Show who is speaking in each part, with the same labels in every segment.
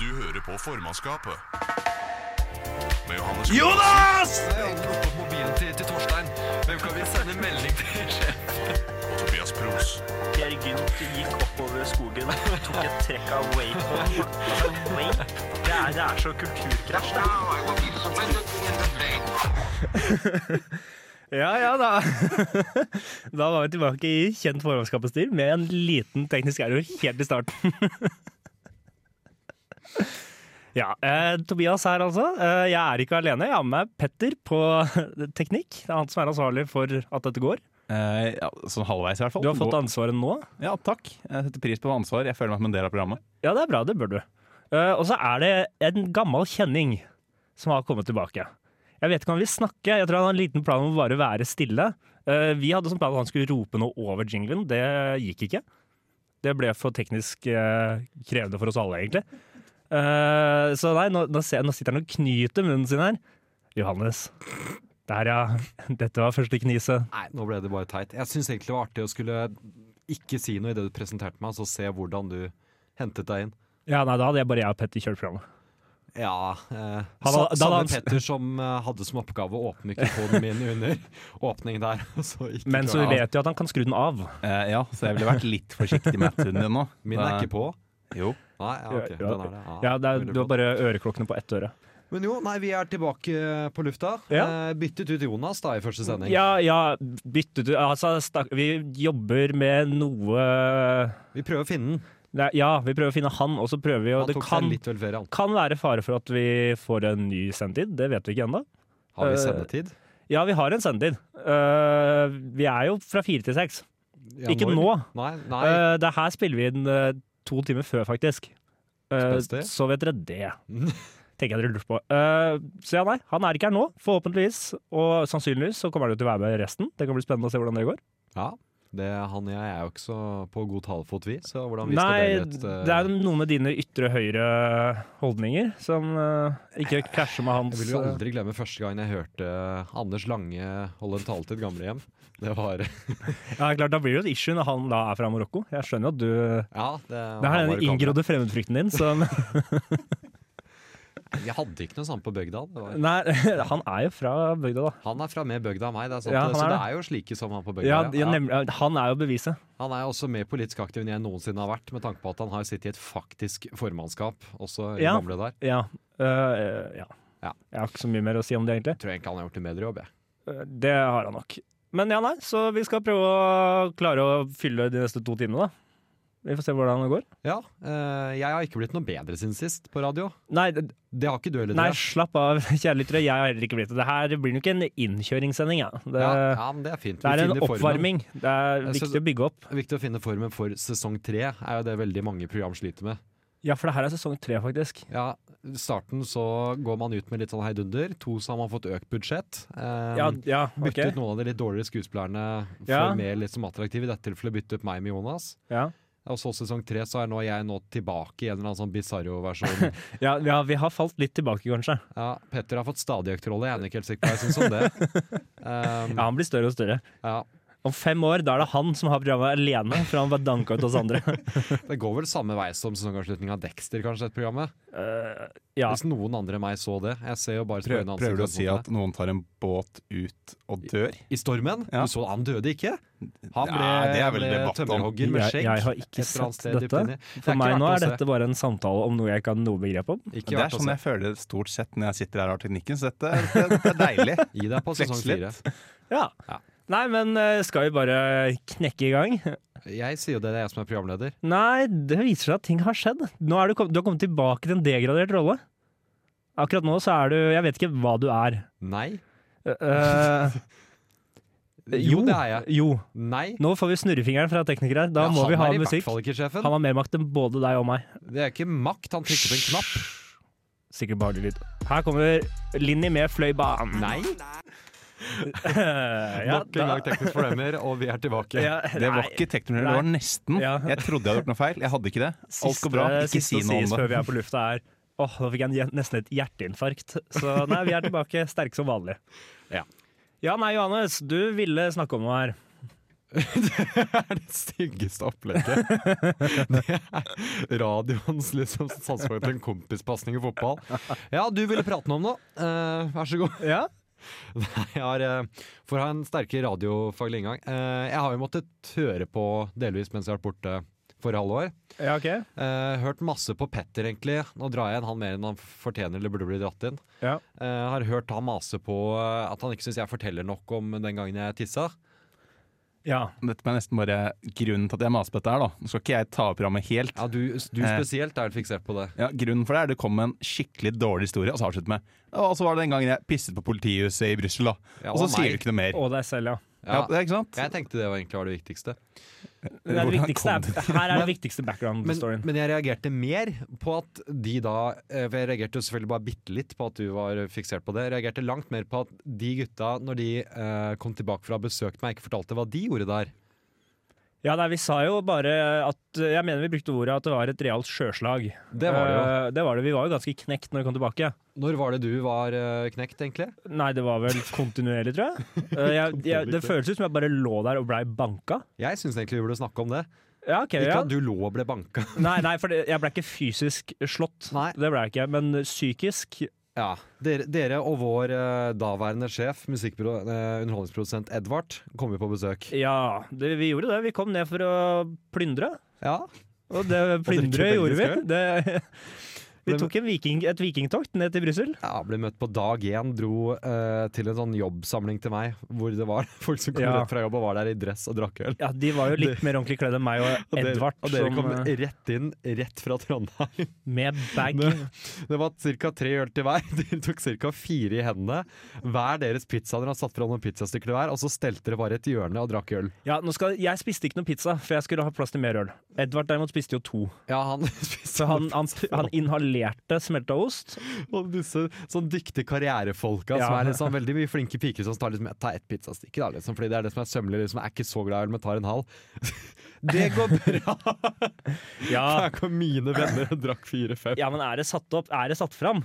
Speaker 1: Du hører på formannskapet. Med Johannes
Speaker 2: Jonas!
Speaker 3: mobilen til, til Torstein. Hvem kan vi sende melding til?
Speaker 1: og Tobias Pros.
Speaker 4: Per Gynt gikk oppover skogen og tok et trekk av Wape. Altså, Wape? Det er, det er så kulturkrasj. Det er.
Speaker 2: Ja, ja, da. da var vi tilbake i kjent formannskapets stil med en liten teknisk error helt i starten. ja, eh, Tobias her altså. Eh, jeg er ikke alene. Jeg har med meg Petter på teknikk. Det er han som er ansvarlig for at dette går.
Speaker 5: Eh, ja, sånn halvveis i hvert fall.
Speaker 2: Du har fått
Speaker 5: Gå-
Speaker 2: ansvaret nå.
Speaker 5: Ja, takk. Jeg setter pris på ansvar. Jeg føler meg som en del av programmet.
Speaker 2: Ja, det er bra. Det bør du. Eh, og så er det en gammel kjenning som har kommet tilbake. Jeg vet ikke om han vil snakke. Jeg tror han har en liten plan om å bare være stille. Eh, vi hadde som plan at han skulle rope noe over jinglen. Det gikk ikke. Det ble for teknisk eh, krevende for oss alle, egentlig. Eh, så nei, nå, nå, ser, jeg- nå sitter han og knyter munnen sin her. Johannes. Der, ja. Dette var første kniset.
Speaker 3: Nei, nå ble det bare teit. Jeg syns egentlig det var artig å skulle ikke si noe idet du presenterte meg, og så se hvordan du hentet deg inn.
Speaker 2: Ja, nei, da hadde jeg bare jeg og Petter kjørt programmet.
Speaker 3: Ja. Eh,
Speaker 2: Han
Speaker 3: sa-
Speaker 2: var- da
Speaker 3: samme
Speaker 2: hadde han-
Speaker 3: Petter som eh, hadde som oppgave å åpne mikrofonen min under åpning der. og Så ikke
Speaker 2: Men så
Speaker 3: klarte-
Speaker 2: vi vet jo at han kan skru den av.
Speaker 5: Eh, ja, så jeg ville vært litt forsiktig med atten din nå.
Speaker 3: Min er ikke på.
Speaker 5: Jo.
Speaker 3: Nei, ja, ok.
Speaker 2: Ja,
Speaker 3: Den er det.
Speaker 2: Ja, det er,
Speaker 3: veldig
Speaker 2: Du har
Speaker 3: flott.
Speaker 2: bare øreklokkene på ett øre.
Speaker 3: Men jo, nei, vi er tilbake på lufta.
Speaker 2: Ja.
Speaker 3: Eh, byttet ut Jonas da i første sending.
Speaker 2: Ja, ja, bytte du Altså, stakk, vi jobber med noe
Speaker 3: Vi prøver å finne den.
Speaker 2: Nei, Ja, vi prøver å finne han, og så prøver vi å
Speaker 3: Han
Speaker 2: Det
Speaker 3: tok
Speaker 2: kan,
Speaker 3: seg litt vel ferie, han.
Speaker 2: kan være fare for at vi får en ny sendetid. Det vet vi ikke ennå.
Speaker 3: Har vi
Speaker 2: Eh,
Speaker 3: sendetid?
Speaker 2: Ja, vi har en sendetid. Eh, vi er jo fra fire til seks.
Speaker 3: Ja,
Speaker 2: Ikke
Speaker 3: når?
Speaker 2: nå.
Speaker 3: Nei, nei.
Speaker 2: Eh, det her spiller vi inn eh, to timer før, faktisk. Eh,
Speaker 3: Spes det.
Speaker 2: så vet dere det.
Speaker 3: Mm.
Speaker 2: Tenker jeg dere lurte på. Eh, så ja, nei, han er ikke her nå, forhåpentligvis. Og sannsynligvis så kommer han jo til å være med i resten. Det kan bli spennende å se hvordan det går.
Speaker 3: Ja, det, han og jeg er jo ikke så på god talefot, vi. Så hvordan vi
Speaker 2: Nei,
Speaker 3: skal dele ut
Speaker 2: det er noe med dine ytre høyre eh, holdninger som eh, ikke krasjer med hans
Speaker 3: Jeg vil jo aldri glemme første gang jeg hørte Anders Lange holde en tale til et gamlehjem. Det var
Speaker 2: eh, Ja, klart, Da blir det jo et issue når han da er fra Marokko. Jeg skjønner jo at du
Speaker 3: Ja, det,
Speaker 2: Det her er den inngrodde fremmedfrykten din som
Speaker 3: Vi hadde ikke noe sånt på bygda. Det var,
Speaker 2: Nei, han er jo fra bygda, da.
Speaker 3: han er fra mer bygda enn meg, det er sant.
Speaker 2: Ja, han
Speaker 3: så
Speaker 2: er
Speaker 3: det
Speaker 2: det.
Speaker 3: er jo slike som han på bygda.
Speaker 2: Ja,
Speaker 3: ja.
Speaker 2: ja, nemlig, han er jo beviset.
Speaker 3: Han er jo også mer politisk aktiv enn jeg noensinne har vært, med tanke på at han har sittet i et faktisk formannskap, også i
Speaker 2: Ja.
Speaker 3: gamle der.
Speaker 2: Ja. eh, ja.
Speaker 3: Ja.
Speaker 2: Jeg har ikke så mye mer å si om det, egentlig.
Speaker 3: Tror jeg egentlig han har gjort en bedre jobb, jeg.
Speaker 2: Eh, Det har han nok. Men ja, nei, så vi skal prøve å klare å fylle de neste to timene, da. Vi får se hvordan det går.
Speaker 3: Ja, eh, jeg har ikke blitt noe bedre siden sist på radio.
Speaker 2: Nei, det-
Speaker 3: Det har ikke du heller,
Speaker 2: Nei,
Speaker 3: Andreas.
Speaker 2: slapp av, kjære lyttere. Jeg har heller ikke blitt det. Det her blir nok en innkjøringssending. Ja. Det,
Speaker 3: Ja, ja, men det er fint.
Speaker 2: det
Speaker 3: Vi
Speaker 2: er en
Speaker 3: finner formen.
Speaker 2: oppvarming. Det er
Speaker 3: Jeg synes-
Speaker 2: viktig å bygge opp.
Speaker 3: Det er Viktig å finne formen for sesong tre, er jo det veldig mange program sliter med.
Speaker 2: Ja, for det her er sesong tre, faktisk.
Speaker 3: Ja, I starten så går man ut med litt sånn heidunder. To så har man fått økt budsjett. Eh,
Speaker 2: Ja, ja ok.
Speaker 3: Bytte ut noen av de litt dårligere skuespillerne for
Speaker 2: Ja.
Speaker 3: mer litt som attraktive. I dette tilfellet bytte ut meg med Jonas.
Speaker 2: Ja.
Speaker 3: Og så sesong tre så er nå jeg nå tilbake i en eller annen sånn bisarro-versjon.
Speaker 2: Ja, ja, vi har falt litt tilbake, kanskje.
Speaker 3: ja, Petter har fått stadig økt rolle, jeg er ikke helt sikker på hva jeg syns om det. Um,
Speaker 2: Ja, Han blir større og større.
Speaker 3: ja.
Speaker 2: Om fem år da er det han som har programmet alene, for han bare danka ut oss andre.
Speaker 3: Det går vel samme vei som sesongavslutningen av Dexter, kanskje, dette programmet.
Speaker 2: Eh, ja.
Speaker 3: Hvis noen andre enn meg så det. Jeg ser jo bare
Speaker 5: Prøv,
Speaker 3: spørrende
Speaker 5: Eh, prøver du å
Speaker 3: ansikter
Speaker 5: si
Speaker 3: mot meg.
Speaker 5: at noen tar en båt ut og dør?
Speaker 3: I stormen?
Speaker 5: Ja.
Speaker 3: Du så han døde ikke? Han ble,
Speaker 5: Ja, det er vel
Speaker 3: ble
Speaker 5: debatt om.
Speaker 3: tømmerhogger med
Speaker 2: Jeg-
Speaker 3: skjegg.
Speaker 2: jeg har ikke
Speaker 3: et eller annet
Speaker 2: sett
Speaker 3: sted dypt
Speaker 2: dette.
Speaker 3: inni. Det
Speaker 2: For
Speaker 3: ikke
Speaker 2: meg
Speaker 3: verdt
Speaker 2: nå
Speaker 3: å
Speaker 2: er
Speaker 3: se.
Speaker 2: dette bare en samtale om noe jeg ikke hadde noe begrep om.
Speaker 3: Ikke
Speaker 5: Det er
Speaker 3: verdt å
Speaker 5: sånn jeg
Speaker 3: se.
Speaker 5: føler det stort sett når jeg sitter her og har teknikken, så dette det, det er deilig.
Speaker 3: Gi deg på sesong
Speaker 5: Flex litt.
Speaker 3: fire.
Speaker 2: Ja.
Speaker 3: Ja.
Speaker 2: Nei, men eh, skal vi bare knekke i gang?
Speaker 3: Jeg sier jo det, det er jeg som er programleder.
Speaker 2: Nei, det viser seg at ting har skjedd. Nå er du, kom, du har kommet tilbake til en degradert rolle. Akkurat nå så er du Jeg vet ikke hva du er.
Speaker 3: Nei.
Speaker 2: Eh,
Speaker 3: Jo, det er jeg.
Speaker 2: Jo.
Speaker 3: Nei.
Speaker 2: Nå får vi snurrefingeren fra tekniker her. Da
Speaker 3: Ja,
Speaker 2: må
Speaker 3: han
Speaker 2: vi ha
Speaker 3: er i hvert
Speaker 2: musikk.
Speaker 3: fall ikke sjefen.
Speaker 2: Han har mer makt enn både deg og meg.
Speaker 3: Det er ikke makt, han trykker på en knapp.
Speaker 2: Sikkert behagelig lyd. Her kommer Linni med Fløibanen.
Speaker 3: Nei.
Speaker 2: ja,
Speaker 3: Nok en gang teknisk fordømmer, og vi er tilbake.
Speaker 2: ja,
Speaker 5: Det var
Speaker 2: nei,
Speaker 5: ikke teknisk, det var nesten.
Speaker 2: Ja.
Speaker 5: Jeg trodde jeg hadde gjort noe feil. Jeg hadde ikke det. Alt går bra.
Speaker 2: siste-
Speaker 5: Ikke
Speaker 2: siste
Speaker 5: si
Speaker 2: å
Speaker 5: noe
Speaker 2: sies
Speaker 5: om det.
Speaker 2: Før vi er på lufta er Åh, nå fikk jeg en, hjer- nesten et hjerteinfarkt. Så nei, vi er tilbake sterke som vanlig.
Speaker 3: Ja.
Speaker 2: Ja, nei, Johannes, du ville snakke om noe her.
Speaker 3: Det er det styggeste opplegget. Det er radioens liksom satsefag til en kompispasning i fotball. Ja, du ville prate noe om det. Eh, vær så god.
Speaker 2: Ja.
Speaker 3: Nei, jeg har, eh, for å ha en sterkere radiofaglig inngang eh, Jeg har jo måttet høre på delvis mens jeg har vært borte forrige halvår.
Speaker 2: Ja, ok.
Speaker 3: Eh, hørt masse på Petter, egentlig. Nå drar jeg inn han mer enn han fortjener eller burde bli dratt inn.
Speaker 2: Ja.
Speaker 3: Eh, har hørt han mase på eh, at han ikke syns jeg forteller nok om den gangen jeg tissa.
Speaker 2: ja.
Speaker 5: Dette må jeg nesten bare Grunnen til at jeg maser på dette her, da Nå skal ikke jeg ta opp programmet helt.
Speaker 3: Ja, du, du
Speaker 5: Eh.
Speaker 3: spesielt er fiksert på det.
Speaker 5: Ja, grunnen for det er det kom en skikkelig dårlig historie, og så avslutt med Og så var det den gangen jeg pisset på politihuset i Brussel, da.
Speaker 3: Ja,
Speaker 5: og så
Speaker 3: og meg.
Speaker 5: sier du ikke noe mer.
Speaker 2: Og deg selv, ja.
Speaker 5: Ja,
Speaker 3: Ja,
Speaker 5: det er ikke sant?
Speaker 3: jeg tenkte det var egentlig var det viktigste.
Speaker 2: Det er det
Speaker 5: Hvordan
Speaker 2: viktigste,
Speaker 5: kom det?
Speaker 2: er- her er det viktigste
Speaker 3: Men,
Speaker 2: background-storyen.
Speaker 3: men jeg reagerte mer på at de da eh, For jeg reagerte jo selvfølgelig bare bitte litt på at du var fiksert på det. Jeg reagerte langt mer på at de gutta, når de eh, kom tilbake fra besøk meg, ikke fortalte hva de gjorde der.
Speaker 2: Ja, nei, vi sa jo bare at Jeg mener vi brukte ordet at det var et realt sjøslag.
Speaker 3: Det var det jo.
Speaker 2: Eh, det var det. Vi var jo ganske knekt når vi kom tilbake.
Speaker 3: Når var det du var eh, knekt, egentlig?
Speaker 2: Nei, det var vel kontinuerlig, tror jeg. Eh, jeg, jeg det føles ut som jeg bare lå der og blei banka.
Speaker 3: Jeg syns egentlig vi burde snakke om det.
Speaker 2: Ja, ok,
Speaker 3: Ikke
Speaker 2: ja.
Speaker 3: at du lå og ble banka.
Speaker 2: Nei, nei, for det, jeg blei ikke fysisk slått.
Speaker 3: Nei.
Speaker 2: Det blei jeg ikke. Men psykisk
Speaker 3: Ja, dere, dere og vår eh, daværende sjef, musikkpro- eh, underholdningsprodusent Edvard, kom jo på besøk.
Speaker 2: Ja, det, vi gjorde det. Vi kom ned for å plyndre.
Speaker 3: Ja,
Speaker 2: Og det plyndre
Speaker 3: drikke
Speaker 2: gjorde vi.
Speaker 3: belgisk
Speaker 2: Det, vi
Speaker 3: Men-
Speaker 2: tok en viking, et vikingtokt ned til Brussel.
Speaker 3: Ja, ble møtt på dag én, dro eh, til en sånn jobbsamling til meg, hvor det var folk som kom
Speaker 2: Ja.
Speaker 3: rett fra jobb og var der i dress og drakk øl.
Speaker 2: Ja, De var jo litt mer ordentlig kledd enn meg og
Speaker 3: Og dere,
Speaker 2: Edvard,
Speaker 3: og dere
Speaker 2: som,
Speaker 3: kom
Speaker 2: eh,
Speaker 3: rett inn, rett fra Trondheim.
Speaker 2: med bag.
Speaker 3: Det- Det var ca. tre øl til hver. Dere tok ca. fire i hendene. Hver deres pizza dere har satt fra noen pizzastykker til hver, og så stelte dere bare et hjørne og drakk øl.
Speaker 2: Ja, nå skal, Jeg spiste ikke noe pizza, for jeg skulle ha plass til mer øl. Edvard derimot spiste jo to.
Speaker 3: Ja, han spiste
Speaker 2: Så han, han, han inhalerte smelta ost.
Speaker 3: Og disse sånn dyktige karrierefolka som
Speaker 2: Ja.
Speaker 3: er liksom veldig mye flinke piker som tar liksom, ta ett pizzastykke, da, liksom, fordi det er det som er sømmelig. Liksom, jeg er ikke så glad i øl, men tar en halv. Det går bra!
Speaker 2: Ja,
Speaker 3: Her kom mine venner og drakk fire-fem.
Speaker 2: ja men er det satt opp, er det satt fram,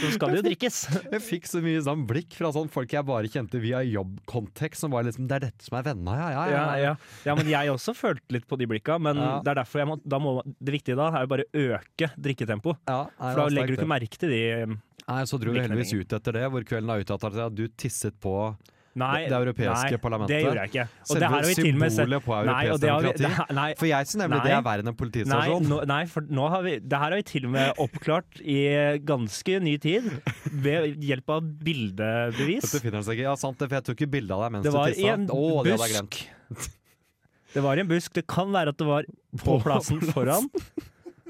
Speaker 2: så skal det jo drikkes.
Speaker 3: Jeg fikk så mye sånn blikk fra sånn folk jeg bare kjente via jobbkontekst, som var liksom Det er dette som er venna, ja, ja,
Speaker 2: Ja, ja. ja, men jeg også følte litt på de blikka, men
Speaker 3: Ja.
Speaker 2: det er derfor jeg må, da må Det viktige da er jo bare øke drikketempo.
Speaker 3: Ja, nei, altså,
Speaker 2: For da
Speaker 3: det var
Speaker 2: legger du
Speaker 3: sterkt,
Speaker 2: ikke merke til de mm,
Speaker 3: det. Nei, Så dro vi heldigvis ut etter det, hvor kvelden har uttalt at du tisset på
Speaker 2: Nei,
Speaker 3: Det- det europeiske
Speaker 2: nei,
Speaker 3: parlamentet.
Speaker 2: Det gjorde jeg ikke. Og det
Speaker 3: Selve
Speaker 2: her har vi til og med sett-
Speaker 3: symbolet på
Speaker 2: Nei, og
Speaker 3: europeisk
Speaker 2: det har vi-
Speaker 3: demokrati.
Speaker 2: det her- Nei,
Speaker 3: For jeg syns nemlig det
Speaker 2: Nei.
Speaker 3: er verre enn en
Speaker 2: Nei,
Speaker 3: politistasjon.
Speaker 2: nå, nei, for nå har vi Det her har vi til og med oppklart i ganske ny tid ved hjelp av bildebevis.
Speaker 3: Dette finner han seg ikke. Ja, sant det, for jeg tok jo bilde av deg mens
Speaker 2: Det var
Speaker 3: du tissa.
Speaker 2: i en
Speaker 3: Å, det hadde jeg glemt.
Speaker 2: busk. Det var i en busk. Det kan være at det var på plassen foran.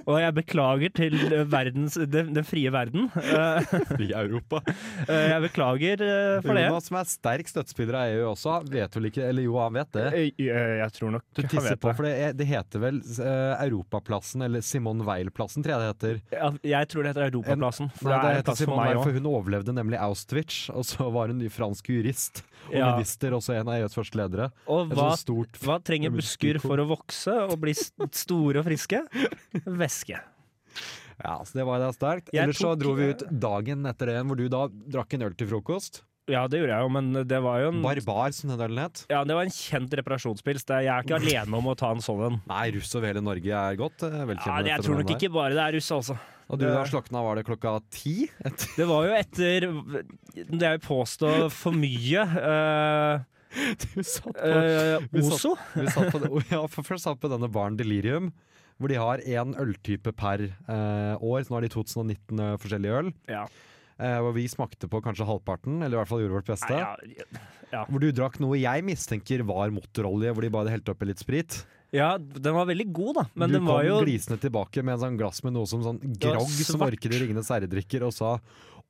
Speaker 2: Og jeg beklager til verdens, den, den frie verden. Eh,
Speaker 3: I Europa.
Speaker 2: eh, jeg beklager eh, for det.
Speaker 3: Jonas, som er sterk støttespiller av EU også, vet vel ikke Eller jo, han vet det.
Speaker 2: Eh, eh, Jeg tror nok
Speaker 3: Du
Speaker 2: han
Speaker 3: tisser
Speaker 2: vet
Speaker 3: på,
Speaker 2: det.
Speaker 3: for det, er- det heter vel eh, Europaplassen, eller Simon Weil-plassen, tror jeg det heter.
Speaker 2: Ja, Jeg tror det heter Europaplassen. For
Speaker 3: Nei,
Speaker 2: det er en
Speaker 3: heter
Speaker 2: plass for
Speaker 3: Simone
Speaker 2: meg
Speaker 3: Weil,
Speaker 2: òg.
Speaker 3: for hun overlevde nemlig Auschwitz, og så var hun fransk jurist og
Speaker 2: Ja.
Speaker 3: minister, og så en av EUs første ledere.
Speaker 2: Og
Speaker 3: Et
Speaker 2: hva,
Speaker 3: sånt stort
Speaker 2: hva trenger busker for å vokse og bli s- store og friske? Væske.
Speaker 3: Ja, så det var det sterkt.
Speaker 2: Jeg
Speaker 3: Ellers så
Speaker 2: tok-
Speaker 3: dro vi ut dagen etter det igjen, hvor du da drakk en øl til frokost.
Speaker 2: Ja, det gjorde jeg jo, men det var jo en
Speaker 3: Barbar, som den ølen het.
Speaker 2: Ja, det var en kjent reparasjonspils. Det er- Jeg er ikke alene om å ta en sånn en.
Speaker 3: Nei, russ over hele Norge er godt. eh,
Speaker 2: Ja,
Speaker 3: Velkjent.
Speaker 2: det- jeg tror nok ikke bare det er russ, altså.
Speaker 3: Og du da slokna, var det klokka ti? Et-
Speaker 2: Det var jo etter Det jeg vil påstå for eh, mye.
Speaker 3: Du satt
Speaker 2: eh,
Speaker 3: på,
Speaker 2: eh,
Speaker 3: Vi satt-
Speaker 2: Ozo?
Speaker 3: vi satt på det- ja, for først satt vi på denne baren Delirium, hvor de har én øltype per eh, år. Så nå har de 2019 eh, forskjellige øl.
Speaker 2: Ja.
Speaker 3: eh, hvor vi smakte på kanskje halvparten, eller i hvert fall gjorde vårt beste.
Speaker 2: Nei, ja.
Speaker 3: Hvor du drakk noe jeg mistenker var motorolje, hvor de bare helte oppi litt sprit.
Speaker 2: ja, den var veldig god, da. Men
Speaker 3: du
Speaker 2: den var jo
Speaker 3: kom glisende tilbake med en sånn glass med noe som sånn
Speaker 2: var
Speaker 3: grogg som
Speaker 2: svart.
Speaker 3: orker de ringende særedrikker, og sa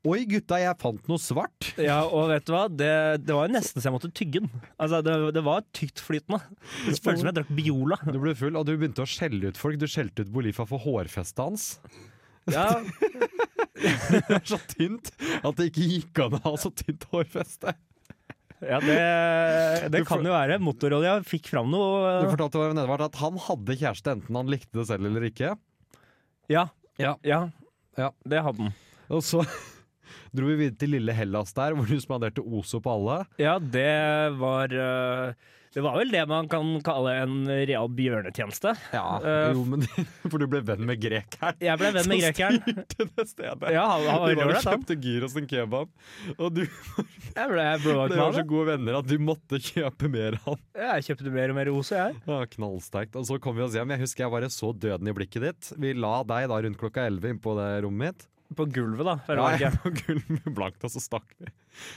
Speaker 3: Oi, gutta, jeg fant noe svart!
Speaker 2: Ja, og vet du hva? Det, det var jo nesten så jeg måtte tygge den. Altså, det, det var tyktflytende. Det føltes som jeg drakk Biola.
Speaker 3: Du ble full, og du begynte å skjelle ut folk. Du skjelte ut Bolifa for hårfestet hans.
Speaker 2: Ja,
Speaker 3: Det var så tynt at det ikke gikk an å ha så tynt hårfeste.
Speaker 2: ja det,
Speaker 3: Du
Speaker 2: det
Speaker 3: får-
Speaker 2: kan jo være. Motorolja fikk fram noe.
Speaker 3: Du
Speaker 2: eh,
Speaker 3: fortalte Even Edvard at han hadde kjæreste enten han likte det selv eller ikke.
Speaker 2: Ja.
Speaker 3: Ja.
Speaker 2: ja.
Speaker 3: Ja.
Speaker 2: Det hadde den.
Speaker 3: Og så dro vi videre til lille Hellas der, hvor du spanderte Ozo på alle.
Speaker 2: Ja, det var eh, Det var vel det man kan kalle en real bjørnetjeneste.
Speaker 3: Ja, jo, men For du ble venn med grekeren.
Speaker 2: Eh, Jeg ble venn med grekeren.
Speaker 3: Som styrte det stedet.
Speaker 2: Ja, han, han var
Speaker 3: du
Speaker 2: veldig
Speaker 3: var og
Speaker 2: ålreit, han.
Speaker 3: kjøpte gyros og en kebab, og du
Speaker 2: Jeg ble jeg ble
Speaker 3: dere var så
Speaker 2: overkvalm.
Speaker 3: gode venner at du måtte kjøpe mer av han.
Speaker 2: Jeg kjøpte mer og mer rose, jeg.
Speaker 3: Ja, knallsterkt. Og så kom vi oss hjem. Jeg husker jeg bare så døden i blikket ditt. Vi la deg da rundt klokka elleve inn på det rommet mitt.
Speaker 2: På gulvet, da. for det
Speaker 3: Ja,
Speaker 2: var
Speaker 3: jeg
Speaker 2: ikke-
Speaker 3: på gulvet blankt, og så stakk vi.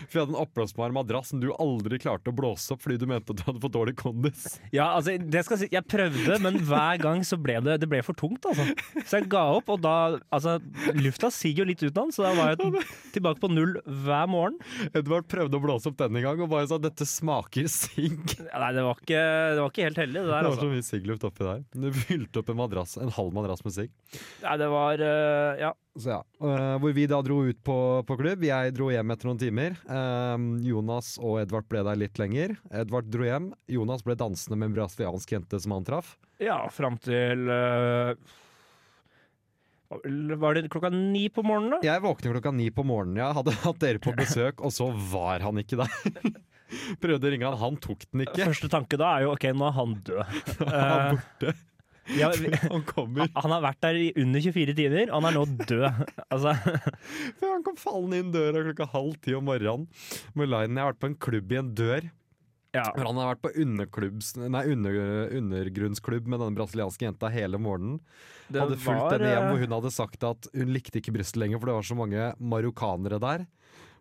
Speaker 3: For jeg hadde en oppblåsbar madrass som du aldri klarte å blåse opp fordi du mente at du hadde for dårlig kondis.
Speaker 2: Ja, altså, det skal jeg si, jeg prøvde, men hver gang så ble det, det ble for tungt, altså. Så jeg ga opp, og da Altså, lufta siger jo litt ut av den, så da var jeg tilbake på null hver morgen.
Speaker 3: Edvard prøvde å blåse opp denne gang og bare sa 'dette smaker sigg'.
Speaker 2: Ja, Nei, det var ikke, det var ikke helt heldig, det der,
Speaker 3: Det var så
Speaker 2: altså.
Speaker 3: mye siggluft oppi der. Du fylte opp en madrass, en halv madrass med sigg.
Speaker 2: Nei, det var eh, Ja.
Speaker 3: Så ja. eh, hvor vi da dro ut på, på klubb. Jeg dro hjem etter noen timer. Eh, Jonas og Edvard ble der litt lenger. Edvard dro hjem. Jonas ble dansende med en brasiliansk jente som han traff.
Speaker 2: Ja, fram til eh, var vel- Var det klokka ni på morgenen, da?
Speaker 3: Jeg våkner klokka ni på morgenen. Jeg hadde hatt dere på besøk, og så var han ikke der. Prøvde å ringe han, han tok den ikke.
Speaker 2: Første tanke da er jo OK, nå er han død.
Speaker 3: Han
Speaker 2: Eh,
Speaker 3: er borte.
Speaker 2: ja, vi-
Speaker 3: Han kommer.
Speaker 2: han har vært der i under 24 timer, og han er nå død. Altså,
Speaker 3: For han kom fallende inn døra klokka halv ti om morgenen. Med linen, jeg har vært på en klubb i en dør.
Speaker 2: ja.
Speaker 3: For han har vært på underklubbs, nei, under, undergrunnsklubb med denne brasilianske jenta hele morgenen.
Speaker 2: Det
Speaker 3: hadde fulgt
Speaker 2: var,
Speaker 3: henne hjem hvor
Speaker 2: eh,
Speaker 3: hun hadde sagt at hun likte ikke Brussel lenger, for det var så mange marokkanere der.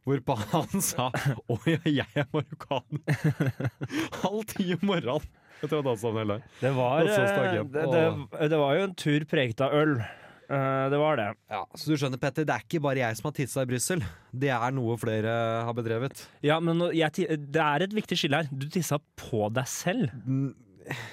Speaker 3: Hvorpå han sa 'Å ja, jeg er marokkaner'. Halv ti om morgenen. Jeg tror han dansa om hele dagen.
Speaker 2: Det var,
Speaker 3: Og så stakk
Speaker 2: eh,
Speaker 3: hjem.
Speaker 2: det, det, det var jo en tur preget av øl. Eh, det var det.
Speaker 3: Ja, så du skjønner, Petter, det er ikke bare jeg som har tissa i Brussel. Det er noe flere har bedrevet.
Speaker 2: Ja, men nå- jeg, ti- det er et viktig skille her. Du tissa på deg selv.
Speaker 3: Eh,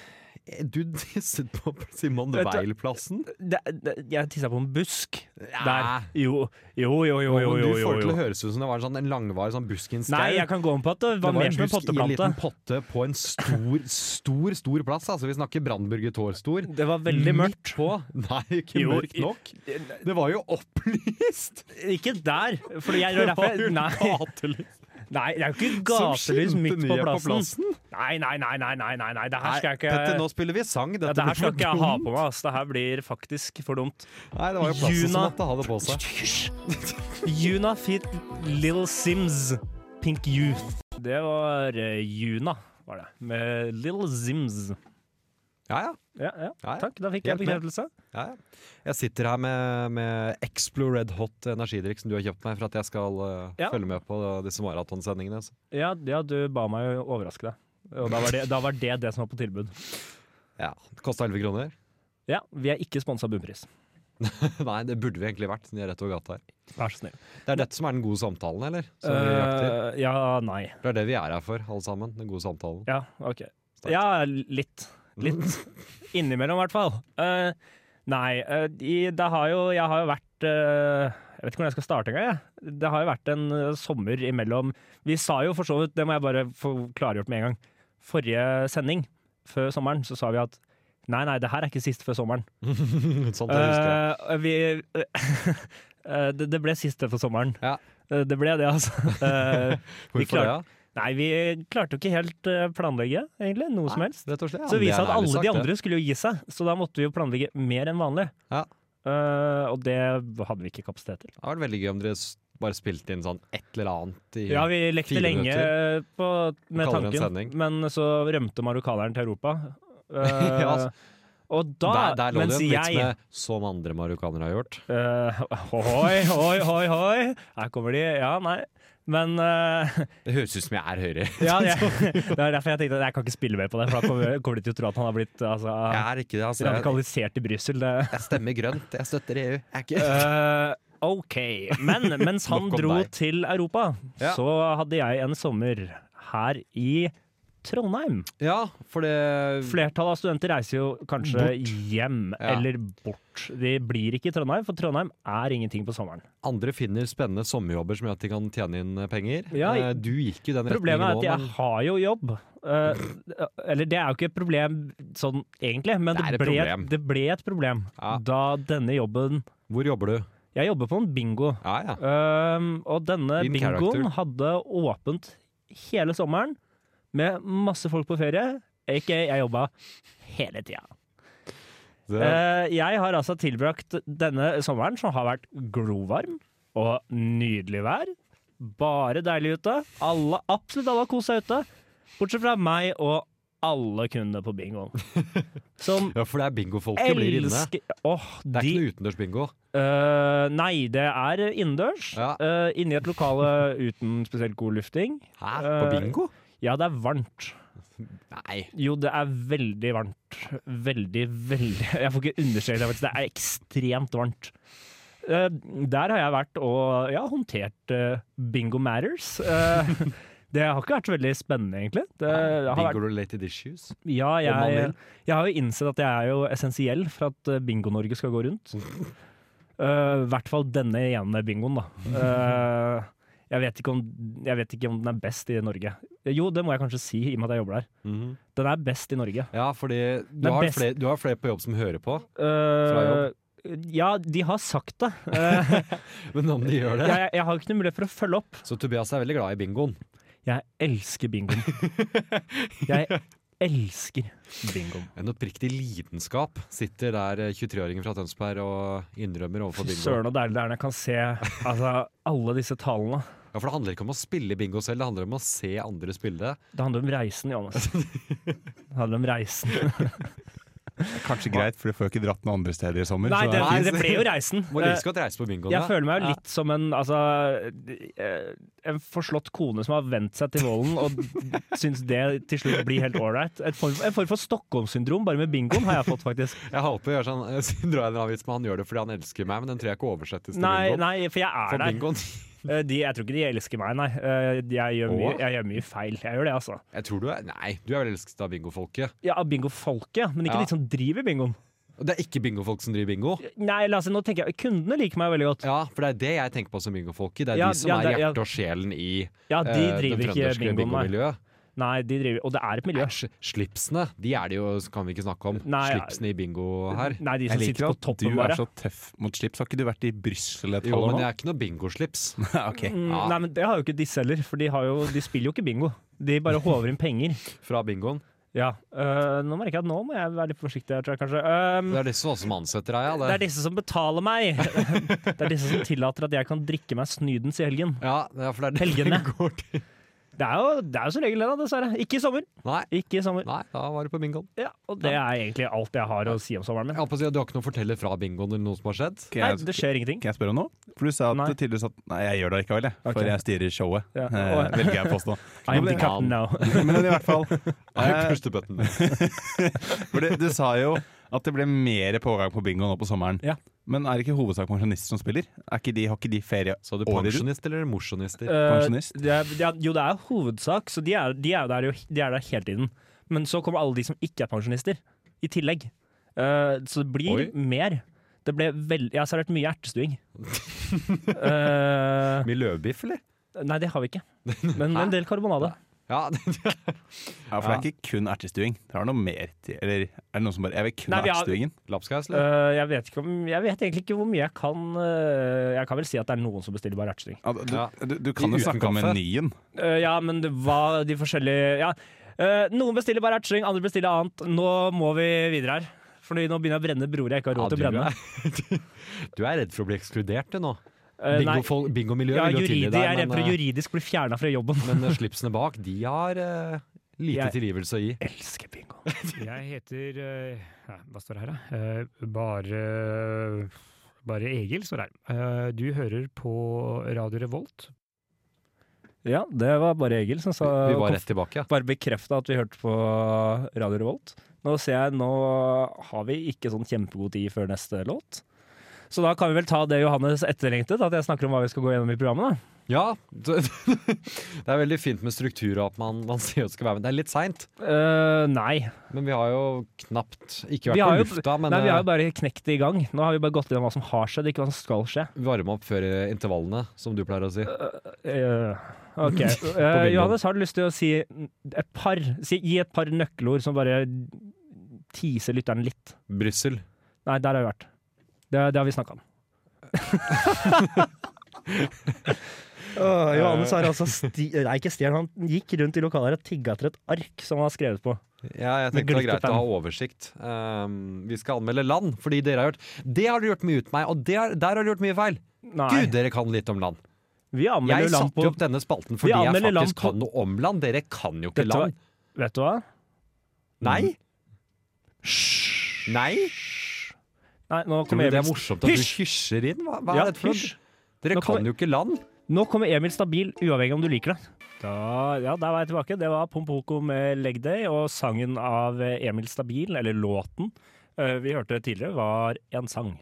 Speaker 3: Du tisset på Simon
Speaker 2: Vet du-
Speaker 3: Weil-plassen.
Speaker 2: Det, det, jeg tissa på en busk.
Speaker 3: Ja.
Speaker 2: Der. Jo, jo, jo, jo. jo,
Speaker 3: Men
Speaker 2: jo,
Speaker 3: du
Speaker 2: jo,
Speaker 3: får det til å
Speaker 2: jo.
Speaker 3: høres ut som det var en, sånn, en langvarig sånn buskens
Speaker 2: Nei, jeg kan gå om på at det var, mer som en
Speaker 3: i en liten
Speaker 2: potteplante.
Speaker 3: potte på en stor, stor stor plass. Altså, vi snakker Brandburger Tor-stor.
Speaker 2: Det var veldig mørkt.
Speaker 3: Midt på. Nei, ikke
Speaker 2: Jo,
Speaker 3: mørkt
Speaker 2: i-
Speaker 3: nok. Det var jo opplyst!
Speaker 2: Ikke der! For jeg
Speaker 3: Det var jo
Speaker 2: derfor, nei,
Speaker 3: gatelys
Speaker 2: nei, det er jo ikke
Speaker 3: som
Speaker 2: gatelys
Speaker 3: skilte
Speaker 2: midt på
Speaker 3: ned
Speaker 2: plassen. Nei, nei, nei, nei, nei, nei, nei. det her
Speaker 3: Nei,
Speaker 2: skal jeg ikke
Speaker 3: Petter, nå spiller vi sang. Dette
Speaker 2: ja, det her
Speaker 3: blir
Speaker 2: skal
Speaker 3: for
Speaker 2: ikke jeg ha
Speaker 3: dumt.
Speaker 2: på meg. ass. Det her blir faktisk for dumt.
Speaker 3: Nei, det var jo plassen som
Speaker 2: Juna.
Speaker 3: måtte ha det på seg.
Speaker 2: Juna fit Little Sims Pink Youth. Det var eh, Juna, var det. Med Little Sims.
Speaker 3: Ja, ja.
Speaker 2: Ja, ja.
Speaker 3: Ja, ja.
Speaker 2: Takk, da fikk jeg
Speaker 3: Helt med.
Speaker 2: bekreftelse.
Speaker 3: Ja, ja. Jeg sitter her med, med Explo Red Hot energidrikk som du har kjøpt meg for at jeg skal eh,
Speaker 2: Ja.
Speaker 3: følge med på eh, disse maratonsendingene. så.
Speaker 2: Ja, ja, du ba meg jo overraske deg. Og da var, det, da var det det som var på tilbud.
Speaker 3: Ja, Det kosta 11 kroner.
Speaker 2: Ja, vi er ikke sponsa av Bunnpris.
Speaker 3: Nei, det burde vi egentlig vært. siden De er rett over gata her.
Speaker 2: Vær så snill.
Speaker 3: Det er dette som er den gode samtalen, eller? Som vi jakter.
Speaker 2: Eh, ja, nei.
Speaker 3: det er det vi er her for, alle sammen. Den gode samtalen.
Speaker 2: Ja, ok.
Speaker 3: Sterkt. Mm.
Speaker 2: Ja, litt. Litt. Innimellom, i hvert fall. Eh, nei, eh, i, det har jo Jeg har jo vært eh, Jeg vet ikke hvordan jeg skal starte engang, jeg. Det har jo vært en eh, sommer imellom Vi sa jo for så vidt, det må jeg bare få klargjort med en gang, forrige sending, før sommeren, så sa vi at nei, nei, det her er ikke sist før sommeren.
Speaker 3: sånn det husker jeg.
Speaker 2: Eh, vi, eh, det, det ble siste for sommeren.
Speaker 3: Ja.
Speaker 2: Eh, det ble det, altså. Eh, vi
Speaker 3: Hvorfor det?
Speaker 2: klarte- Nei, vi klarte jo ikke helt eh, planlegge, egentlig. Noe som
Speaker 3: Nei,
Speaker 2: helst.
Speaker 3: Rett og slett. Ja,
Speaker 2: Så det
Speaker 3: men
Speaker 2: viste
Speaker 3: er
Speaker 2: seg at
Speaker 3: en ærlig
Speaker 2: alle
Speaker 3: sak,
Speaker 2: de
Speaker 3: det.
Speaker 2: andre skulle jo gi seg, så da måtte vi jo planlegge mer enn vanlig.
Speaker 3: Ja.
Speaker 2: Eh, og det hadde vi ikke kapasitet til.
Speaker 3: Det hadde vært veldig gøy om dere s- bare spilte inn sånn et eller annet i
Speaker 2: Ja, vi lekte
Speaker 3: Fire
Speaker 2: lenge eh, på, med
Speaker 3: Kaller det en
Speaker 2: tanken, men så rømte marokkaneren til Europa. Eh,
Speaker 3: Ja, altså.
Speaker 2: og da,
Speaker 3: der, der lå det
Speaker 2: mens
Speaker 3: jo en vits
Speaker 2: jeg
Speaker 3: med 'som andre marokkanere har gjort'.
Speaker 2: Eh, Hoi, hoi, hoi, hoi! Her kommer de. Ja, nei. Men eh,
Speaker 3: Det høres ut som jeg er høyre.
Speaker 2: ja, jeg, Det er derfor jeg tenkte at jeg kan ikke spille mer på det, for da kommer- kommer de til å tro at han har blitt altså,
Speaker 3: Jeg er ikke det, altså. Jeg,
Speaker 2: radikalisert i Brussel. det-
Speaker 3: jeg stemmer grønt. Jeg støtter EU. Jeg er ikke
Speaker 2: Eh, OK. Men mens han
Speaker 3: Nok om
Speaker 2: dro
Speaker 3: deg.
Speaker 2: til Europa,
Speaker 3: Ja.
Speaker 2: så hadde jeg en sommer her i Trondheim.
Speaker 3: Ja, for det
Speaker 2: Flertallet av studenter reiser jo kanskje hjem
Speaker 3: Ja.
Speaker 2: eller bort. De blir ikke i Trondheim, for Trondheim er ingenting på sommeren.
Speaker 3: Andre finner spennende sommerjobber som gjør at de kan tjene inn penger.
Speaker 2: Ja,
Speaker 3: Eh, du gikk jo den retningen
Speaker 2: Problemet er
Speaker 3: nå,
Speaker 2: at
Speaker 3: men
Speaker 2: jeg har jo jobb. Eh, eller det er jo ikke et problem sånn egentlig, men
Speaker 3: Det
Speaker 2: det,
Speaker 3: er et
Speaker 2: ble,
Speaker 3: problem.
Speaker 2: det ble et problem
Speaker 3: Ja.
Speaker 2: da denne jobben
Speaker 3: hvor jobber du?
Speaker 2: Jeg jobber på en bingo,
Speaker 3: Ja, ja.
Speaker 2: um, og denne
Speaker 3: In
Speaker 2: bingoen
Speaker 3: character.
Speaker 2: hadde åpent hele sommeren. med masse folk på ferie. Ikke jeg jobba hele tida. Eh, jeg har altså tilbrakt denne sommeren, som har vært glovarm og nydelig vær. Bare deilig ute. Alle, absolutt alle har kost seg ute. Bortsett fra meg og alle kundene på bingoen. Som
Speaker 3: Ja, for det er bingofolket blir inne.
Speaker 2: elsker Åh,
Speaker 3: Det er
Speaker 2: de
Speaker 3: ikke noe utendørsbingo.
Speaker 2: Eh, nei, det er innendørs.
Speaker 3: Ja.
Speaker 2: Eh, inni et lokale uten spesielt god lufting.
Speaker 3: Hæ?
Speaker 2: På Eh,
Speaker 3: bingo?
Speaker 2: Ja, det er varmt.
Speaker 3: Nei.
Speaker 2: Jo, det er veldig varmt. Veldig, veldig Jeg får ikke understreke det, faktisk. det er ekstremt varmt. Eh, der har jeg vært og ja, håndtert eh, bingo matters. Eh, det har ikke vært så veldig spennende, egentlig. Det har vært,
Speaker 3: Bingo-related issues.
Speaker 2: ja,
Speaker 3: om man
Speaker 2: jeg,
Speaker 3: vil.
Speaker 2: jeg har jo innsett at jeg er jo essensiell for at eh, Bingo-Norge skal gå rundt. Eh, I hvert fall denne ene bingoen, da. Eh, jeg, vet ikke om, jeg vet ikke om den er best i Norge. Jo, det må jeg kanskje si, i og med at jeg jobber der. Den er best i Norge. Eh,
Speaker 3: Ja, fordi du
Speaker 2: Mhm. Men
Speaker 3: har,
Speaker 2: best-
Speaker 3: flere, du har flere på jobb som hører på,
Speaker 2: Eh, ja, de har sagt det. Eh,
Speaker 3: men om de gjør det
Speaker 2: jeg, jeg har ikke noen mulighet for å følge opp.
Speaker 3: Så Tobias er veldig glad i bingoen.
Speaker 2: Jeg elsker bingoen. Jeg elsker bingoen.
Speaker 3: En oppriktig lidenskap sitter der eh, 23-åringen fra Tønsberg og innrømmer overfor bingo.
Speaker 2: Søren og deilig det er når jeg kan se altså, alle disse tallene.
Speaker 3: Ja, For det handler ikke om å spille bingo selv, det handler om å se andre spille.
Speaker 2: Det handler om reisen, Johannes. Det handler om reisen.
Speaker 5: Det er Kanskje greit, for du får jo ikke dratt noen andre steder i sommer.
Speaker 2: Nei,
Speaker 5: så
Speaker 2: det,
Speaker 5: er
Speaker 2: det ble jo reisen.
Speaker 3: Må
Speaker 2: Eh,
Speaker 3: like godt reise på bingoen,
Speaker 2: Jeg
Speaker 3: da.
Speaker 2: føler meg jo litt som en altså, eh, en forslått kone som har vent seg til volden og syns det til slutt blir helt ålreit. En form en form for Stockholm-syndrom, bare med bingoen, har jeg fått, faktisk.
Speaker 3: Jeg håper jeg gjør sånn, eh, siden drar jeg en avis, men han gjør det fordi han elsker meg, men den tror jeg ikke oversettes til
Speaker 2: Nei,
Speaker 3: bingo.
Speaker 2: nei, for jeg er
Speaker 3: For
Speaker 2: der.
Speaker 3: bingoen.
Speaker 2: Eh, De, jeg tror ikke de elsker meg, nei. Eh, de- Jeg gjør, mye,
Speaker 3: Åh?
Speaker 2: jeg gjør mye feil. Jeg gjør det, altså.
Speaker 3: Jeg tror du er Nei, du er vel elsket av bingofolket.
Speaker 2: Ja, av bingofolket, ja. Men ikke
Speaker 3: Ja.
Speaker 2: de som driver bingoen.
Speaker 3: Og det er ikke bingofolk som driver bingo.
Speaker 2: Nei, la oss si, nå tenker jeg Kundene liker meg veldig godt.
Speaker 3: Ja, for det er det jeg tenker på som bingofolket. Det er
Speaker 2: Ja,
Speaker 3: de som
Speaker 2: ja,
Speaker 3: er
Speaker 2: det- ja.
Speaker 3: hjertet og sjelen i
Speaker 2: Ja,
Speaker 3: eh,
Speaker 2: de
Speaker 3: den
Speaker 2: driver ikke
Speaker 3: trønderske
Speaker 2: bingoen, nei.
Speaker 3: bingomiljøet.
Speaker 2: Nei, de driver, og det er et miljø.
Speaker 3: Æsj, slipsene, de er det jo, kan vi ikke snakke om.
Speaker 2: Nei, ja.
Speaker 3: slipsene i bingo her.
Speaker 2: Nei, de
Speaker 5: Jeg
Speaker 2: som
Speaker 5: liker
Speaker 2: sitter på
Speaker 5: at du
Speaker 2: toppen,
Speaker 5: er
Speaker 2: bare.
Speaker 5: så tøff mot slips. Har ikke du vært i Brussel et
Speaker 3: Jo,
Speaker 5: halvt
Speaker 3: men
Speaker 5: år
Speaker 3: det
Speaker 5: nå?
Speaker 3: er ikke noe bingoslips.
Speaker 5: Ok.
Speaker 2: Mm,
Speaker 3: Ja.
Speaker 2: Nei, men det har jo ikke disse heller, for de, har jo, de spiller jo ikke bingo. De bare håver inn penger.
Speaker 3: fra bingoen.
Speaker 2: Ja, øh, Nå merker jeg at nå må jeg være litt forsiktig. her, tror jeg kanskje Øhm,
Speaker 3: Det er disse også som ansetter deg,
Speaker 2: Det
Speaker 3: ja.
Speaker 2: er
Speaker 3: Det.
Speaker 2: disse som betaler meg! Det er disse som tillater at jeg kan drikke meg snydens i helgen.
Speaker 3: Ja, det er for det er det
Speaker 2: Helgene.
Speaker 3: det går til.
Speaker 2: Det er jo, det er jo som regel det, da, dessverre. Ikke i sommer.
Speaker 3: Nei,
Speaker 2: Ikke i sommer.
Speaker 3: nei, da var du på bingoen.
Speaker 2: Ja, og det er egentlig alt jeg har å si om sommeren
Speaker 3: Jeg
Speaker 2: min.
Speaker 3: holdt på å si at Du har ikke noe å fortelle fra bingoen eller noe som har skjedd?
Speaker 5: Kan
Speaker 2: Nei,
Speaker 5: jeg-
Speaker 2: det skjer ingenting.
Speaker 5: Kan jeg spørre om noe? For du sa at
Speaker 2: Nei.
Speaker 5: tydeligvis at Nei, jeg gjør det likevel, jeg. For
Speaker 2: Ok.
Speaker 5: jeg styrer showet.
Speaker 2: Ja.
Speaker 5: Eh, velger jeg å påstå.
Speaker 2: I am the captain now.
Speaker 5: Men i hvert fall eh,
Speaker 3: Push the button.
Speaker 5: For du, du sa jo at det ble mer pågang på bingo nå på sommeren.
Speaker 2: Ja.
Speaker 5: Men er det ikke hovedsak pensjonister som spiller? Er ikke de, har ikke de ferie
Speaker 3: Så du
Speaker 5: året rundt?
Speaker 3: pensjonist eller mosjonister?
Speaker 2: Øh,
Speaker 5: Pensjonist.
Speaker 2: det er, det er, jo, det er hovedsak, så de er, de er, jo der, jo- de er der hele tiden. Men så kommer alle de som ikke er pensjonister, i tillegg. Eh, så det blir
Speaker 3: Oi.
Speaker 2: mer. Det ble veld... Jeg har servert mye ertestuing. Eh,
Speaker 3: Mye løvbiff, eller?
Speaker 2: nei, det har vi ikke. Men en del karbonade.
Speaker 3: Ja,
Speaker 5: Ja, for det er ikke kun ertestuing. Det er noe mer til Eller er det noen som bare Jeg vil kun
Speaker 2: Nei,
Speaker 5: ha
Speaker 2: vi har-
Speaker 5: ertestuingen.
Speaker 3: lapskaus, eller?
Speaker 2: Eh, jeg, vet ikke om, jeg vet egentlig ikke hvor mye jeg kan eh, Jeg kan vel si at det er noen som bestiller bare ertestuing.
Speaker 5: Ja, du,
Speaker 3: Ja.
Speaker 5: du, du
Speaker 3: I
Speaker 5: kan jo snakke om
Speaker 3: utenkaffe.
Speaker 5: menyen.
Speaker 2: Eh, ja, men det var de forskjellige ja. Eh, Noen bestiller bare ertestuing, andre bestiller annet. Nå må vi videre her. For nå begynner jeg å brenne broer jeg ikke har
Speaker 3: Ja,
Speaker 2: råd til å
Speaker 3: du
Speaker 2: brenne.
Speaker 3: er- Du er redd for å bli ekskludert, du nå.
Speaker 2: Eh, nei.
Speaker 3: Bingofol- Bingomiljøet
Speaker 2: Ja,
Speaker 3: vil jo tilgi
Speaker 2: juridisk, jeg er
Speaker 3: deg,
Speaker 2: redd for å
Speaker 3: men, eh,
Speaker 2: juridisk bli fjerna fra jobben.
Speaker 3: men eh, slipsene bak, de har eh, lite
Speaker 2: Jeg-
Speaker 3: tilgivelse å gi.
Speaker 2: Elsker bingo.
Speaker 6: Jeg heter eh, nei, Hva står det her, da? Eh, Bare bare Egil står det her. Eh, Du hører på Radio Revolt.
Speaker 2: Ja, det var bare Egil som sa
Speaker 3: Vi var rett tilbake.
Speaker 2: Bare bekrefta at vi hørte på Radio Revolt. Nå ser jeg, nå har vi ikke sånn kjempegod tid før neste låt. Så da kan vi vel ta det Johannes etterlengtet, at jeg snakker om hva vi skal gå gjennom i programmet.
Speaker 3: Ja, det, det er veldig fint med struktur og at man, man sier at det skal være med. Det er litt seint,
Speaker 2: da. Eh, nei.
Speaker 3: men vi har jo knapt Ikke
Speaker 2: Vi
Speaker 3: vært
Speaker 2: har
Speaker 3: på
Speaker 2: jo-
Speaker 3: lufta, men
Speaker 2: nei. Vi har jo
Speaker 3: eh,
Speaker 2: bare knekt det i gang. Nå har vi bare gått gjennom hva som har skjedd, ikke hva som skal skje.
Speaker 3: varme opp før eh, intervallene, som du pleier å si.
Speaker 2: Eh, ok. Eh, Johannes, har du lyst til å si et par, si, gi et par nøkkelord som bare teaser lytteren litt?
Speaker 3: Brussel.
Speaker 2: Nei, der har vi vært. Det, det har vi snakka om. Åh, Johannes har altså sti Nei, ikke stjern. Han gikk rundt i lokalet her og tigga etter et ark som han har skrevet på.
Speaker 3: Ja, jeg
Speaker 2: Med
Speaker 3: tenkte det var
Speaker 2: glitt i
Speaker 3: greit å ha
Speaker 2: pennen.
Speaker 3: oversikt. Ehm, vi skal anmelde land, fordi dere har gjort Det har dere gjort mye ut meg, og det har, der har dere gjort mye feil.
Speaker 2: Nei.
Speaker 3: Gud, dere kan litt om land.
Speaker 2: Vi anmelder
Speaker 3: Jeg
Speaker 2: jo land
Speaker 3: satte
Speaker 2: på
Speaker 3: jo opp denne spalten fordi jeg
Speaker 2: anmelder land
Speaker 3: faktisk
Speaker 2: på-
Speaker 3: kan noe om land. Dere kan jo ikke
Speaker 2: Dette var-
Speaker 3: land.
Speaker 2: Vet du hva?
Speaker 3: Nei. Nei?
Speaker 2: Nei, nå
Speaker 3: Tror
Speaker 2: kommer
Speaker 3: du det er
Speaker 2: Emil
Speaker 3: morsomt at du
Speaker 2: Hysj!
Speaker 3: hysjer inn? Hva, hva
Speaker 2: Ja,
Speaker 3: er dette for noe?
Speaker 2: hysj.
Speaker 3: Dere
Speaker 2: Nå kommer-
Speaker 3: kan jo ikke land.
Speaker 2: Nå kommer Emil stabil, uavhengig om du liker det. Da, ja, der var jeg tilbake. Det var Pompoko med Leg Day, og sangen av Emil Stabil, eller låten eh, vi hørte tidligere, var en sang.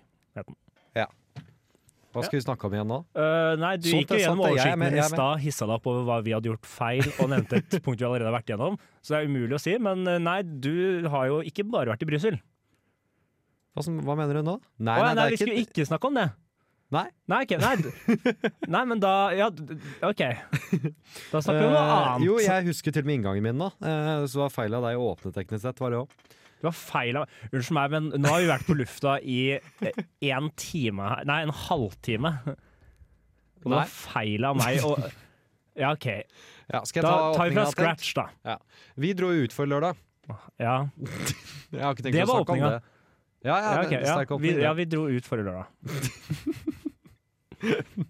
Speaker 3: Hva skal vi snakke om igjen nå?
Speaker 2: Eh, nei, du
Speaker 3: Sant,
Speaker 2: gikk jo
Speaker 3: det er
Speaker 2: gjennom
Speaker 3: sant, det. Sånn Jeg er
Speaker 2: oversikten
Speaker 3: med,
Speaker 2: din i
Speaker 3: jeg er med.
Speaker 2: stad, hissa deg opp over hva vi hadde gjort feil, og nevnte et punkt vi allerede har vært gjennom, så det er umulig å si. Men eh, nei, du har jo ikke bare vært i Brussel.
Speaker 3: Hva, som, hva mener du nå? Nei,
Speaker 2: Å ja, nei,
Speaker 3: det
Speaker 2: vi
Speaker 3: er
Speaker 2: skulle
Speaker 3: ikke
Speaker 2: ikke snakke om det.
Speaker 3: Nei.
Speaker 2: Nei, ok, nei. d- nei, men da Ja, d- OK. Da snakker vi om noe
Speaker 3: Eh,
Speaker 2: annet.
Speaker 3: jo, jeg husker til og med inngangen min nå. Eh, så var feil av deg å åpne teknisk sett, var det òg.
Speaker 2: Det var feil av Unnskyld meg, men nå har vi vært på lufta i eh, en time her Nei, en halvtime. Og det
Speaker 3: Nei.
Speaker 2: var feil av meg å Ja, OK.
Speaker 3: Ja, skal jeg
Speaker 2: Da
Speaker 3: ta
Speaker 2: tar vi
Speaker 3: åpningen
Speaker 2: fra
Speaker 3: av tent?
Speaker 2: scratch, da.
Speaker 3: Vi dro jo ut for lørdag.
Speaker 2: Ja,
Speaker 3: Jeg har ikke tenkt
Speaker 2: Det
Speaker 3: å
Speaker 2: var
Speaker 3: snakke om
Speaker 2: åpninga.
Speaker 3: det. Ja, ja,
Speaker 2: ja,
Speaker 3: det-
Speaker 2: ok, ja.
Speaker 3: sterk
Speaker 2: Vi,
Speaker 3: åpning.
Speaker 2: ja
Speaker 3: det.
Speaker 2: vi dro ut forrige lørdag.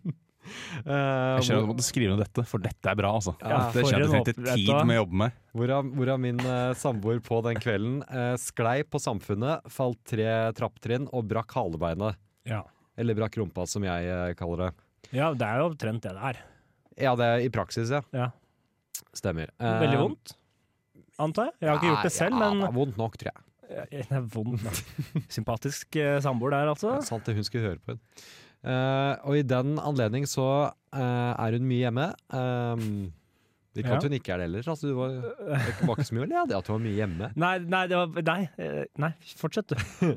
Speaker 3: Eh,
Speaker 5: Jeg skjønner at du måtte skrive ned dette, for dette er bra, altså.
Speaker 3: Ja,
Speaker 5: dette
Speaker 2: for
Speaker 5: kjenner
Speaker 2: en
Speaker 5: jeg at
Speaker 2: åpen-
Speaker 5: jeg trengte
Speaker 2: vet du
Speaker 5: tid
Speaker 2: hva?
Speaker 5: med å jobbe med.
Speaker 3: Hvorav, hvorav min eh, samboer på den kvelden eh, sklei på samfunnet, falt tre trappetrinn og brakk halebeinet.
Speaker 2: Ja.
Speaker 3: Eller brakk rumpa, som jeg eh, kaller det.
Speaker 2: ja, det er jo omtrent det det er.
Speaker 3: Ja, det er i praksis, ja.
Speaker 2: Ja.
Speaker 3: Stemmer.
Speaker 2: Veldig
Speaker 3: Eh,
Speaker 2: vondt, antar jeg. Jeg har ikke gjort det selv,
Speaker 3: ja,
Speaker 2: men
Speaker 3: det er vondt nok, tror jeg.
Speaker 2: Ja, Det er vondt. da. Sympatisk eh, samboer der, altså.
Speaker 3: Det er sant det hun skulle høre på. Hun. Eh, og i den anledning så eh, er hun mye hjemme. Um, ikke
Speaker 2: Ja.
Speaker 3: at hun ikke er det heller. Altså, du var, det var ikke så mye å le av det at hun var mye hjemme.
Speaker 2: Nei, nei, det var, nei, eh, nei fortsett, du.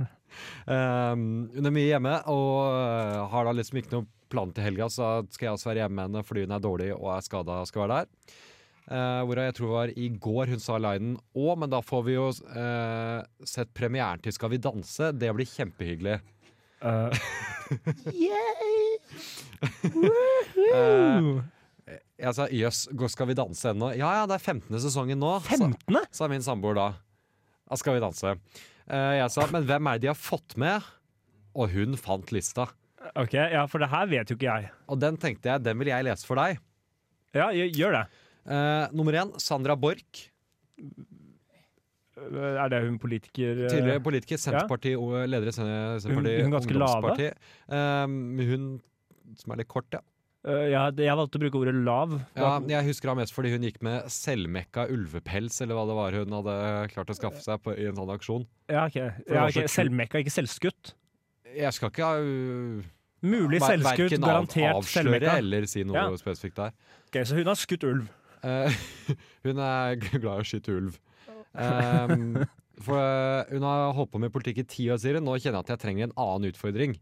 Speaker 3: Um, hun er mye hjemme og uh, har da liksom ikke noen plan til helga, så skal jeg også være hjemme med henne fordi hun er dårlig og er skada og skal være der. Uh, Hvorav jeg tror det var i går hun sa linen Å, men da får vi jo uh, sett premieren til Skal vi danse. Det blir kjempehyggelig.
Speaker 2: Eh.
Speaker 3: Uh, jeg sa jøss, går skal vi danse ennå? Ja ja, det er 15. sesongen nå, sa,
Speaker 2: 15.?
Speaker 3: sa min samboer da. Da skal vi danse. Eh, jeg sa men hvem er det de har fått med? Og hun fant lista.
Speaker 2: Ok, ja, for det her vet jo ikke jeg.
Speaker 3: Og den tenkte jeg, den vil jeg lese for deg.
Speaker 2: Ja, gjø- gjør det.
Speaker 3: Eh, nummer én, Sandra Borch.
Speaker 2: Eh, Er det hun politiker eh,
Speaker 3: Tidligere politiker, Senterpartiet og leder i Sen- Senterpartiet
Speaker 2: hun ganske lave?
Speaker 3: Ungdomsparti. Eh, hun som er litt kort, ja.
Speaker 2: eh, ja, det- jeg valgte å bruke ordet lav.
Speaker 3: ja. Jeg husker henne mest fordi hun gikk med selvmekka ulvepels, eller hva det var hun hadde klart å skaffe seg på, i en sånn aksjon.
Speaker 2: Ja, ok.
Speaker 3: det var
Speaker 2: Ja, ok.
Speaker 3: så kult.
Speaker 2: Selvmekka, ikke selvskutt.
Speaker 3: Jeg skal ikke uh,
Speaker 2: Mulig
Speaker 3: ver-
Speaker 2: selvskutt,
Speaker 3: verken av-
Speaker 2: garantert
Speaker 3: avsløre
Speaker 2: selvmekka.
Speaker 3: eller si noe
Speaker 2: Ja.
Speaker 3: spesifikt der.
Speaker 2: Ok, så hun har skutt ulv.
Speaker 3: Eh, hun er g- glad i å skyte ulv. Ehm, for eh, hun har holdt på med politikk i ti år, sier hun. Nå kjenner jeg at jeg trenger en annen utfordring.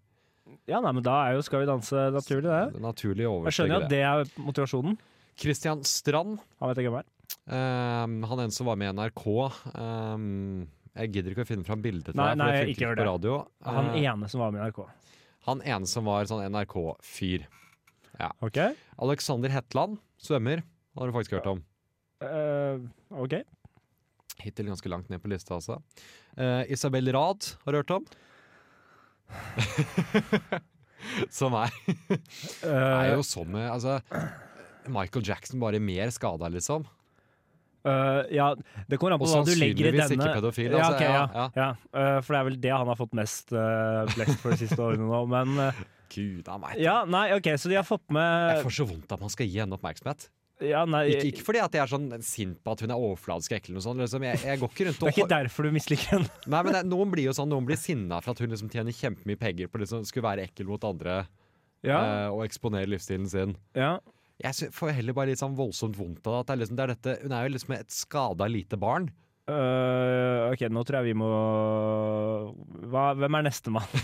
Speaker 2: Ja, nei, men da er jo Skal vi danse naturlig, det.
Speaker 3: Det er naturlig å
Speaker 2: Eh, Jeg skjønner jo
Speaker 3: overstege
Speaker 2: at
Speaker 3: det.
Speaker 2: det er motivasjonen.
Speaker 3: Kristian Strand,
Speaker 2: Han vet ikke hvem er.
Speaker 3: ehm, han en som var med i NRK. ehm, jeg gidder ikke å finne fram bildet til
Speaker 2: Nei,
Speaker 3: deg, for
Speaker 2: nei,
Speaker 3: det
Speaker 2: ikke
Speaker 3: funker
Speaker 2: gjør
Speaker 3: ikke på radio.
Speaker 2: Han
Speaker 3: Eh,
Speaker 2: ene som var med i NRK.
Speaker 3: han ene som var sånn NRK-fyr.
Speaker 2: Ok?
Speaker 3: Alexander Hetland, svømmer. Han har du faktisk hørt om.
Speaker 2: Eh, ok.
Speaker 3: Hittil ganske langt ned på lista, altså. Eh, Isabel Rad har du hørt om? som er, er jo som eh, altså, Michael Jackson, bare mer skada, liksom.
Speaker 2: Eh, ja, det kommer an på
Speaker 3: Og
Speaker 2: hva du legger i denne.
Speaker 3: sannsynligvis ikke pedofil,
Speaker 2: Ja,
Speaker 3: altså,
Speaker 2: ok,
Speaker 3: ja,
Speaker 2: ja, ja. Eh, for det er vel det han har fått mest uh, blest for de siste årene nå. Men eh,
Speaker 3: Gud a meg.
Speaker 2: ja, eh, nei, ok, så de har fått
Speaker 3: Jeg
Speaker 2: med
Speaker 3: får så vondt av at man skal gi henne oppmerksomhet.
Speaker 2: ja, nei,
Speaker 3: Ikke, ikke fordi at jeg er sånn sint på at hun er overfladisk og ekkel. eller noe sånt, Liksom. Jeg, jeg går ikke rundt
Speaker 2: Det er
Speaker 3: og
Speaker 2: ikke derfor du misliker henne.
Speaker 3: Nei, men det, Noen blir jo sånn, noen blir sinna for at hun liksom tjener kjempemye penger på å liksom, skulle være ekkel mot andre
Speaker 2: Ja,
Speaker 3: eh, og eksponere livsstilen sin.
Speaker 2: ja.
Speaker 3: Jeg sy- får heller bare litt sånn voldsomt vondt av det. At det er liksom, det er dette, hun er jo liksom et skada lite barn.
Speaker 2: Eh, ok, nå tror jeg vi må hva, Hvem er nestemann?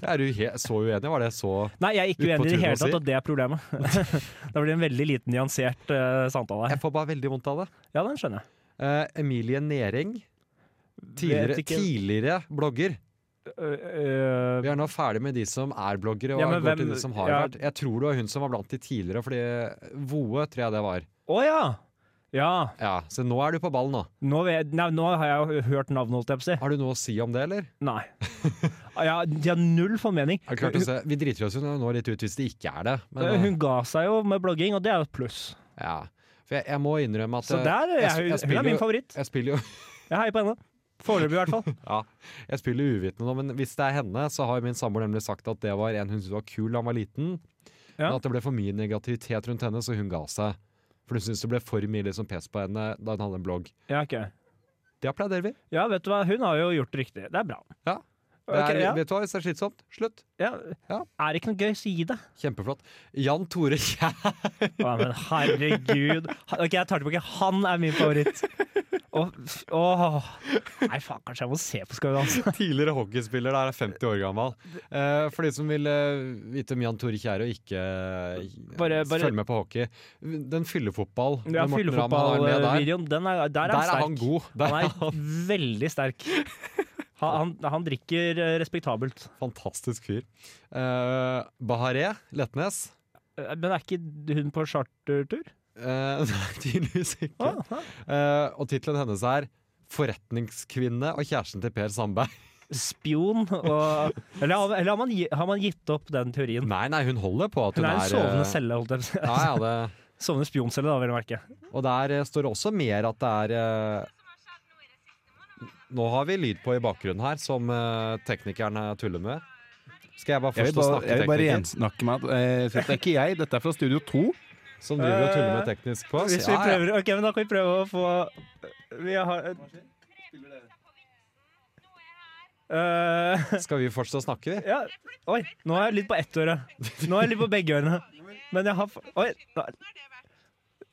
Speaker 3: Jeg er jo he så uenig, var det så
Speaker 2: Nei, jeg er ikke
Speaker 3: Ut på
Speaker 2: uenig i det
Speaker 3: tunet å
Speaker 2: hele
Speaker 3: si.
Speaker 2: tatt, og det er problemet. da blir det en veldig liten nyansert eh, samtale
Speaker 3: Jeg
Speaker 2: her.
Speaker 3: får bare veldig vondt av det.
Speaker 2: Ja, den skjønner jeg.
Speaker 3: Eh, Emilie Næring, tidligere,
Speaker 2: Vet ikke-
Speaker 3: tidligere blogger.
Speaker 2: øh,
Speaker 3: Vi er nå ferdig med de som er bloggere, og
Speaker 2: Ja, men
Speaker 3: går til
Speaker 2: hvem-
Speaker 3: de som har
Speaker 2: ja.
Speaker 3: vært. Jeg tror det var hun som var blant de tidligere, fordi Voe tror jeg det var.
Speaker 2: Å ja! Ja.
Speaker 3: Ja, Så nå er du på ballen, nå.
Speaker 2: Nå, vet, nei, nå har jeg jo hørt navnet, holdt jeg på å si.
Speaker 3: Har du noe å si om det, eller?
Speaker 2: Nei. Ja, de har null formening. Øh,
Speaker 3: Er det klart å se? Vi driter oss jo nå litt ut hvis det ikke er det. Men,
Speaker 2: Hun ga seg jo med blogging, og det er jo et pluss.
Speaker 3: eh, ja. For jeg, jeg må innrømme at
Speaker 2: Så
Speaker 3: eh,
Speaker 2: der er
Speaker 3: sp-
Speaker 2: jeg, hun
Speaker 3: spiller
Speaker 2: er min
Speaker 3: jo-
Speaker 2: favoritt.
Speaker 3: jeg spiller jo
Speaker 2: Jeg heier på henne. Foreløpig, i hvert fall.
Speaker 3: ja, jeg spiller uvitende nå, men hvis det er henne, så har jo min samboer nemlig sagt at det var en hun syntes var kul da han var liten,
Speaker 2: Ja.
Speaker 3: men at det ble for mye negativitet rundt henne, så hun ga seg. For hun syntes det ble for mye liksom, pes på henne da hun hadde en blogg.
Speaker 2: Ja, ok.
Speaker 3: Det applauderer vi.
Speaker 2: ja, vet du hva, hun har jo gjort det riktig. Det er bra.
Speaker 3: Ja. Det er,
Speaker 2: Ok, ja.
Speaker 3: Vet du hva, hvis det er slitsomt, slutt.
Speaker 2: Ja.
Speaker 3: Ja.
Speaker 2: Er det ikke noe gøy, så gi det.
Speaker 3: Kjempeflott. Jan Tore Kjær.
Speaker 2: Å, men herregud. Han- Ok, jeg tar tilbake. Han er min favoritt. Og, åh. Nei, faen, kanskje jeg må se på altså. Skal vi danse.
Speaker 3: Tidligere hockeyspiller, da er jeg 50 år gammel. Eh, for de som vil eh, vite om Jan Tore Kjær og ikke eh,
Speaker 2: Bare- bare-
Speaker 3: følge med på hockey. Den fyllefotball
Speaker 2: Ja,
Speaker 3: med Morten Ramm, han er med der.
Speaker 2: Fyllefotballvideoen, den er, der er
Speaker 3: Der
Speaker 2: han
Speaker 3: er
Speaker 2: sterk.
Speaker 3: han god. Der
Speaker 2: Han
Speaker 3: er
Speaker 2: er veldig sterk. Han, han, han drikker eh, respektabelt.
Speaker 3: Fantastisk fyr. Eh, Bahareh Letnes.
Speaker 2: Eh, Men er ikke hun på chartertur?
Speaker 3: Eh, nei, tydeligvis ikke.
Speaker 2: Ah, ah.
Speaker 3: Eh, og tittelen hennes er 'Forretningskvinne og kjæresten til Per Sandberg'.
Speaker 2: Spion og Eller, har- eller har, man, gi- har man gitt opp den teorien?
Speaker 3: Nei, nei, hun holder på at
Speaker 2: Hun
Speaker 3: hun
Speaker 2: er en sovende
Speaker 3: eh,
Speaker 2: celle, holdt jeg på å si.
Speaker 3: Ja, ja, det,
Speaker 2: Sovende spioncelle, da, vil jeg merke.
Speaker 3: og der eh, står det også mer at det er eh, Nå har vi lyd på i bakgrunnen her, som eh, teknikerne tuller med. Skal jeg bare
Speaker 5: Jeg
Speaker 3: først
Speaker 5: vil
Speaker 3: og
Speaker 5: bare,
Speaker 3: snakke
Speaker 5: jeg vil bare
Speaker 3: tekniker?
Speaker 5: rensnakke meg. eh, for Dette er ikke jeg, dette er fra Studio 2.
Speaker 3: Som driver og tuller med
Speaker 2: Eh,
Speaker 3: teknisk på oss.
Speaker 2: Hvis vi
Speaker 3: Ja, ja.
Speaker 2: prøver, ok, men Da kan vi prøve å få Vi har Eh,
Speaker 3: Skal vi fortsette å snakke, vi?
Speaker 2: ja. Oi, nå er jeg litt på ett øre. Nå er jeg litt på begge ørene. Men jeg har f- Oi. nå er-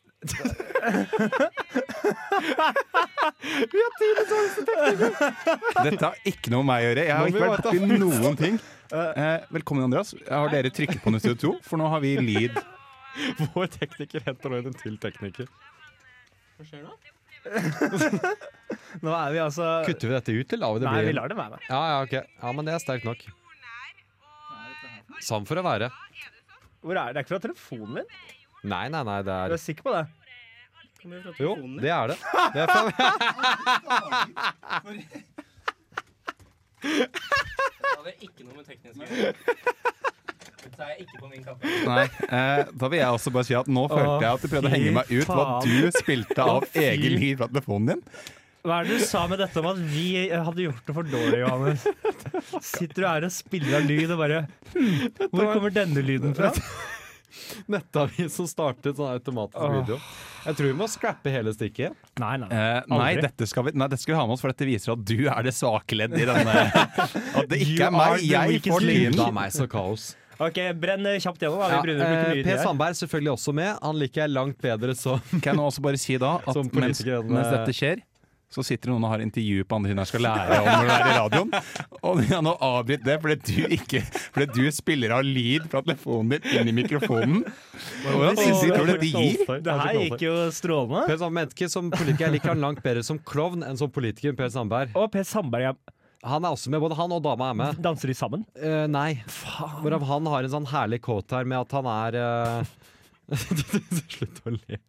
Speaker 5: Dette har ikke noe med meg å gjøre. Jeg har
Speaker 3: Nå må
Speaker 5: ikke
Speaker 3: vi
Speaker 5: vært borti noen ting. Eh, velkommen, Andreas. Har dere trykket på noe i Studio 2? For nå har vi lyd.
Speaker 3: Vår tekniker henter nå inn en til tekniker.
Speaker 2: Nå er vi altså
Speaker 3: Kutter vi dette ut, eller lar vi det
Speaker 2: Nei,
Speaker 3: bli?
Speaker 2: vi lar det være.
Speaker 3: Ja, ja, ok. Ja, men det er sterkt nok. Sånn for å være.
Speaker 2: Hvor er det? Det er ikke fra telefonen min?
Speaker 3: Nei, nei, nei, det
Speaker 2: Er du
Speaker 3: er
Speaker 2: sikker på det?
Speaker 3: Jo, det er det. det er fra...
Speaker 7: hadde ikke noe med teknisk å gjøre. Dette er ikke på min kappe.
Speaker 5: Nei, eh, da vil jeg også bare si at nå følte jeg at du prøvde å henge meg ut hva du spilte av egen lyd fra telefonen din.
Speaker 2: Hva er det du sa med dette om at vi eh, hadde gjort det for dårlig, Johannes? Sitter du her og spiller av lyd og bare hm, Hvor kommer denne lyden fra?
Speaker 3: Nettavis som startet sånn automatisk
Speaker 2: Åh.
Speaker 3: video. Jeg tror vi må scrappe hele stikket.
Speaker 2: Nei, nei.
Speaker 5: Eh, nei,
Speaker 2: Aldri.
Speaker 5: dette skal vi, nei, dette skal vi ha med oss, for dette viser at du er det svake ledd i denne At det
Speaker 2: You
Speaker 5: ikke er
Speaker 2: are
Speaker 5: meg.
Speaker 2: the
Speaker 5: Jeg
Speaker 2: weakest
Speaker 5: får
Speaker 2: link.
Speaker 5: lyden.
Speaker 3: Da meg så kaos.
Speaker 2: OK, brenn eh, kjapt gjennom. da.
Speaker 3: Ja,
Speaker 2: Vi bryr oss
Speaker 3: eh,
Speaker 2: ikke mye
Speaker 3: P.
Speaker 2: tid her.
Speaker 3: Sandberg selvfølgelig også med. Han liker jeg langt bedre som
Speaker 5: Kan jeg nå også bare si da at
Speaker 3: Som
Speaker 5: mens,
Speaker 3: politiker, den,
Speaker 5: mens dette skjer, så sitter det noen og har intervju på andre siden her skal lære om å være i radioen. Og de har nå avbryt det fordi du, ikke, fordi du spiller av lyd fra telefonen din inn i mikrofonen. Hvordan synes de tror du det gir?
Speaker 2: Det her gikk jo strålende.
Speaker 3: Per Sandberg menneske som politiker Jeg liker han langt bedre som klovn enn som politiker. Per Sandberg
Speaker 2: Og Per Sandberg ja.
Speaker 3: Han er også med. Både han og dama er med.
Speaker 2: danser de sammen?
Speaker 3: Eh, nei. Hvorav han har en sånn herlig quote her med at han er eh, Slutt å le.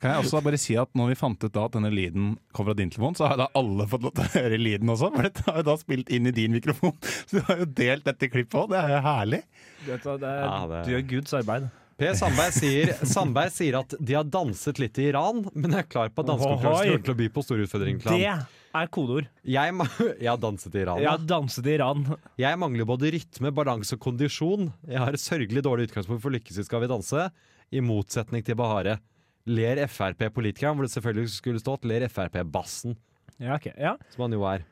Speaker 5: Kan jeg også bare si at når vi fant ut da at denne lyden kom fra din telefon, så har da alle fått lov til å høre lyden også, for dette har jo da spilt inn i din mikrofon. Så du har jo delt dette klippet òg, det er jo herlig.
Speaker 2: Du vet hva, det er,
Speaker 3: Ja, det-
Speaker 2: du gjør Guds arbeid.
Speaker 3: Per Sandberg sier, Sandberg sier at de har danset litt i Iran, men er klar på at dansekonkurransen
Speaker 2: Ohoi.
Speaker 3: kommer til å by på store
Speaker 2: Det
Speaker 3: utfordringer. Klan.
Speaker 2: er kodeord.
Speaker 3: Jeg, ma- jeg har danset i Iran.
Speaker 2: Jeg
Speaker 3: Ja.
Speaker 2: har danset i Iran.
Speaker 3: Jeg mangler både rytme, balanse og kondisjon. Jeg har et sørgelig dårlig utgangspunkt for å lykkes i Skal vi danse, i motsetning til Bahare. Ler Frp-politikeren, hvor det selvfølgelig skulle stått ler Frp-bassen,
Speaker 2: Ja, ok. Ja.
Speaker 3: som han jo er.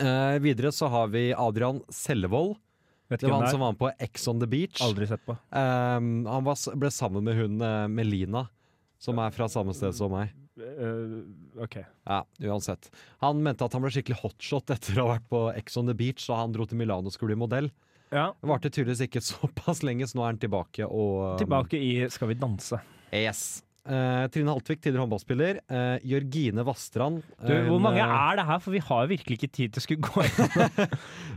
Speaker 3: Eh, videre så har vi Adrian Sellevold.
Speaker 2: Vet
Speaker 3: Det
Speaker 2: ikke
Speaker 3: var
Speaker 2: hvem
Speaker 3: han
Speaker 2: det
Speaker 3: som
Speaker 2: er.
Speaker 3: var med på Ex on the Beach.
Speaker 2: Aldri sett på.
Speaker 3: Um, han var, s- ble sammen med hun eh, Melina, som er fra samme sted som meg.
Speaker 2: Eh, OK.
Speaker 3: Ja, uansett. Han mente at han ble skikkelig hotshot etter å ha vært på Ex on the Beach, og han dro til Milano og skulle bli modell.
Speaker 2: Ja,
Speaker 3: Det Varte tydeligvis ikke såpass lenge, så nå er han tilbake og um,
Speaker 2: tilbake i Skal vi danse.
Speaker 3: Yes. Eh, Eh, Trine Haltvik, tidligere håndballspiller. Eh, Jørgine Vastrand.
Speaker 2: Du, hvor mange er det her? For vi har virkelig ikke tid til å skulle gå inn.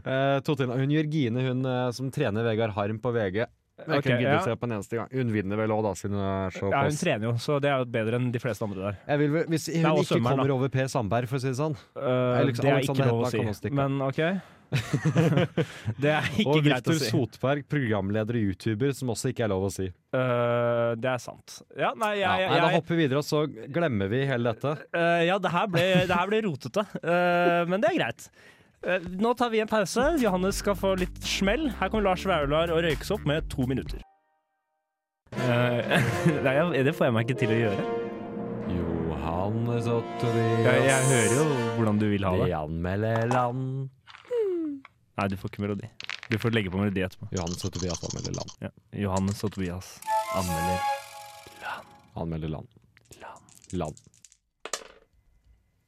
Speaker 3: Eh, to til. Hun Jørgine hun eh, som trener Vegard Harm på VG. Men jeg
Speaker 2: Ok,
Speaker 3: kunne gidde
Speaker 2: ja.
Speaker 3: å se på en eneste gang. Hun vinner vel òg, da, siden hun er
Speaker 2: Ja, hun
Speaker 3: såpass
Speaker 2: trener jo, så det er jo bedre enn de fleste andre der.
Speaker 3: Jeg vil vel- Hvis hun
Speaker 2: også
Speaker 3: ikke
Speaker 2: sømmeren, da.
Speaker 3: kommer over Per Sandberg, for å si det sånn.
Speaker 2: Eh,
Speaker 3: Alex-
Speaker 2: det er
Speaker 3: Alexander
Speaker 2: ikke lov å
Speaker 3: Hedman
Speaker 2: si,
Speaker 3: kan også stikke.
Speaker 2: men OK. det er ikke
Speaker 3: Og
Speaker 2: greit å
Speaker 3: Viktor
Speaker 2: si.
Speaker 3: Sotberg, programleder og youtuber, som også ikke er lov å si.
Speaker 2: Eh, det er sant. Ja, nei, jeg,
Speaker 3: Ja,
Speaker 2: jeg,
Speaker 3: nei, da
Speaker 2: jeg,
Speaker 3: hopper vi videre, og så glemmer vi hele dette.
Speaker 2: Eh, ja, det her ble, det her ble rotete, Eh, men det er greit. Eh, nå tar vi en pause. Johannes skal få litt smell. Her kommer Lars Vaular og røykes opp med to minutter. Eh, nei, jeg- det får jeg meg ikke til å gjøre.
Speaker 3: Johannes og
Speaker 2: Jeg, jeg
Speaker 3: Tobias,
Speaker 2: hører jo hvordan du vil ha
Speaker 3: de
Speaker 2: det.
Speaker 3: anmelder land.
Speaker 2: Nei, du får ikke melodi. Du får legge på melodi etterpå.
Speaker 3: Johannes og Tobias anmelder land.
Speaker 2: Ja. Johannes og Tobias anmelder.
Speaker 3: Anmelder land. Land.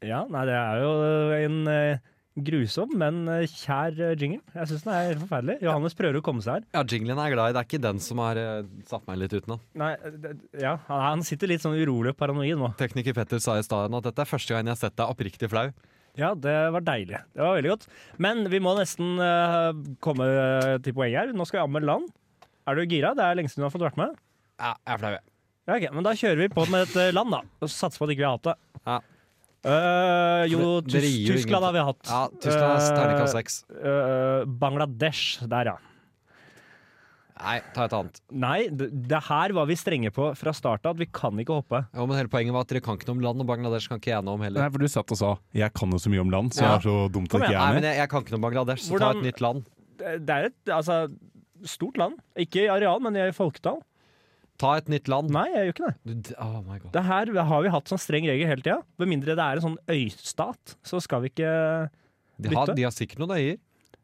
Speaker 2: Ja, nei, det er jo en eh, grusom, men eh, kjær eh, jingle. Jeg syns den er helt forferdelig. Johannes prøver å komme seg her.
Speaker 3: Ja, jinglen er jeg glad i. Det er ikke den som har eh, satt meg litt utenom.
Speaker 2: Nei, det- ja, han- han sitter litt sånn urolig og paranoid nå.
Speaker 3: Tekniker Petter sa i stad at dette er første gang jeg har sett deg oppriktig flau.
Speaker 2: Ja, det var deilig. Det var veldig godt. Men vi må nesten eh, komme eh, til poenget her. Nå skal vi anmelde land. Er du gira? Det er lenge siden du har fått vært med.
Speaker 3: Ja, jeg er flau, jeg.
Speaker 2: Ja, ok, Men da kjører vi på med et eh, land, da. Og satser på at ikke vi har hatt det.
Speaker 3: Ja.
Speaker 2: Eh, jo,
Speaker 3: Dere
Speaker 2: Tys
Speaker 3: gir jo
Speaker 2: Tyskland
Speaker 3: ingen-
Speaker 2: har vi hatt.
Speaker 3: Ja, Tyskland
Speaker 2: Eh,
Speaker 3: er terningkast seks.
Speaker 2: eh, Bangladesh. Der, ja.
Speaker 3: Nei, ta et annet.
Speaker 2: Nei, det, det her var vi strenge på fra start av. at Vi kan ikke hoppe.
Speaker 3: Ja, men hele poenget var at dere kan ikke noe om land, og Bangladesh kan ikke jeg noe om heller.
Speaker 5: Nei, for du satt og sa 'jeg kan jo så mye om land, så
Speaker 2: Ja.
Speaker 5: det er så dumt
Speaker 2: Kom
Speaker 5: at
Speaker 3: Nei,
Speaker 5: ikke jeg er
Speaker 3: men
Speaker 5: med'.
Speaker 3: jeg, jeg kan ikke noe om Bangladesh, så
Speaker 2: Hvordan-
Speaker 3: ta et nytt land.
Speaker 2: Det det er et altså, stort land. Ikke i areal, men i folketall.
Speaker 3: Ta et nytt land.
Speaker 2: Nei, jeg gjør ikke det.
Speaker 3: Du, d- oh my god.
Speaker 2: Det her har vi hatt sånn streng regel hele tida. Med mindre det er en sånn øystat, så skal vi ikke
Speaker 3: De har,
Speaker 2: bytte?
Speaker 3: de har sikkert noen øyer.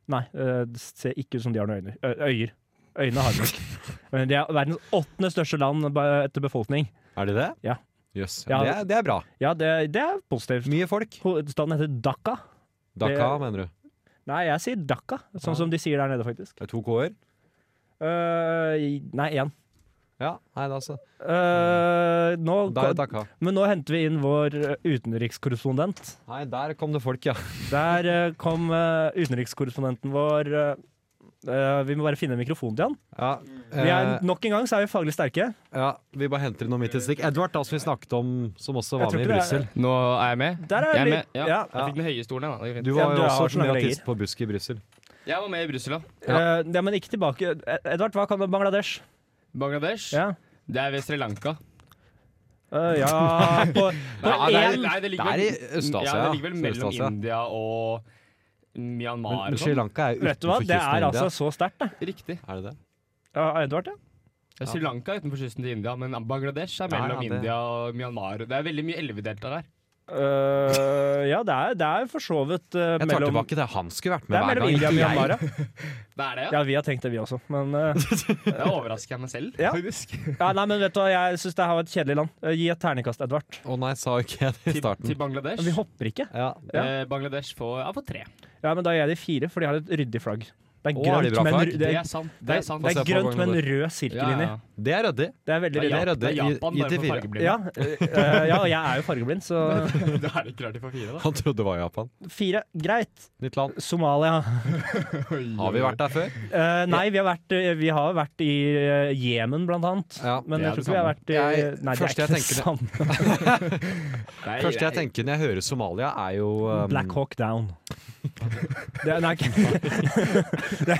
Speaker 2: Nei, øh, det ser ikke ut som de har noen øyne. Ø øyer. Øyene har de ikke. Men De er verdens åttende største land ba- etter befolkning.
Speaker 3: Er de det?
Speaker 2: Ja.
Speaker 3: Jøss.
Speaker 2: Ja.
Speaker 3: Det, er- det er bra.
Speaker 2: Ja, det, det er positivt.
Speaker 3: Mye folk.
Speaker 2: Hovedstaden heter Dhaka.
Speaker 3: Dhaka, mener du.
Speaker 2: Nei, jeg sier Dhaka, sånn som de sier der nede, faktisk.
Speaker 3: Det er to k-er.
Speaker 2: Øh, i- nei, én.
Speaker 3: Ja, nei, altså. da så.
Speaker 2: Øh, nå,
Speaker 3: Mm. Da er det Dhaka.
Speaker 2: men nå henter vi inn vår øh, utenrikskorrespondent.
Speaker 3: Nei, der kom det folk, ja.
Speaker 2: Der eh, kom eh, utenrikskorrespondenten vår eh, eh, Vi må bare finne mikrofonen til han.
Speaker 3: Ja,
Speaker 2: Vi er,
Speaker 3: eh,
Speaker 2: nok en gang så er vi faglig sterke.
Speaker 3: ja vi bare henter inn noe midt i stikk. Edvard, da, som vi snakket om, som også
Speaker 2: Jeg
Speaker 3: var
Speaker 2: tror
Speaker 3: med i
Speaker 2: ikke det er-
Speaker 3: Brussel.
Speaker 8: Nå er jeg med.
Speaker 2: Der er
Speaker 8: Jeg er
Speaker 2: vi.
Speaker 8: med, ja.
Speaker 2: Ja.
Speaker 8: Jeg fikk den høye stolen. Jeg, da. Det var fint.
Speaker 3: Du
Speaker 2: Ja,
Speaker 3: var
Speaker 2: du
Speaker 3: jo
Speaker 2: har
Speaker 3: også
Speaker 2: sånne
Speaker 3: med og
Speaker 2: greier.
Speaker 3: tisset på busk i Brussel.
Speaker 8: jeg var med i Brussel, da.
Speaker 2: Eh, ja, men ikke tilbake. Ed- Edvard, hva kan du om Bangladesh?
Speaker 8: Bangladesh.
Speaker 2: Ja,
Speaker 8: Det er ved Sri Lanka.
Speaker 2: Eh, ja på, på
Speaker 8: Nei, det, er,
Speaker 2: én
Speaker 8: nei, det ligger
Speaker 3: Det er
Speaker 8: vel-
Speaker 3: i Øst-Asia,
Speaker 8: Ja, det ligger vel
Speaker 3: ja.
Speaker 8: mellom
Speaker 3: Sør-Øst-Asia.
Speaker 8: India og Myanmar.
Speaker 3: Men
Speaker 8: og
Speaker 3: Sri
Speaker 8: sånn.
Speaker 3: Lanka er jo
Speaker 2: Vet du hva,
Speaker 3: utenfor
Speaker 2: det er
Speaker 3: kysten av
Speaker 2: altså
Speaker 3: India.
Speaker 2: så sterkt, det.
Speaker 8: Riktig.
Speaker 3: Er det det?
Speaker 2: Ja, Edvard, ja.
Speaker 8: Det er Sri Lanka er utenfor kysten til India, men Bangladesh er
Speaker 3: Ja, ja,
Speaker 8: mellom
Speaker 3: det-
Speaker 8: India og Myanmar. Det er veldig mye elvedelta der.
Speaker 2: Eh, ja, det er, det er for så vidt eh,
Speaker 3: Jeg tar
Speaker 2: mellom
Speaker 3: tilbake det. Han skulle vært
Speaker 2: det
Speaker 3: med
Speaker 2: er
Speaker 3: hver
Speaker 2: mellom
Speaker 3: gang.
Speaker 2: India og
Speaker 3: ikke jeg.
Speaker 2: Myanmar. ja.
Speaker 8: Det er det, ja.
Speaker 2: Ja, vi har tenkt det, vi også. Men, eh,
Speaker 8: Da overrasker jeg meg selv,
Speaker 2: Ja.
Speaker 8: faktisk.
Speaker 2: ja, nei, men vet du hva, jeg syns det her var et kjedelig land. Eh, gi et terningkast, Edvard.
Speaker 3: Å nei, sa jo ikke jeg det i
Speaker 8: Til,
Speaker 3: starten.
Speaker 8: til Bangladesh.
Speaker 2: Vi hopper ikke.
Speaker 3: Ja.
Speaker 2: ja.
Speaker 8: Eh, Bangladesh får, ja, får tre.
Speaker 2: Ja, men da gir jeg de fire, for de har et ryddig flagg. Det er
Speaker 3: Å, har de
Speaker 2: grønt,
Speaker 3: bra
Speaker 2: med en
Speaker 3: flagg?
Speaker 2: ru-
Speaker 8: Det
Speaker 2: det
Speaker 8: er
Speaker 2: er,
Speaker 8: sant.
Speaker 2: det
Speaker 8: Det
Speaker 2: er,
Speaker 8: er sant.
Speaker 2: det er
Speaker 3: Få se på
Speaker 2: grønt med en
Speaker 3: Bangladesh.
Speaker 2: rød sirkel inni.
Speaker 8: ja.
Speaker 3: Det er ryddig.
Speaker 2: Det er veldig
Speaker 8: Det er
Speaker 2: ryddig.
Speaker 3: ryddig.
Speaker 8: Japan, det er
Speaker 3: Gi-
Speaker 8: Japan
Speaker 3: gi
Speaker 8: bare
Speaker 3: til
Speaker 8: for
Speaker 3: fire.
Speaker 8: fargeblinde.
Speaker 2: Ja, eh, ja, og jeg er jo fargeblind, så
Speaker 8: Da er det ikke rart de får fire, da.
Speaker 3: Han trodde det var Japan.
Speaker 2: Fire. Greit.
Speaker 3: Nytt land.
Speaker 2: Somalia.
Speaker 3: Har vi vært der før?
Speaker 2: Eh, nei, vi har vært, eh, vi har vært i eh, Jemen, blant annet.
Speaker 3: Ja,
Speaker 2: Men
Speaker 8: det
Speaker 2: jeg
Speaker 8: er
Speaker 2: tror ikke vi har vært i
Speaker 3: Jeg-
Speaker 2: Nei, det
Speaker 3: første
Speaker 2: er
Speaker 3: jeg
Speaker 2: ikke det samme.
Speaker 8: Nei,
Speaker 3: Første jeg
Speaker 8: nei.
Speaker 3: tenker når jeg hører Somalia, er jo um,
Speaker 2: Black Hawk Down. Det er, nei, ikke-
Speaker 8: Hva,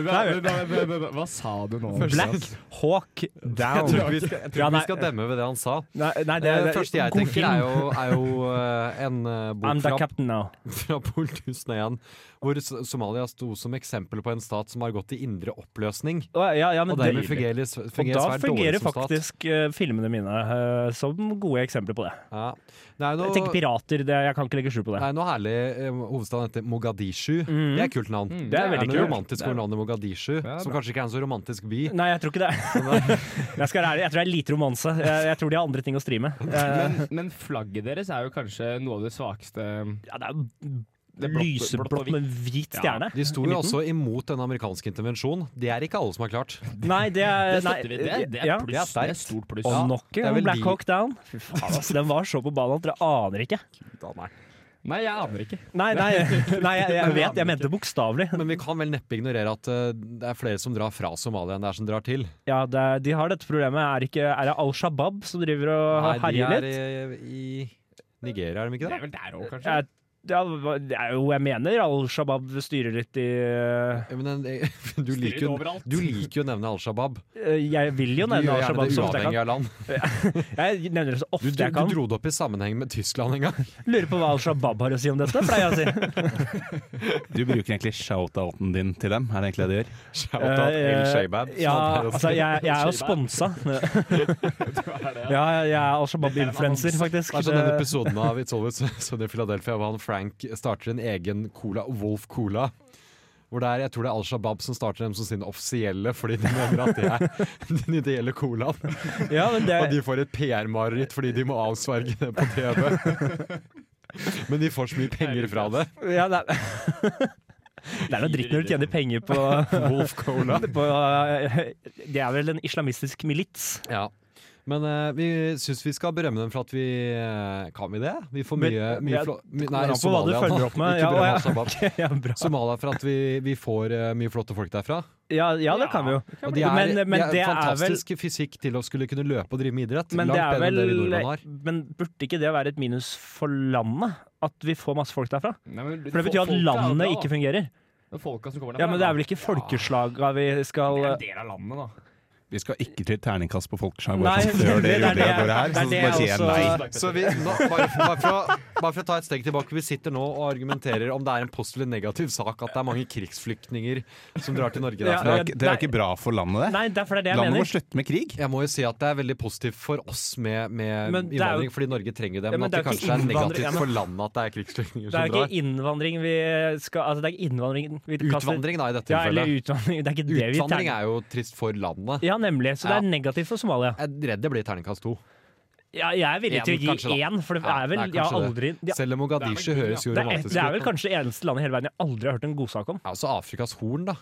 Speaker 8: hva, hva, hva, hva sa du nå?
Speaker 2: Black Hawk
Speaker 3: Jeg tror
Speaker 2: Down.
Speaker 3: vi skal, jeg tror
Speaker 2: Ja,
Speaker 3: vi
Speaker 2: nei.
Speaker 3: skal demme ved det han sa.
Speaker 2: Nei, nei
Speaker 3: Det,
Speaker 2: det, det
Speaker 3: første jeg
Speaker 2: god
Speaker 3: tenker,
Speaker 2: film.
Speaker 3: er jo, er jo eh, en eh,
Speaker 2: I'm
Speaker 3: bok
Speaker 2: the
Speaker 3: fra,
Speaker 2: captain now.
Speaker 3: fra Pol 2001, hvor S- Somalia sto som eksempel på en stat som har gått i indre oppløsning.
Speaker 2: Å, Ja, ja, men
Speaker 3: Og dermed fungerer,
Speaker 2: Og
Speaker 3: fungerer
Speaker 2: da
Speaker 3: svært
Speaker 2: fungerer
Speaker 3: dårlig som stat.
Speaker 2: faktisk eh, filmene mine eh, som gode eksempler på det.
Speaker 3: Ja. Det er jo
Speaker 2: Jeg tenker
Speaker 3: noe,
Speaker 2: pirater, det, jeg kan ikke legge skjul på
Speaker 3: det
Speaker 2: det.
Speaker 3: er noe herlig eh, Hovedstaden heter Mogadishu.
Speaker 2: Mhm.
Speaker 3: Det er et kult navn.
Speaker 2: Det er
Speaker 3: Det er
Speaker 2: veldig
Speaker 3: noe
Speaker 2: kult.
Speaker 3: romantisk over navnet Mogadishu,
Speaker 8: Ja,
Speaker 3: som
Speaker 8: bra.
Speaker 3: kanskje ikke er en så romantisk by.
Speaker 2: Nei, jeg tror ikke det. jeg, skal være ærlig, jeg tror det er lite romanse. Jeg, jeg tror de har andre ting å stri med. Eh,
Speaker 8: Men, men flagget deres er jo kanskje noe av det svakeste
Speaker 2: ja, det er jo
Speaker 8: det er blått- blått og
Speaker 2: lyseblått
Speaker 8: hvitt.
Speaker 2: med en hvit
Speaker 8: Ja.
Speaker 2: stjerne.
Speaker 3: De sto
Speaker 2: i
Speaker 3: jo
Speaker 2: midten.
Speaker 3: også imot den amerikanske intervensjonen. Det er ikke alle som har klart.
Speaker 2: Nei, det er
Speaker 8: Det
Speaker 2: nei,
Speaker 8: støtter vi. Det, det er
Speaker 2: ja.
Speaker 8: pluss.
Speaker 3: det
Speaker 8: Det
Speaker 3: er
Speaker 8: er,
Speaker 3: sterkt.
Speaker 8: stort pluss.
Speaker 2: Og
Speaker 3: Ja,
Speaker 2: nok
Speaker 3: det er
Speaker 2: en
Speaker 3: vel
Speaker 2: Black
Speaker 3: de-
Speaker 2: Hawk Down. Fy faen, altså, den var så på ballen at dere aner ikke.
Speaker 8: Nei, jeg aner ikke.
Speaker 2: Nei, nei, nei jeg, jeg vet, jeg mente bokstavelig.
Speaker 3: Men vi kan vel neppe ignorere at eh, det er flere som drar fra Somalia enn det er som drar til.
Speaker 2: Ja, det, er- de har dette problemet. Er, ikke, er det Al Shabaab som driver og
Speaker 3: Nei, de
Speaker 2: herjer
Speaker 3: er eh,
Speaker 2: litt?
Speaker 3: i, i Nigeria, er de ikke
Speaker 8: Det
Speaker 3: det?
Speaker 8: er vel der òg, kanskje.
Speaker 2: Ja, det er det er jo, jeg mener Al Shabaab styrer litt i
Speaker 3: Ja, Men, eh, du,
Speaker 8: Styrer
Speaker 3: liker jo,
Speaker 8: overalt.
Speaker 3: du liker jo å nevne Al Shabaab.
Speaker 2: eh, Jeg vil jo
Speaker 3: Du
Speaker 2: nevne Al
Speaker 3: gjør gjerne
Speaker 2: Shabaab
Speaker 3: det
Speaker 2: så ofte jeg
Speaker 3: uavhengig
Speaker 2: kan.
Speaker 3: av land.
Speaker 2: Jeg nevner det så
Speaker 3: Du,
Speaker 2: ofte
Speaker 3: du,
Speaker 2: jeg
Speaker 3: du
Speaker 2: kan.
Speaker 3: dro det opp i sammenheng med Tyskland en gang.
Speaker 2: Lurer på hva Al Shabaab har å si om dette, pleier jeg å si.
Speaker 5: Du bruker egentlig shout-outen din til dem, er det egentlig det du gjør?
Speaker 3: Shout out El Shabaab. Sånn.
Speaker 2: Eh, ja, altså, jeg, jeg er jo sponsa. Ja, jeg er Al Shabaab-influencer, faktisk.
Speaker 3: Det er sånn den episoden av It's Always Sunny in Philadelphia hvor han Frank starter en egen cola, Wolf Cola. Hvor det er, Jeg tror det er Al Shabaab som starter dem som sin offisielle, fordi de mener at det er den ideelle colaen.
Speaker 2: Ja, men
Speaker 3: Og
Speaker 2: det,
Speaker 3: de får et PR-mareritt fordi de må avsverge det på TV. Men de får så mye penger fra det.
Speaker 2: ja, det, er, det er noe dritt når du tjener penger på,
Speaker 3: Wolf Cola.
Speaker 2: på eh, Det er vel en islamistisk milits.
Speaker 3: Ja. Men eh, vi syns vi skal berømme dem for at vi eh, Kan vi det? Vi får
Speaker 2: Men-
Speaker 3: mye,
Speaker 2: ja,
Speaker 3: mye flå... my- Nei,
Speaker 2: kommer an på hva du
Speaker 3: Somalia.
Speaker 2: følger opp med.
Speaker 3: Ikke
Speaker 2: Ja, ja.
Speaker 3: berømme Al Shabaab.
Speaker 2: Ja, bra.
Speaker 3: Somalia for at vi, vi får eh, mye flotte folk derfra.
Speaker 2: Ja, ja, det kan vi jo.
Speaker 3: Og de er,
Speaker 2: Men- men
Speaker 3: de
Speaker 2: det
Speaker 3: er
Speaker 2: er
Speaker 3: fantastisk fysikk til å skulle kunne løpe og drive med idrett.
Speaker 2: Men, det
Speaker 3: Langt
Speaker 2: er
Speaker 3: bedre
Speaker 2: vel,
Speaker 3: enn det vi nordmenn har.
Speaker 2: men burde ikke det være et minus for landet? At vi får masse folk derfra?
Speaker 8: Nei, men
Speaker 2: For det betyr at
Speaker 8: folket er jo bra,
Speaker 2: landet ikke
Speaker 8: da.
Speaker 2: fungerer.
Speaker 8: Men folka som kommer
Speaker 2: Ja, Men det er vel ikke
Speaker 8: Ja,
Speaker 2: folkeslaga vi skal
Speaker 8: Det er en del av landet, da.
Speaker 5: Vi skal ikke til terningkast på folkeslag.
Speaker 2: Nei,
Speaker 5: Bare sånn, før
Speaker 2: det
Speaker 5: det,
Speaker 2: er
Speaker 5: gjør det,
Speaker 2: det-
Speaker 5: bare
Speaker 2: det
Speaker 5: her,
Speaker 2: er
Speaker 5: så
Speaker 2: det
Speaker 5: bare sier
Speaker 2: jeg
Speaker 5: jeg
Speaker 2: også-
Speaker 5: nei.
Speaker 3: Så vi, nå, bare, for, bare, for å, bare for å ta et steg tilbake. Vi sitter nå og argumenterer om det er en positiv eller negativ sak at det er mange krigsflyktninger som drar til Norge
Speaker 2: Ja,
Speaker 5: Det
Speaker 3: derfra.
Speaker 5: er, ikke- det er ikke bra for landet, det.
Speaker 2: Nei, derfor er det jeg
Speaker 5: Landet må
Speaker 2: mener.
Speaker 5: slutte med krig.
Speaker 3: Jeg må jo si at det er veldig positivt for oss med,
Speaker 2: Men det er
Speaker 3: med
Speaker 2: jo-
Speaker 3: innvandring, fordi Norge trenger dem.
Speaker 2: Ja, men
Speaker 3: men at
Speaker 2: det
Speaker 3: det
Speaker 2: er jo ikke
Speaker 3: kanskje er
Speaker 2: innvandring-
Speaker 3: negativt
Speaker 2: Ja, men-
Speaker 3: for landet at det er krigsflyktninger
Speaker 2: Det er
Speaker 3: som
Speaker 2: jo
Speaker 3: drar.
Speaker 2: ikke innvandring vi skal Altså, det er ikke innvandring vi kaster
Speaker 3: Utvandring, da, i dette
Speaker 2: Ja, eller
Speaker 3: tilfellet.
Speaker 2: utvandring. Det er ikke det vi
Speaker 3: Utvandring
Speaker 2: terner.
Speaker 3: er jo trist for landet.
Speaker 2: Ja, nemlig. Så det
Speaker 3: Ja.
Speaker 2: er negativt for Somalia.
Speaker 3: Jeg er redd det blir terningkast to.
Speaker 2: Ja, jeg er villig
Speaker 3: En,
Speaker 2: til å
Speaker 3: kanskje,
Speaker 2: gi
Speaker 3: da.
Speaker 2: én, for det
Speaker 3: Ja,
Speaker 2: er
Speaker 3: det
Speaker 2: vel
Speaker 3: er
Speaker 2: Jeg har
Speaker 3: kanskje
Speaker 2: aldri ja,
Speaker 3: Selv om Mogadishu
Speaker 8: Det er-
Speaker 3: høres jo
Speaker 2: det, er,
Speaker 3: romantisk
Speaker 2: det er vel
Speaker 3: ut. da.
Speaker 2: kanskje det eneste landet i hele verden jeg aldri har hørt en godsak om.
Speaker 3: Ja, Altså Afrikas horn, da.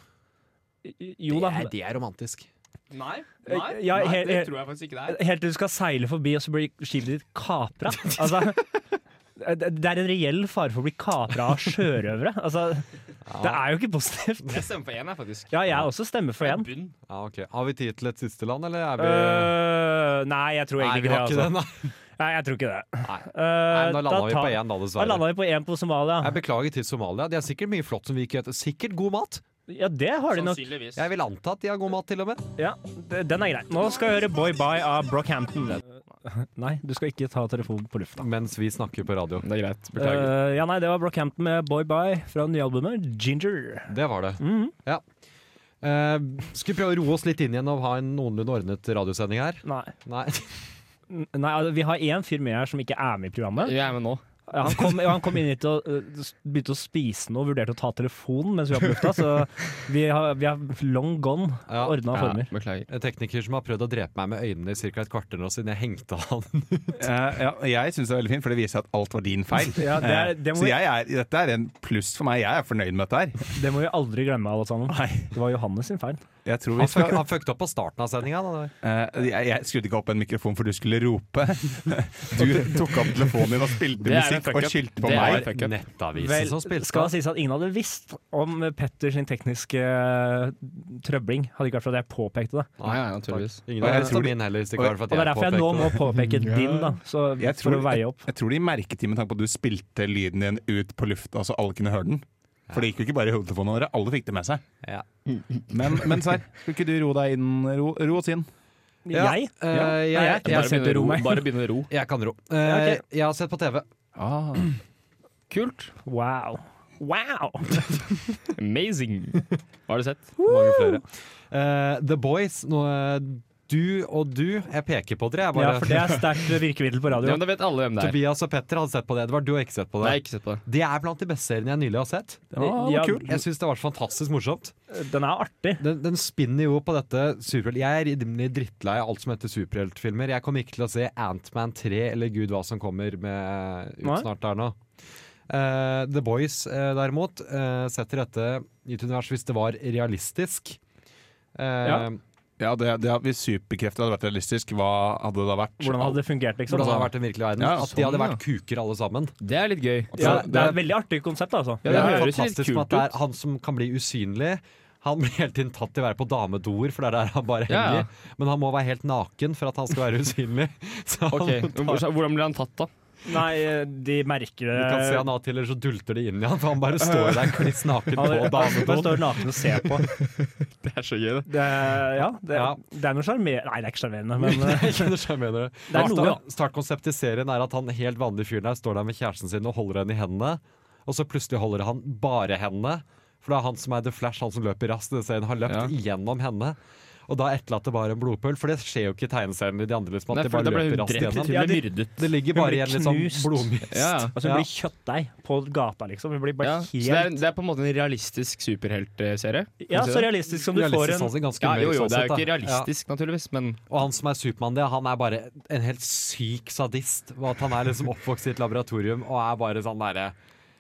Speaker 2: Jo da.
Speaker 3: Det er, det er romantisk.
Speaker 8: Nei, nei,
Speaker 2: Eh, ja,
Speaker 8: nei,
Speaker 2: he-
Speaker 8: det
Speaker 2: he-
Speaker 8: tror jeg faktisk ikke det er.
Speaker 2: Helt til du skal seile forbi, og så blir skipet ditt kapra. Altså, det det er en reell fare for å bli kapra av sjørøvere. Altså, Det er jo ikke positivt.
Speaker 8: Jeg stemmer for én, jeg, faktisk.
Speaker 2: Ja, jeg også stemmer for én.
Speaker 8: Bunn.
Speaker 3: Ja, ok. Har vi tid til et siste land, eller er vi
Speaker 2: Øh, nei, jeg tror
Speaker 3: Nei,
Speaker 2: egentlig
Speaker 3: vi har
Speaker 2: ikke
Speaker 3: ikke
Speaker 2: det.
Speaker 3: det,
Speaker 2: Altså.
Speaker 3: nei.
Speaker 2: Nei, jeg tror ikke det.
Speaker 3: nei.
Speaker 2: Øh,
Speaker 3: nei men da landa vi
Speaker 2: tar-
Speaker 3: på én, da,
Speaker 2: Da
Speaker 3: dessverre.
Speaker 2: landa vi på én på Somalia.
Speaker 3: Jeg beklager til Somalia. De har sikkert mye flott som vi ikke vet. Sikkert god mat.
Speaker 2: Ja, det har de nok.
Speaker 8: Sannsynligvis.
Speaker 3: Jeg vil anta at de har god mat, til og med.
Speaker 2: Ja, d- Den er grei. Nå skal jeg høre Boy Bye av Brockhampton. Nei, du skal ikke ta telefonen på lufta.
Speaker 3: Mens vi snakker på radio.
Speaker 8: Det er greit.
Speaker 2: Øh, ja, nei, det var Brockhampton med Boy Bye fra det nye albumet Ginger.
Speaker 3: Det var det.
Speaker 2: Mhm.
Speaker 3: Ja. Eh, skal vi prøve å roe oss litt inn igjen og ha en noenlunde ordnet radiosending her?
Speaker 2: Nei.
Speaker 3: Nei.
Speaker 2: N- Nei, altså, vi har én fyr med her som ikke er med i programmet.
Speaker 8: Jeg er med nå.
Speaker 2: Ja, Han kom, ja, han kom inn hit og øh, s- begynte å spise noe, vurderte å ta telefonen mens vi var på lufta, så vi har, vi har long gone
Speaker 3: Ja.
Speaker 2: ordna former.
Speaker 8: beklager.
Speaker 3: En tekniker som har prøvd å drepe meg med øynene i ca. et kvarter nå siden jeg hengte han.
Speaker 5: Eh, ja, og jeg syns det er veldig fint, for det viser at alt var din feil.
Speaker 2: Ja, det er- det må
Speaker 5: Eh, så
Speaker 2: vi-
Speaker 5: jeg er, dette er en pluss for meg. Jeg er fornøyd med dette her.
Speaker 2: Det må vi aldri glemme, alle sammen. Det var Johannes sin feil.
Speaker 5: Jeg tror vi
Speaker 3: Han fuck-
Speaker 5: skal
Speaker 3: han fucked opp på starten av sendinga.
Speaker 5: Eh, jeg, jeg skrudde ikke opp en mikrofon for du skulle rope. Du tok opp telefonen din og spilte
Speaker 8: Det er en
Speaker 5: musikk
Speaker 8: fuck
Speaker 5: og
Speaker 8: up.
Speaker 5: skyldte på
Speaker 8: Det er
Speaker 5: meg.
Speaker 8: en fuck up.
Speaker 3: Nettavisen som spilte.
Speaker 2: skal det sies at ingen hadde visst om Petter sin tekniske eh, trøbling, hadde ikke vært for at jeg påpekte det.
Speaker 8: Ja, ja, naturligvis.
Speaker 3: Ingen
Speaker 5: Og
Speaker 3: har
Speaker 5: jeg
Speaker 3: visst
Speaker 5: tror
Speaker 3: om
Speaker 5: de-
Speaker 3: min heller, hvis det ikke var for
Speaker 2: Og det
Speaker 3: at
Speaker 2: er
Speaker 3: jeg
Speaker 2: derfor jeg nå må
Speaker 3: påpekte det.
Speaker 2: påpeke din, da, så,
Speaker 5: Jeg
Speaker 2: for
Speaker 5: tror-
Speaker 2: å veie opp.
Speaker 5: Jeg tror de merket det med tanke på at du spilte lyden din ut på lufta, så alle kunne høre den. For det gikk jo ikke bare i hodetelefonene våre, alle fikk det med seg.
Speaker 3: Ja.
Speaker 5: Men, men Serr, skulle ikke du ro deg inn? Ro, ro oss inn.
Speaker 3: Ja,
Speaker 2: Jeg?
Speaker 3: eh,
Speaker 2: Nei,
Speaker 3: jeg-
Speaker 2: jeg-
Speaker 3: jeg-
Speaker 2: Bare begynne å ro meg.
Speaker 8: Bare begynne å ro.
Speaker 3: Jeg kan ro. Eh,
Speaker 2: Ja,
Speaker 3: Jeg har sett på TV.
Speaker 2: Ah.
Speaker 8: Kult.
Speaker 2: Wow. Wow!
Speaker 8: Amazing. Hva har du sett?
Speaker 3: Mange flere. Eh, The Boys. Nå, eh, du og du. Jeg peker på dere. Jeg bare,
Speaker 2: Ja, for det er sterkt virkemiddel på
Speaker 8: Ja,
Speaker 2: radio.
Speaker 8: men da vet alle hvem det er.
Speaker 3: Tobias og Petter hadde sett på det. Edvard, du har ikke sett på
Speaker 8: Nei, jeg har
Speaker 3: det.
Speaker 8: ikke sett på det.
Speaker 3: Det er blant de beste seriene jeg nylig har sett.
Speaker 2: Ja,
Speaker 3: Jeg syns det var så fantastisk morsomt.
Speaker 2: Den er artig.
Speaker 3: Den, den spinner jo på dette superhelt... Jeg er rimelig drittlei av alt som heter superheltfilmer. Jeg kommer ikke til å se Antman 3 eller gud hva som kommer med ut
Speaker 2: Nei.
Speaker 3: snart der nå. Eh, The Boys, eh, derimot, eh, setter dette i et univers hvis det var realistisk. Eh,
Speaker 2: Ja.
Speaker 5: Ja, det, det, Hvis superkrefter hadde vært realistisk, hva hadde det da vært?
Speaker 2: Hvordan hadde det fungert? liksom?
Speaker 3: Hvordan det hadde vært i den virkelige verden.
Speaker 5: Ja,
Speaker 3: at de hadde
Speaker 8: sånn,
Speaker 3: vært kuker alle sammen.
Speaker 8: Det er litt gøy.
Speaker 5: At
Speaker 2: ja,
Speaker 5: det-
Speaker 2: det er et veldig artig konsept, altså.
Speaker 8: Ja,
Speaker 3: det
Speaker 8: det
Speaker 3: er
Speaker 8: høres litt
Speaker 3: fantastisk med
Speaker 8: kult
Speaker 3: at det er han som kan bli usynlig. Han blir hele tiden tatt til å være på damedoer, for det er der han bare
Speaker 8: Ja, ja.
Speaker 3: henger. Men han må være helt naken for at han skal være usynlig. Så han
Speaker 8: Ok,
Speaker 3: tar-
Speaker 8: hvor- så Hvordan ble han tatt, da?
Speaker 2: Nei, de merker det.
Speaker 3: Du kan se han av og til, eller så dulter det inn i han, for han bare står der kliss naken på
Speaker 2: Han bare
Speaker 3: damedoen.
Speaker 2: står naken og ser på.
Speaker 8: Det er så gøy, det.
Speaker 2: Det, ja, det,
Speaker 3: Ja.
Speaker 2: det er noe sjarmerende Nei, det er ikke sjarmerende, men eh,
Speaker 3: Jeg skjønner hva jeg mener.
Speaker 2: Det er noe,
Speaker 3: Start- Startkonseptet i serien er at han helt vanlige fyren der står der med kjæresten sin og holder henne i hendene, og så plutselig holder han bare henne. For det er han som er The Flash, han som løper raskt. i Den serien har løpt
Speaker 5: Ja.
Speaker 3: gjennom henne. Og da etterlater bare en blodpøl, for det skjer jo ikke i tegneseriene i de andre. Liksom, at
Speaker 8: Nei,
Speaker 3: de
Speaker 8: for
Speaker 3: bare
Speaker 8: Da ble hun
Speaker 3: løper raskt
Speaker 8: drept. Hun
Speaker 3: gjennom.
Speaker 8: ble myrdet.
Speaker 3: Det ligger
Speaker 2: Hun
Speaker 3: bare
Speaker 2: blir
Speaker 3: igjen litt sånn
Speaker 2: knust.
Speaker 3: blodmyst.
Speaker 8: Ja, ja.
Speaker 2: altså, hun
Speaker 3: Ja.
Speaker 2: blir kjøttdeig på gata, liksom. Hun blir bare
Speaker 8: Ja, Så det er,
Speaker 2: helt
Speaker 8: det er på en måte en realistisk superheltserie? kan
Speaker 2: Ja,
Speaker 8: du si
Speaker 2: så
Speaker 8: det?
Speaker 2: realistisk som du får
Speaker 3: Realistisk
Speaker 2: en
Speaker 3: sans er ganske
Speaker 8: ja,
Speaker 3: mørk
Speaker 8: jo, jo,
Speaker 3: sånn
Speaker 8: det er
Speaker 3: sett,
Speaker 8: jo ikke
Speaker 3: da.
Speaker 8: realistisk, naturligvis, men
Speaker 3: Ja. Og han som er Supermann, det, han er bare en helt syk sadist. Og at han er liksom oppvokst i et laboratorium og er bare sånn derre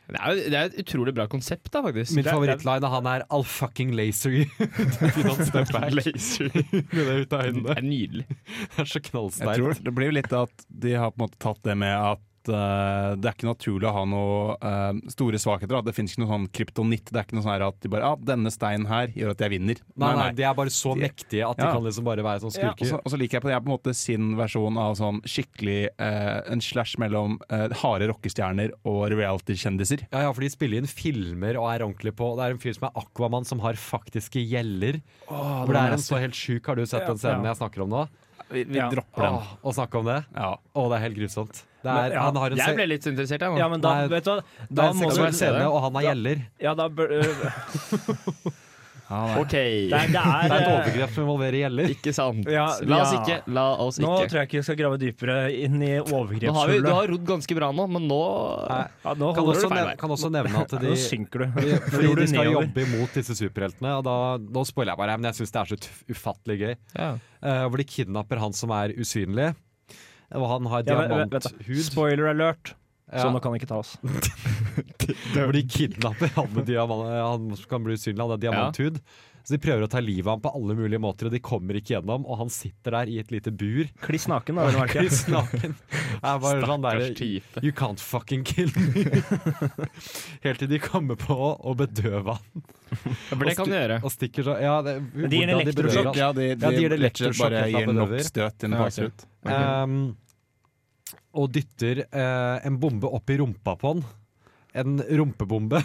Speaker 8: det er jo det er et utrolig bra konsept, da, faktisk.
Speaker 3: Min favorittline av han er 'I'll fucking laser you'.
Speaker 8: Laser.
Speaker 3: Med det ut av øynene.
Speaker 8: Det er nydelig.
Speaker 3: Det er så
Speaker 5: Jeg
Speaker 3: knallsterkt.
Speaker 5: tror det blir jo litt at de har på en måte tatt det med at eh, det er ikke naturlig å ha noe eh, store svakheter. Da. Det finnes ikke noe sånn kryptonitt. Det er ikke noe sånn her at de bare ah, 'denne steinen her gjør at jeg vinner'.
Speaker 3: Nei, nei, de er bare så
Speaker 5: De-
Speaker 3: mektige at de
Speaker 5: Ja.
Speaker 3: kan liksom bare være sånn
Speaker 5: Og
Speaker 3: skurker.
Speaker 5: så- og så liker jeg på det er på en måte sin versjon av sånn skikkelig eh, en slash mellom eh, harde rockestjerner og reality-kjendiser.
Speaker 3: Ja, ja, for de spiller inn filmer og er ordentlig på. Det er en fyr som er Aquaman, som har faktiske gjeller. Hvor det er en så helt sjuk Har du sett den scenen
Speaker 2: Ja.
Speaker 3: jeg snakker om nå?
Speaker 5: Vi, vi
Speaker 2: Ja.
Speaker 5: dropper den.
Speaker 3: Åh, Å snakke om det?
Speaker 5: Ja.
Speaker 3: Å, det er helt grusomt. Det
Speaker 2: Men,
Speaker 3: er,
Speaker 2: ja,
Speaker 3: han har en,
Speaker 8: Jeg
Speaker 3: se
Speaker 8: ble litt interessert, jeg nå.
Speaker 2: Ja, men da,
Speaker 3: Nei,
Speaker 2: vet du hva
Speaker 3: det
Speaker 2: Da
Speaker 3: er en
Speaker 2: må du
Speaker 3: seksuell scene, og han har
Speaker 2: Ja.
Speaker 3: gjeller.
Speaker 2: Ja, da bør øh,
Speaker 8: OK.
Speaker 2: Det er, det er,
Speaker 3: Det er et
Speaker 2: øh,
Speaker 3: overgrep som involverer gjeller.
Speaker 8: Ikke sant.
Speaker 2: Ja,
Speaker 8: la oss
Speaker 2: ja.
Speaker 8: ikke. La oss
Speaker 2: Nå
Speaker 8: ikke.
Speaker 2: tror jeg ikke vi skal grave dypere inn i
Speaker 8: Nå har vi, du
Speaker 2: overgrepshullet.
Speaker 8: har rodd ganske bra nå, men nå
Speaker 3: Nei.
Speaker 2: Ja, nå holder
Speaker 3: Kan også,
Speaker 2: du feil
Speaker 3: nev
Speaker 2: vei.
Speaker 3: kan også nevne at
Speaker 2: Nå
Speaker 3: de
Speaker 2: synker du.
Speaker 3: de-
Speaker 2: Nå
Speaker 3: fordi
Speaker 2: gjorde
Speaker 3: de
Speaker 2: du
Speaker 3: skal
Speaker 2: nedover.
Speaker 3: jobbe imot disse superheltene, og da, nå spoiler jeg bare, men jeg syns det er så ut- ufattelig gøy.
Speaker 8: ja.
Speaker 3: eh, hvor de kidnapper han som er usynlig. Og han har
Speaker 2: Ja, men- vent da. sånn
Speaker 3: diamanthud.
Speaker 2: Spoiler alert!
Speaker 3: Ja,
Speaker 2: Så nå kan det ikke ta oss.
Speaker 3: hvor de kidnapper han med diamant, han som kan bli usynlig, han har diamanthud. Så de prøver å ta livet av ham på alle mulige måter, og de kommer ikke gjennom. Og han sitter der i et lite bur,
Speaker 2: Kliss naken, da, vil jeg merke.
Speaker 3: kliss naken. Jeg bare sånn der,
Speaker 8: Stakkars type.
Speaker 3: You can't fucking kill me. Helt til de kommer på å bedøve han.
Speaker 8: For det kan du gjøre.
Speaker 3: Og stikker så Ja, det,
Speaker 2: Men de gir en
Speaker 3: hvordan de bedøver
Speaker 2: elektrosjokk.
Speaker 3: han.
Speaker 5: Ja, de,
Speaker 3: Ja, de gir det
Speaker 5: rett og slett
Speaker 3: elektrosjokk
Speaker 5: bare
Speaker 3: helt
Speaker 5: gir
Speaker 3: opp
Speaker 5: nok
Speaker 3: nedover.
Speaker 5: støt til den
Speaker 8: Ja,
Speaker 5: faser ut.
Speaker 3: Ehm, og dytter eh, en bombe opp i rumpa på han. En rumpebombe.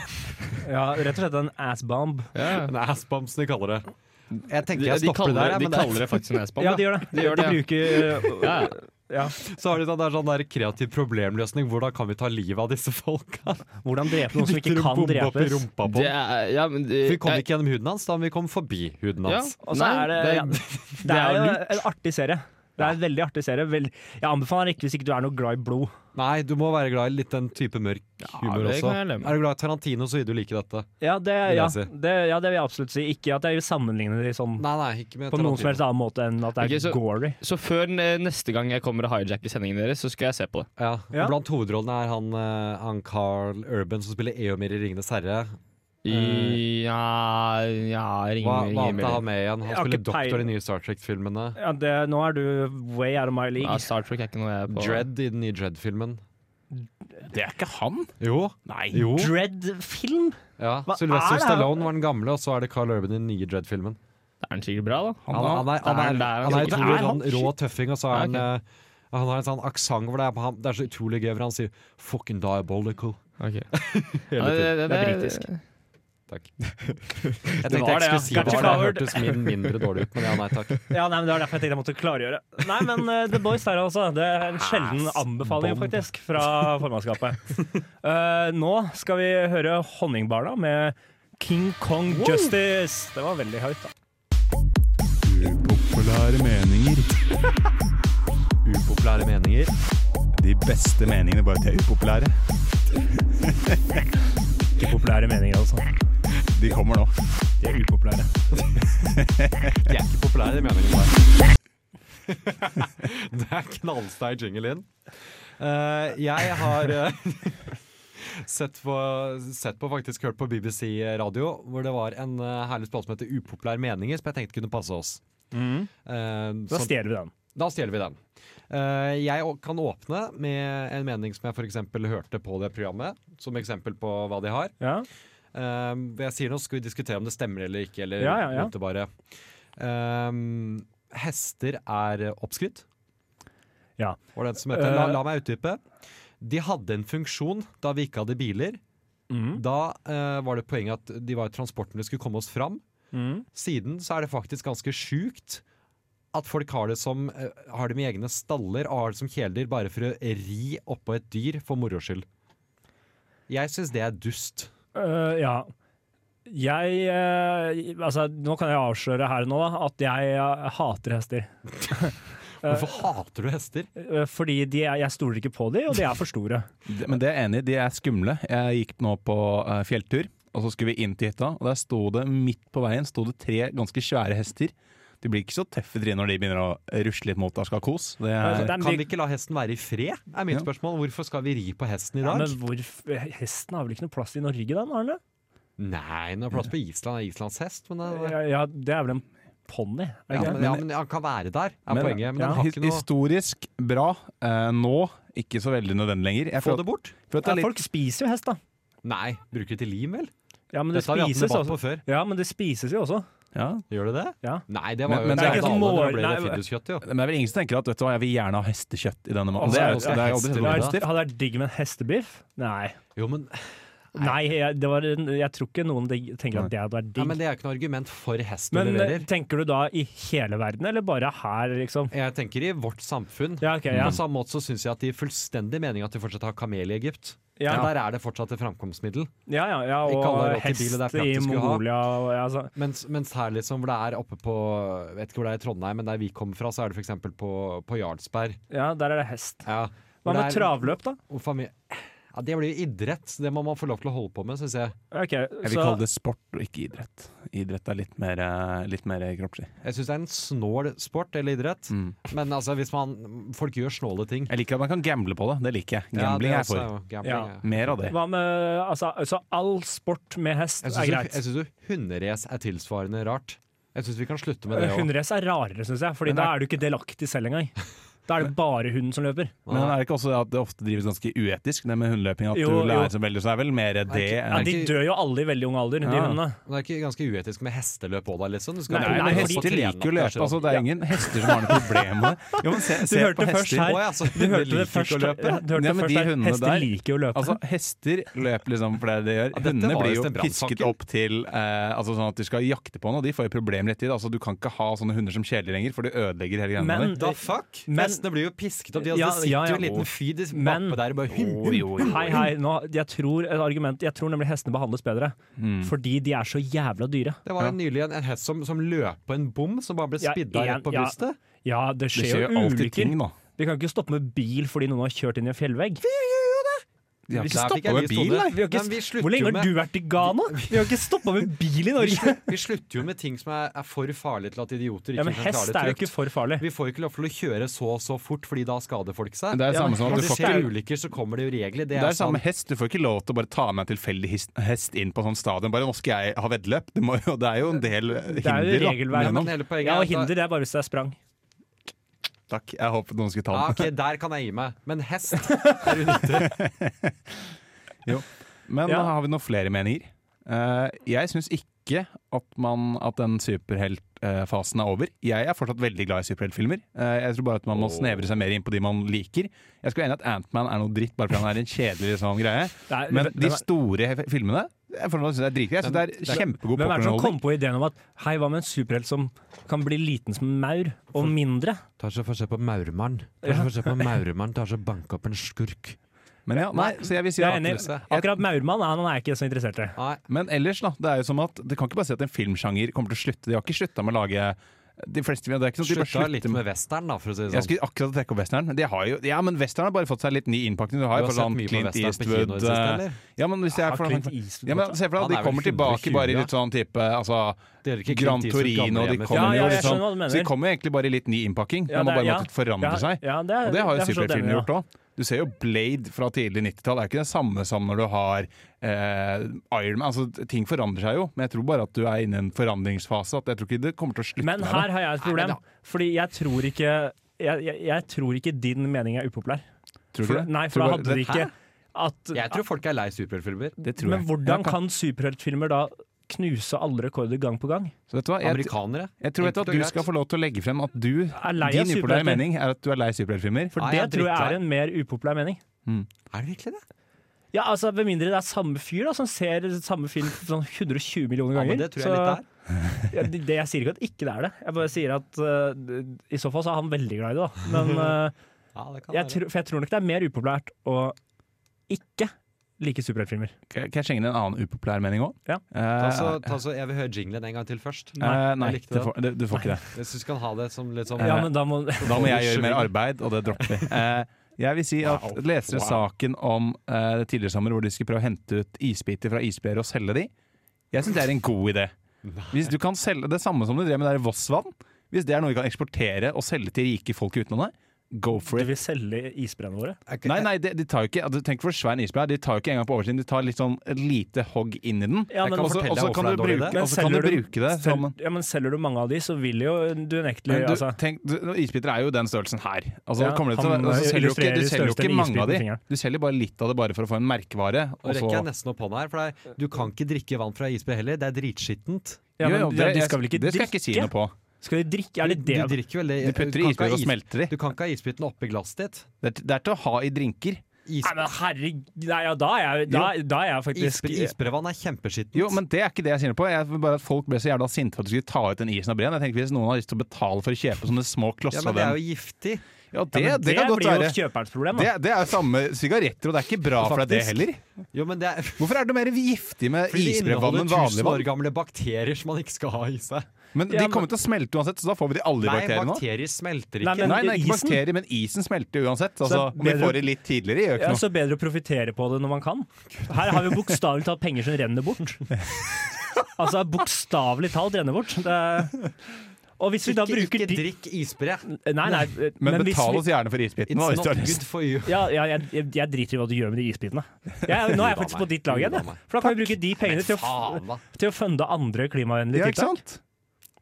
Speaker 2: Ja, rett og slett en assbomb.
Speaker 8: Ja.
Speaker 3: En assbomb, som de kaller det. Jeg
Speaker 8: De,
Speaker 3: tenker jeg
Speaker 8: de,
Speaker 3: stopper
Speaker 8: kaller,
Speaker 3: der, jeg,
Speaker 8: det- de
Speaker 3: men det,
Speaker 8: kaller det faktisk en S-bomb.
Speaker 2: Ja, de gjør det.
Speaker 8: De gjør det, ja.
Speaker 2: bruker eh,
Speaker 8: Ja, ja.
Speaker 2: ja.
Speaker 3: så har de sånn, der, sånn der kreativ problemløsning. Hvordan kan vi ta livet av disse folka?
Speaker 2: Hvordan drepe noen som
Speaker 3: Dytter
Speaker 2: ikke
Speaker 3: en
Speaker 2: kan
Speaker 3: bombe opp i
Speaker 2: drepes.
Speaker 3: rumpa på
Speaker 8: Det
Speaker 3: han.
Speaker 8: er, ja, men det,
Speaker 3: For vi kom ikke gjennom huden hans, da men vi kom forbi huden
Speaker 8: ja.
Speaker 3: hans.
Speaker 2: Og så
Speaker 8: Nei,
Speaker 2: er det, ja,
Speaker 8: det,
Speaker 2: det
Speaker 8: er
Speaker 2: er jo
Speaker 8: lurt.
Speaker 2: en artig serie. Det er en veldig artig serie. Vel, jeg anbefaler ikke hvis ikke du er noe glad i blod.
Speaker 3: Nei, du må være glad i litt den type mørk humor
Speaker 8: det
Speaker 3: også.
Speaker 8: kan jeg
Speaker 3: Er
Speaker 8: leve med.
Speaker 3: du glad i Tarantino, så vil du like dette.
Speaker 2: Ja, det,
Speaker 3: Vil jeg
Speaker 2: ja,
Speaker 3: si.
Speaker 2: det, ja, det vil jeg absolutt si. Ikke at jeg vil sammenligne de sånn
Speaker 3: Nei, nei, ikke med
Speaker 2: på noen som helst
Speaker 3: Tarantino.
Speaker 2: annen måte enn at det er
Speaker 8: Ok, så-
Speaker 2: gory.
Speaker 8: Så før n- neste gang jeg kommer og hijacker sendingen deres, så skal jeg se på det.
Speaker 3: Ja.
Speaker 2: Ja.
Speaker 3: Blant hovedrollene er han, eh, han Carl Urban som spiller Eomir i 'Ringenes herre'.
Speaker 8: I, ja, ja ring,
Speaker 3: Hva, hva
Speaker 8: ring,
Speaker 3: annet er han med igjen?
Speaker 2: Jeg
Speaker 3: Han
Speaker 2: har
Speaker 3: spiller
Speaker 2: ikke
Speaker 3: doktor i
Speaker 2: peiling.
Speaker 3: de nye Star Trek-filmene.
Speaker 2: Ja, det, nå er du way out of my
Speaker 8: Ja,
Speaker 2: league.
Speaker 8: Star Trek er ikke noe jeg er på.
Speaker 3: Dread i den nye Dread-filmen.
Speaker 5: Det er ikke han!
Speaker 3: Jo.
Speaker 5: Nei.
Speaker 3: jo.
Speaker 2: Dread-film?
Speaker 3: Ja.
Speaker 2: Hva er
Speaker 3: Sylvester
Speaker 2: det her?
Speaker 3: Stallone var den gamle, og så er det Carl Urban i den nye Dread-filmen.
Speaker 8: Det er den sikkert bra, da.
Speaker 3: Han,
Speaker 5: Han, han,
Speaker 3: han er, han er,
Speaker 8: Der,
Speaker 3: han
Speaker 8: der,
Speaker 3: er,
Speaker 8: han er
Speaker 3: utrolig
Speaker 8: ikke-
Speaker 3: sånn rå tøffing, og så er
Speaker 8: Ja,
Speaker 3: han eh, han har en sånn aksent hvor det er, han, det er så utrolig gøy, for han sier 'fucking diabolical'
Speaker 8: Ok. Ja,
Speaker 3: hele tiden.
Speaker 2: Det er britisk.
Speaker 3: Takk. Jeg tenkte jeg
Speaker 8: var det, ja.
Speaker 3: skulle si det,
Speaker 2: Gotcha
Speaker 3: for det
Speaker 2: covered.
Speaker 3: hørtes min mindre dårlig ut, men ja, nei takk.
Speaker 2: Ja, nei, men Det var derfor jeg tenkte jeg måtte klargjøre. Nei, men eh, The Boys der også. Det er en sjelden anbefaling faktisk fra formannskapet. Eh, nå skal vi høre Honningbarna med King Kong Justice. Det var veldig høyt, da.
Speaker 5: Upopulære meninger.
Speaker 3: Upopulære meninger.
Speaker 5: De beste meningene, bare at de er upopulære.
Speaker 2: Ikke populære meninger, altså.
Speaker 5: De kommer nå.
Speaker 2: De er upopulære.
Speaker 3: De er ikke populære, de meningene der. det er knallsteig jingle inn. Eh, jeg har eh, sett, på, sett på, faktisk hørt på BBC radio, hvor det var en eh, herlig spalte som heter Upopulær meninger, som jeg tenkte kunne passe oss.
Speaker 2: Mm.
Speaker 3: Eh,
Speaker 2: Da
Speaker 3: sånn-
Speaker 2: stjeler vi den.
Speaker 3: da stjeler vi den. Eh, jeg å- kan åpne med en mening som jeg f.eks. hørte på det programmet, som eksempel på hva de har.
Speaker 2: Ja.
Speaker 3: Um, jeg sier nå skal vi diskutere om det stemmer eller ikke, eller
Speaker 2: Ja, ja, ja.
Speaker 3: vente bare. Um, hester er oppskrytt.
Speaker 2: Ja.
Speaker 3: Var det en som heter. La, la meg utdype. De hadde en funksjon da vi ikke hadde biler.
Speaker 2: Mm.
Speaker 3: Da eh, var det poenget at de var transporten vi skulle komme oss fram.
Speaker 2: Mm.
Speaker 3: Siden så er det faktisk ganske sjukt at folk har det som eh, Har dem i egne staller og har det som kjæledyr bare for å ri oppå et dyr for moro skyld. Jeg syns det er dust.
Speaker 2: Øh, ja. Jeg eh, Altså, nå kan jeg avsløre her nå da, at jeg eh, hater hester.
Speaker 3: Hvorfor hater du hester?
Speaker 2: Eh, Fordi de er, jeg stoler ikke på de, og de er for store.
Speaker 5: Det- Men det er jeg enig i, de er skumle. Jeg gikk nå på eh, fjelltur, og så skulle vi inn til hytta. Og der sto det midt på veien sto det tre ganske svære hester. De blir ikke så tøffe Trine, når de begynner å rusle litt mot deg og skal ha kos. Det
Speaker 2: Altså,
Speaker 5: er,
Speaker 2: det er
Speaker 3: Kan
Speaker 2: mye-
Speaker 3: vi ikke la hesten være i fred? Er mitt
Speaker 5: Ja.
Speaker 3: spørsmål. Hvorfor skal vi ri på hesten i
Speaker 2: Ja,
Speaker 3: dag?
Speaker 2: men hvor, hesten har vel ikke noe plass i Norge, den? Arne?
Speaker 3: Nei, den har plass på Island. Det er Islands hest. Men, det-
Speaker 2: Ja, ja, det er vel en ponni? er det
Speaker 3: Altså. ja,
Speaker 2: ikke
Speaker 3: men,
Speaker 2: det?
Speaker 3: ja, men han kan være der, er
Speaker 5: Men-
Speaker 3: poenget. Men
Speaker 2: ja,
Speaker 3: den har
Speaker 5: his-
Speaker 3: ikke noe
Speaker 5: historisk bra. Eh, nå ikke så veldig nødvendig lenger. Jeg
Speaker 3: Få
Speaker 5: føler
Speaker 3: det bort?
Speaker 5: at- føler at det er litt-
Speaker 2: Folk spiser jo hest, da.
Speaker 3: Nei. Bruker det til lim, vel?
Speaker 2: Ja, men det
Speaker 3: Dette har vi hatt en
Speaker 2: spises,
Speaker 3: debatt
Speaker 2: også.
Speaker 3: på før.
Speaker 2: Ja, men det spises jo også.
Speaker 5: ja.
Speaker 3: Gjør det det?
Speaker 2: Ja.
Speaker 3: Nei, det
Speaker 5: Men-
Speaker 3: var jo
Speaker 5: men det er ikke
Speaker 3: skandale
Speaker 2: sånn
Speaker 3: når
Speaker 2: mål-
Speaker 3: det ble
Speaker 2: nei,
Speaker 3: det finduskjøtt, jo.
Speaker 5: Men det er vel ingen som tenker at vet du hva, jeg vil gjerne ha hestekjøtt i denne maten.
Speaker 3: Altså,
Speaker 5: Det er,
Speaker 3: nå
Speaker 5: jo-
Speaker 3: skal
Speaker 5: det er jo aldri
Speaker 3: hester
Speaker 5: sånn
Speaker 2: Det
Speaker 5: det
Speaker 3: være-
Speaker 5: er.
Speaker 2: hadde det vært digg med en hestebiff? Nei.
Speaker 3: Jo, men,
Speaker 2: Nei, jeg, det var, en- jeg tror ikke noen digg- tenker at det hadde vært
Speaker 3: nei,
Speaker 2: digg.
Speaker 3: men det er jo ikke noe argument for hesten
Speaker 2: Men
Speaker 3: du
Speaker 2: eh,
Speaker 3: leverer.
Speaker 2: tenker du da i hele verden, eller bare her, liksom?
Speaker 3: Jeg tenker i vårt samfunn.
Speaker 2: Ja, ok, ja.
Speaker 3: På samme måte så syns jeg at det gir fullstendig mening at de fortsatt har kamel i Egypt.
Speaker 2: Ja.
Speaker 3: Men Der er det fortsatt et framkomstmiddel.
Speaker 2: Ja, ja, ja
Speaker 3: Ikke alle
Speaker 2: og
Speaker 3: har råd til
Speaker 2: hest
Speaker 3: bil, og det er
Speaker 2: i
Speaker 3: praktisk å ha.
Speaker 2: Mongolia og ja, altså.
Speaker 3: Mens, mens her liksom, hvor det er oppe på jeg Vet ikke hvor det er i Trondheim, men der vi kommer fra, så er det f.eks. på, på Jarlsberg.
Speaker 2: ja, der er det hest.
Speaker 3: Ja,
Speaker 2: Hva
Speaker 3: hvor
Speaker 2: med
Speaker 3: det er-
Speaker 2: travløp, da?
Speaker 3: hvor famil- Ja, det blir jo idrett, så det må man få lov til å holde på med, syns jeg.
Speaker 2: Ok,
Speaker 5: Jeg vil
Speaker 2: så
Speaker 5: kalle det sport og ikke idrett. Idrett er litt mer, eh, litt mer kroppslig.
Speaker 3: Jeg syns det er en snål sport eller idrett,
Speaker 2: Mm.
Speaker 3: men altså, hvis man Folk gjør snåle ting.
Speaker 5: Jeg liker at man kan gamble på det. Det liker jeg.
Speaker 3: Ja, det
Speaker 5: Gambling er jeg
Speaker 3: også
Speaker 5: for.
Speaker 3: jo gambling,
Speaker 2: Ja. Mm.
Speaker 3: ja.
Speaker 5: Mer av det.
Speaker 2: hva med altså, altså all sport med hest
Speaker 3: Jeg
Speaker 2: er
Speaker 3: syns jo,
Speaker 2: greit.
Speaker 3: jeg synes jo hunderace er tilsvarende rart. Jeg syns vi kan slutte med det òg.
Speaker 2: Hunderace er rarere, syns jeg, Fordi
Speaker 5: Men
Speaker 2: da
Speaker 5: er-
Speaker 2: er du ikke delaktig selv engang. Da er det bare hunden som løper.
Speaker 5: Men er det ikke også det at det ofte drives ganske uetisk, det med hundeløping? At
Speaker 2: Jo,
Speaker 5: du lærer
Speaker 2: jo.
Speaker 5: så veldig, så er vel mer det
Speaker 2: Ja,
Speaker 5: enn
Speaker 2: De
Speaker 3: ikke-
Speaker 2: dør jo alle i veldig ung alder, de
Speaker 5: Ja.
Speaker 2: hundene.
Speaker 3: Men det er ikke ganske uetisk med hesteløp òg, da, liksom? Du
Speaker 5: Nei,
Speaker 2: Nei,
Speaker 5: men
Speaker 2: nei, fordi-
Speaker 5: hester liker jo å løpe. Altså, det er ingen hester som har noe problem med det. Jo, men se,
Speaker 2: Du
Speaker 5: se
Speaker 2: hørte
Speaker 5: på
Speaker 2: det først
Speaker 5: hester.
Speaker 2: her.
Speaker 3: Å, ja, så
Speaker 2: Du
Speaker 3: hundene
Speaker 2: hørte det
Speaker 3: liker
Speaker 2: først,
Speaker 3: ikke å
Speaker 2: ja,
Speaker 3: løpe.
Speaker 2: du hørte
Speaker 5: Ja,
Speaker 2: det
Speaker 5: men
Speaker 2: først
Speaker 5: de
Speaker 2: her.
Speaker 5: hundene
Speaker 2: Hester
Speaker 5: der-
Speaker 2: liker jo å løpe.
Speaker 5: Altså, hester løper liksom for det er det de gjør.
Speaker 3: dette
Speaker 5: Hundene
Speaker 3: var
Speaker 5: blir
Speaker 3: jo
Speaker 5: jo
Speaker 3: Sten Brandsaker.
Speaker 5: pisket opp til eh, altså sånn at de skal jakte på noe. De får jo problemer litt i det. Altså, du kan ikke ha sånne hunder som kjæledyr lenger, for du ødelegger hele greia
Speaker 2: Men-
Speaker 5: di.
Speaker 3: Da fuck!
Speaker 2: Men-
Speaker 3: Hestene blir jo pisket opp. De, altså,
Speaker 2: Ja,
Speaker 3: det sitter
Speaker 2: ja, ja.
Speaker 3: jo en liten fyr i
Speaker 2: Men-
Speaker 3: bakpå der og bare
Speaker 2: Hei, hei. Nå, jeg tror et argument Jeg tror nemlig hestene behandles bedre. Fordi de er så jævla dyre.
Speaker 3: Det var jo nylig en, en hest som, som løp på en bom, som bare ble
Speaker 2: Ja,
Speaker 3: spidda
Speaker 2: igjen,
Speaker 3: rett på
Speaker 2: ja.
Speaker 3: brystet.
Speaker 2: Ja, det
Speaker 5: Det skjer
Speaker 2: skjer
Speaker 5: jo
Speaker 2: jo
Speaker 5: alltid ting,
Speaker 2: ulykker.
Speaker 5: da.
Speaker 2: Vi kan ikke stoppe med bil fordi noen har kjørt inn i en fjellvegg. Vi
Speaker 5: Ja,
Speaker 3: Der fikk jeg lyst, Odd.
Speaker 2: har ikke,
Speaker 3: Men vi
Speaker 2: hvor
Speaker 3: slutter jo
Speaker 2: lenge
Speaker 3: med-
Speaker 2: har du vært i Ghana? Vi har ikke stoppa med bil i Norge!
Speaker 3: Vi slutter jo med ting som er, er for farlig til at idioter ikke
Speaker 2: Ja, men
Speaker 3: kan
Speaker 2: hest
Speaker 3: klare
Speaker 2: er
Speaker 3: det
Speaker 2: jo ikke
Speaker 3: trygt.
Speaker 2: for farlig.
Speaker 3: Vi får jo ikke lov til å kjøre så og så fort, fordi da skader folk seg.
Speaker 5: Det er det
Speaker 2: Ja,
Speaker 5: samme
Speaker 2: men
Speaker 5: som at
Speaker 3: Når
Speaker 5: du
Speaker 3: det
Speaker 5: får
Speaker 3: skjer
Speaker 5: ikke
Speaker 3: ulykker, så kommer det jo regler. Det,
Speaker 5: Det er
Speaker 3: er sant.
Speaker 5: samme hest. Du får ikke lov til å bare ta med en tilfeldig his- hest inn på sånn stadion. Bare 'nå skal jeg ha veddeløp'. Det, må jo- det er jo en del hinder.
Speaker 2: Det er jo
Speaker 5: da,
Speaker 2: regelverk.
Speaker 5: gjennom.
Speaker 3: Men hele poenget
Speaker 2: Ja,
Speaker 3: er
Speaker 2: og
Speaker 3: at da-
Speaker 2: hinder det er bare hvis jeg sprang.
Speaker 5: Takk. Jeg håpet noen skulle
Speaker 3: Ja,
Speaker 5: ta
Speaker 3: ok,
Speaker 5: den.
Speaker 3: Der kan jeg gi meg, men hest
Speaker 5: Men eh,
Speaker 2: Ja.
Speaker 5: har vi noen flere meninger? Eh, jeg syns ikke at, man, at den superheltfasen er over. Jeg er fortsatt veldig glad i superheltfilmer. Eh, jeg tror bare at man må snevre seg mer inn på de man liker. Jeg skal være enig i at Antman er noe dritt, bare fordi han er en kjedelig liksom, greie.
Speaker 2: Nei,
Speaker 5: Men
Speaker 2: hvem
Speaker 5: de
Speaker 2: er-
Speaker 5: store he- filmene jeg for meg synes jeg er dritgøy. Jeg synes det er kjempegod
Speaker 2: Hvem er det som kom
Speaker 5: popkornunderholdning.
Speaker 2: på ideen om at hei, hva med en superhelt som kan bli liten som en maur, og mindre?
Speaker 3: Tar seg for å se på Maurmann. Tar seg for å se på Maurmann, tar seg og banker opp en skurk.
Speaker 5: Men ja, nei, så jeg vil si
Speaker 2: Jeg er
Speaker 5: at-
Speaker 2: enig.
Speaker 5: Jeg-
Speaker 2: Akkurat maurmann er han er jeg ikke så interessert i.
Speaker 3: Nei,
Speaker 5: Men ellers, da. Det er jo som at det kan ikke bare si at en filmsjanger kommer til å slutte. De har ikke slutta med å lage de fleste Det er ikke sånn at de
Speaker 3: slutta
Speaker 5: bare slutter
Speaker 3: litt med western, da, for å si det
Speaker 5: Jeg
Speaker 3: sånn.
Speaker 5: skulle akkurat trekke opp western. men De har jo, ja, men western har bare fått seg litt ny innpakning.
Speaker 3: Du
Speaker 5: Du har,
Speaker 3: har
Speaker 5: jo for
Speaker 3: sett
Speaker 5: sånn
Speaker 3: mye på
Speaker 5: Clint
Speaker 3: western på kino i det
Speaker 5: Eastwood
Speaker 3: siste,
Speaker 5: eh,
Speaker 3: eller?
Speaker 5: ja, men hvis jeg er
Speaker 2: Ah,
Speaker 5: for,
Speaker 2: Clint Eastwood,
Speaker 5: ja, men, altså, Se for
Speaker 3: Han
Speaker 5: deg at
Speaker 3: er
Speaker 5: de
Speaker 3: vel
Speaker 5: kommer tilbake bare i
Speaker 3: 120,
Speaker 5: litt sånn type altså,
Speaker 3: Det er ikke Clint
Speaker 5: Gran
Speaker 3: Eastwood
Speaker 5: Torino
Speaker 3: gamle
Speaker 5: de
Speaker 3: hjemme,
Speaker 5: kommer
Speaker 2: Ja,
Speaker 5: jo
Speaker 2: ja, jeg
Speaker 5: liksom,
Speaker 2: skjønner hva du
Speaker 5: Så de
Speaker 2: mener.
Speaker 5: kommer jo egentlig bare i litt ny innpakking.
Speaker 2: Ja, det
Speaker 5: de må
Speaker 2: er-
Speaker 5: bare
Speaker 2: ja.
Speaker 5: måttet forandre
Speaker 2: Ja,
Speaker 5: seg.
Speaker 2: ja, det er-
Speaker 5: og det har
Speaker 2: det er
Speaker 5: jo
Speaker 2: for så vidt
Speaker 5: superheltfilmene
Speaker 2: enig,
Speaker 5: gjort òg. Du ser jo Blade fra tidlig 90-tall. Det er ikke det samme som når du har eh, Iron Man. Altså, ting forandrer seg jo, men jeg tror bare at du er inne i en forandringsfase. At jeg tror ikke det kommer til å slutte
Speaker 2: Men
Speaker 5: med
Speaker 2: her
Speaker 5: det.
Speaker 2: har jeg et problem, fordi jeg tror ikke jeg, jeg, jeg tror ikke din mening er upopulær.
Speaker 5: Tror du
Speaker 2: For,
Speaker 5: ikke det?
Speaker 2: nei,
Speaker 5: Tror
Speaker 2: for da
Speaker 5: du-
Speaker 2: hadde de
Speaker 5: det-
Speaker 2: ikke
Speaker 5: Hæ?
Speaker 2: at,
Speaker 3: Jeg tror folk er lei superheltfilmer.
Speaker 5: Det tror
Speaker 2: Men
Speaker 5: jeg.
Speaker 2: hvordan
Speaker 5: Jeg kan-
Speaker 2: kan superheltfilmer da knuse alle rekorder gang på gang?
Speaker 5: Så vet du hva? Jeg,
Speaker 3: Amerikanere.
Speaker 5: jeg tror vet
Speaker 3: Enkelt
Speaker 5: du at
Speaker 3: og
Speaker 5: du
Speaker 3: greit.
Speaker 5: skal få lov til å legge frem at du
Speaker 2: Er lei av Ah.
Speaker 5: Din upopulære
Speaker 2: superhelter.
Speaker 5: mening er at du er lei superheltfilmer.
Speaker 2: For
Speaker 3: Nei,
Speaker 2: det
Speaker 3: jeg er
Speaker 2: tror jeg
Speaker 3: drittlei.
Speaker 2: er en mer upopulær mening.
Speaker 3: Er det virkelig det?
Speaker 2: Ja, altså Med mindre det er samme fyr da som ser samme film sånn 120 millioner
Speaker 3: Ja,
Speaker 2: ganger.
Speaker 3: men det tror jeg
Speaker 2: så-
Speaker 3: litt det er.
Speaker 2: Ja, det, det, jeg sier ikke at ikke det er det. Jeg bare sier at eh, i så fall så er han veldig glad i det. da Men eh,
Speaker 3: Ja, det kan
Speaker 2: jeg,
Speaker 3: være.
Speaker 2: tror- For jeg tror nok det er mer upopulært å ikke like superheltfilmer.
Speaker 5: Kan kan jeg skjenge deg en annen upopulær mening òg?
Speaker 2: Ja.
Speaker 3: Ta så, ta så, jeg vil høre jinglen en gang til først.
Speaker 5: Nei, nei
Speaker 3: jeg likte
Speaker 5: du, får, du, du får ikke det.
Speaker 3: Jeg syns du kan ha det som litt sånn
Speaker 2: Ja, men da må
Speaker 5: Da må jeg gjøre mer arbeid, og det dropper vi. Eh, jeg vil si at leser du saken om eh, tidligere sommer hvor de skulle prøve å hente ut isbiter fra isbjørn og selge de, jeg syns det er en god idé. Hvis du kan selge det samme som du drev med der i Vossvann, hvis det er noe vi kan eksportere og selge til rike folk i utlandet, go for
Speaker 2: Du
Speaker 5: it.
Speaker 2: vil selge isbreene våre?
Speaker 5: Nei, nei, de, de tar jo ikke altså, Tenk for svær en isbjørn er, de tar jo ikke engang på oversiden, de tar litt sånn lite hogg inn i den.
Speaker 2: Ja,
Speaker 3: Jeg
Speaker 2: men,
Speaker 3: kan
Speaker 5: Og så-
Speaker 3: fortelle deg
Speaker 5: og så
Speaker 3: hvorfor
Speaker 5: kan
Speaker 3: det
Speaker 5: du
Speaker 3: er en dårlig idé.
Speaker 5: bruke og så kan du bruke det som en
Speaker 2: sel, ja, men selger du mange av de, så vil jo du unektelig
Speaker 5: Men du,
Speaker 2: altså,
Speaker 5: tenk, du, isbiter er jo den størrelsen her. Altså,
Speaker 2: Ja,
Speaker 5: kommer det til, å-
Speaker 2: han,
Speaker 5: altså,
Speaker 2: eh,
Speaker 5: selger jo ikke,
Speaker 2: illustrerer
Speaker 5: du selger jo
Speaker 2: størrelsen
Speaker 5: ikke
Speaker 2: i
Speaker 5: mange av
Speaker 2: isbiten på
Speaker 5: de.
Speaker 2: fingeren.
Speaker 5: Du selger bare litt av det bare for å få en merkevare.
Speaker 3: Og
Speaker 5: Og
Speaker 3: rekker jeg
Speaker 5: så,
Speaker 3: nesten opp hånda her, for det er, du kan ikke drikke vann fra isbre heller. Det er dritskittent.
Speaker 2: ja, men,
Speaker 5: Jo, jo,
Speaker 2: de- De skal vel ikke
Speaker 5: det skal jeg
Speaker 2: drikke?
Speaker 5: ikke si noe på.
Speaker 2: Skal de drikke? Er det
Speaker 3: Du
Speaker 2: det?
Speaker 3: drikker vel det
Speaker 5: Du putter i
Speaker 3: kan ikke ha
Speaker 5: isbiter og
Speaker 3: is-
Speaker 5: smelter i.
Speaker 3: Du kan ikke ha isbiten oppi glasset ditt.
Speaker 5: Det er, det er til å ha i drinker.
Speaker 3: Is,
Speaker 2: Nei, men herregud Nei, ja, da er jeg, da, da er jeg faktisk
Speaker 3: isbre, isbrevann er kjempeskittent.
Speaker 5: Jo, men det er ikke det jeg sier noe på. Jeg vil bare at Folk ble så jævla sinte for at du skulle ta ut den isen av breen. Jeg tenker Hvis noen har lyst til å betale for å kjøpe sånne små
Speaker 3: ja,
Speaker 5: klosser
Speaker 3: men
Speaker 5: av
Speaker 3: det er
Speaker 5: den
Speaker 3: jo giftig.
Speaker 5: Ja, det,
Speaker 2: Ja, men
Speaker 5: det kan godt
Speaker 2: blir
Speaker 5: være.
Speaker 2: jo kjøperens problem,
Speaker 5: Det,
Speaker 2: da.
Speaker 5: det er jo samme sigaretter, og det er ikke bra for deg, det
Speaker 3: Faktisk.
Speaker 5: heller.
Speaker 3: Jo, men det er
Speaker 5: Hvorfor er det noe mer giftig med
Speaker 3: fordi det
Speaker 5: isbrevann
Speaker 3: inneholder
Speaker 5: enn vanlig
Speaker 3: tusen år
Speaker 5: vann?
Speaker 3: gamle bakterier som man ikke skal ha i seg.
Speaker 5: Men
Speaker 2: Ja,
Speaker 5: de
Speaker 2: men-
Speaker 5: kommer til å smelte uansett, så da får vi de alle
Speaker 3: Nei,
Speaker 5: bakteriene nå.
Speaker 3: bakterier smelter
Speaker 2: Nei,
Speaker 3: ikke.
Speaker 2: men
Speaker 5: Nei, nei, ikke
Speaker 2: isen-
Speaker 5: bakterier, men isen smelter jo uansett. Altså,
Speaker 2: Så
Speaker 5: om vi
Speaker 2: bedre-
Speaker 5: får det litt tidligere, gjør
Speaker 2: Ja,
Speaker 5: ikke noe.
Speaker 2: så bedre å profitere på det når man kan. Her har vi bokstavelig talt penger som renner bort. Altså bokstavelig talt renner bort. Det er... Og hvis vi da
Speaker 3: Ikke,
Speaker 2: bruker
Speaker 3: ikke
Speaker 2: de-
Speaker 3: drikk isbre.
Speaker 2: Nei, nei,
Speaker 5: Men,
Speaker 2: hvis
Speaker 5: betal
Speaker 2: vi-
Speaker 5: oss gjerne for
Speaker 3: It's
Speaker 5: isbiten. da, hvis
Speaker 3: not
Speaker 5: du har lyst.
Speaker 3: good for you.
Speaker 2: Ja, ja jeg, jeg- jeg driter i hva du gjør med de isbitene. Jeg, nå er jeg
Speaker 3: Uda
Speaker 2: faktisk
Speaker 3: meg,
Speaker 2: på ditt lag igjen,
Speaker 3: uda
Speaker 2: jeg.
Speaker 3: meg.
Speaker 2: for da kan vi bruke de pengene til å,
Speaker 3: Faen, da.
Speaker 2: til å funde andre klimavennlige
Speaker 5: Ja, ikke
Speaker 2: tiltak.
Speaker 5: sant?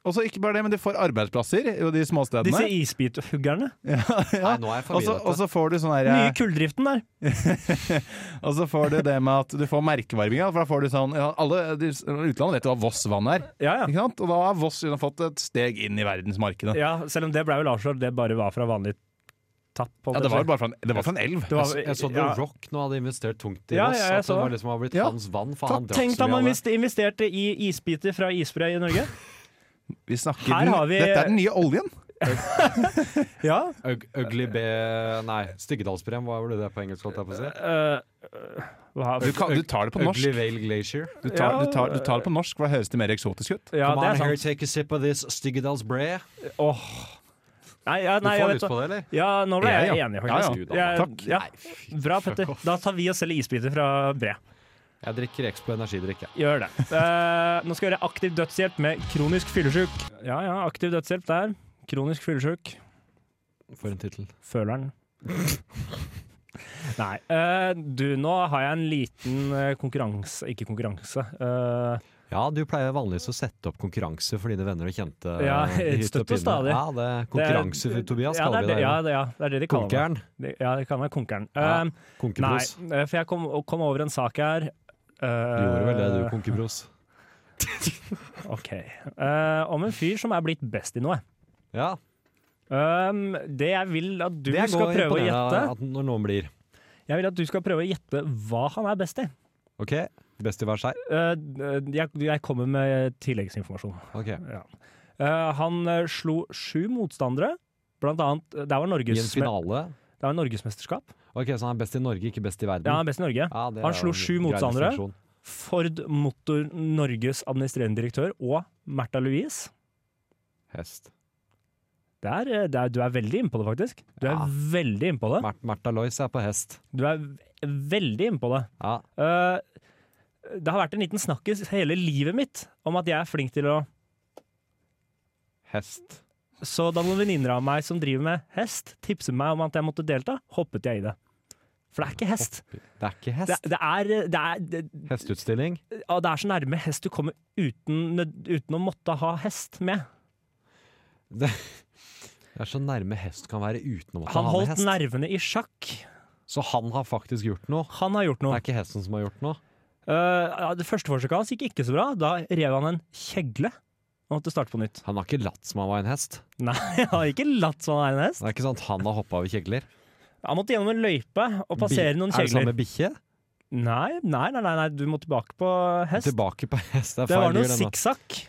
Speaker 5: Og så ikke bare det, men du får arbeidsplasser i de små
Speaker 2: Disse
Speaker 5: stedene.
Speaker 2: isbithuggerne.
Speaker 3: Nei, nå er jeg
Speaker 5: Og så
Speaker 3: forvirret.
Speaker 5: og så får du sånn
Speaker 2: Nye
Speaker 5: her eh,
Speaker 2: kulldriften der.
Speaker 5: Og så får du det med at du får merkevarminga, for da får du sånn ja, Alle de- utlandet vet jo hva Voss vann er,
Speaker 2: Ja, ja.
Speaker 5: ikke sant? Og da har Voss liksom fått et steg inn i verdensmarkedet.
Speaker 2: ja selv om det ble jo Larsor, det bare var fra vanlig tapp. holdt
Speaker 5: Ja,
Speaker 2: jeg på
Speaker 5: det
Speaker 2: å
Speaker 5: var
Speaker 2: si.
Speaker 5: jo bare fra en, det var fra en elv.
Speaker 2: Det var-
Speaker 3: Jeg så The
Speaker 2: ja.
Speaker 3: Rock nå hadde investert tungt i
Speaker 2: Ja,
Speaker 3: Voss.
Speaker 2: ja, jeg
Speaker 3: at det
Speaker 2: så
Speaker 3: var
Speaker 2: det.
Speaker 3: liksom har blitt
Speaker 5: Ja.
Speaker 3: hans vann, for han drakk
Speaker 2: Tenk
Speaker 3: så
Speaker 2: da
Speaker 3: mye
Speaker 2: man
Speaker 3: av det.
Speaker 2: invest- investerte i isbiter fra isbre i Norge.
Speaker 5: Vi snakker
Speaker 2: Her har vi- eh,
Speaker 5: Dette er den nye oljen!
Speaker 2: Ja.
Speaker 3: Ug- Ugly B... Nei, Styggedalsbrem, hva var det det på engelsk? holdt jeg på å si?
Speaker 2: Eh, hva,
Speaker 5: Du, kan, du tar det på norsk.
Speaker 3: Ugly Vale Glacier.
Speaker 5: Du tar, du tar, du tar det på norsk, for da høres det mer eksotisk ut.
Speaker 2: ja,
Speaker 3: Come
Speaker 2: det er
Speaker 3: on here,
Speaker 2: sant.
Speaker 3: take a sip of this Styggedalsbre.
Speaker 2: Åh. Nei, ja, nei,
Speaker 3: du
Speaker 2: jeg
Speaker 3: får
Speaker 2: vet hva.
Speaker 3: lyst på det, eller?
Speaker 2: Ja, nå ble
Speaker 5: Ja,
Speaker 2: jeg
Speaker 5: ja.
Speaker 2: enig,
Speaker 5: Ja,
Speaker 2: faktisk.
Speaker 5: ja.
Speaker 2: Jeg-
Speaker 5: Takk.
Speaker 2: ja. Bra, Petter. Da tar vi og selger isbiter fra bre.
Speaker 3: Jeg drikker Expo energidrikk, jeg.
Speaker 2: Gjør det. Eh, nå skal vi gjøre aktiv dødshjelp med kronisk fyllesyk. Ja, ja, aktiv dødshjelp der. Kronisk fyllesyk.
Speaker 3: For en tittel.
Speaker 2: Føler den. Nei. eh, du, nå har jeg en liten eh, konkurranse Ikke konkurranse. eh,
Speaker 3: Ja, du pleier vanligvis å sette opp konkurranse for dine venner og kjente.
Speaker 2: Ja,
Speaker 3: eh, i hytt
Speaker 2: støtt og
Speaker 3: og pine.
Speaker 2: stadig.
Speaker 3: Ja, det er konkurranse for Tobias,
Speaker 2: ja, det er
Speaker 3: kaller vi
Speaker 2: det.
Speaker 3: det.
Speaker 2: Ja, det, ja, det er det de kaller meg.
Speaker 3: Konkeren.
Speaker 2: Det- Ja, de kaller meg konkeren.
Speaker 3: Ja.
Speaker 2: Eh, Nei,
Speaker 3: Konkepros.
Speaker 2: eh, for jeg kom, kom over en sak her.
Speaker 3: Du gjorde vel det, du,
Speaker 2: eh,
Speaker 3: konkepros.
Speaker 2: Ok. Eh, om en fyr som er blitt best i noe.
Speaker 3: Ja,
Speaker 2: Um, det jeg vil at du
Speaker 3: det er
Speaker 2: skal
Speaker 3: godt
Speaker 2: prøve å gjette
Speaker 3: imponerende at når noen blir.
Speaker 2: Jeg vil at du skal prøve å gjette hva han er best i.
Speaker 3: Ok, best i hver seg.
Speaker 2: Eh, jeg, jeg kommer med tilleggsinformasjon.
Speaker 3: Ok.
Speaker 2: Ja. Eh, han eh, slo sju motstandere, blant annet Det var,
Speaker 3: I
Speaker 2: Norges,
Speaker 3: en finale.
Speaker 2: det var Norgesmesterskap.
Speaker 3: Ok, så han er best i Norge, ikke best i verden.
Speaker 2: Ja, han er best i Norge.
Speaker 3: Mm. Ja, det
Speaker 2: Han
Speaker 3: er jo
Speaker 2: slo
Speaker 3: en
Speaker 2: sju
Speaker 3: grei
Speaker 2: motstandere.
Speaker 3: definisjon.
Speaker 2: Ford Motor Norges administrerende direktør og Märtha Louise.
Speaker 3: Hest.
Speaker 2: Det er, eh, det er, du er veldig innpå det, faktisk. Du er
Speaker 3: Ja.
Speaker 2: veldig innpå det.
Speaker 3: Mar- Martha Lois er på hest.
Speaker 2: Du er v- veldig innpå det.
Speaker 3: Ja,
Speaker 2: Eh, det har vært en liten snakkis hele livet mitt om at jeg er flink til å
Speaker 3: hest.
Speaker 2: Så da noen venninner av meg som driver med hest, tipset meg om at jeg måtte delta, hoppet jeg i det. For det er ikke hest.
Speaker 3: Det er ikke
Speaker 2: Det,
Speaker 3: hest.
Speaker 2: det, er, det, er, det,
Speaker 3: Hesteutstilling.
Speaker 2: ja, det er så nærme hest du kommer uten, uten å måtte ha hest med.
Speaker 3: Det, det er så nærme hest kan være uten å måtte
Speaker 2: Han
Speaker 3: ha med
Speaker 2: holdt
Speaker 3: hest.
Speaker 2: nervene i sjakk.
Speaker 3: Så han har faktisk gjort noe.
Speaker 2: Han har gjort
Speaker 3: Det
Speaker 2: noe.
Speaker 3: er ikke hesten som har gjort noe.
Speaker 2: Eh, ja, det første forsøket hans gikk ikke så bra. Da rev han en kjegle. Han måtte starte på nytt.
Speaker 3: Han har ikke latt som han var en hest.
Speaker 2: Nei, han har ikke latt som han er en hest.
Speaker 3: Det er ikke sant, Han har hoppa over kjegler.
Speaker 2: Han måtte gjennom en løype og passere
Speaker 3: Bi-
Speaker 2: noen
Speaker 3: Er det
Speaker 2: kjegler.
Speaker 3: samme bikkje?
Speaker 2: Nei, nei, nei, nei, nei, du må tilbake på hest.
Speaker 3: Tilbake på hest. Det er
Speaker 2: Det var
Speaker 3: feil
Speaker 2: noe
Speaker 3: dyr, den da.
Speaker 2: sikksakk.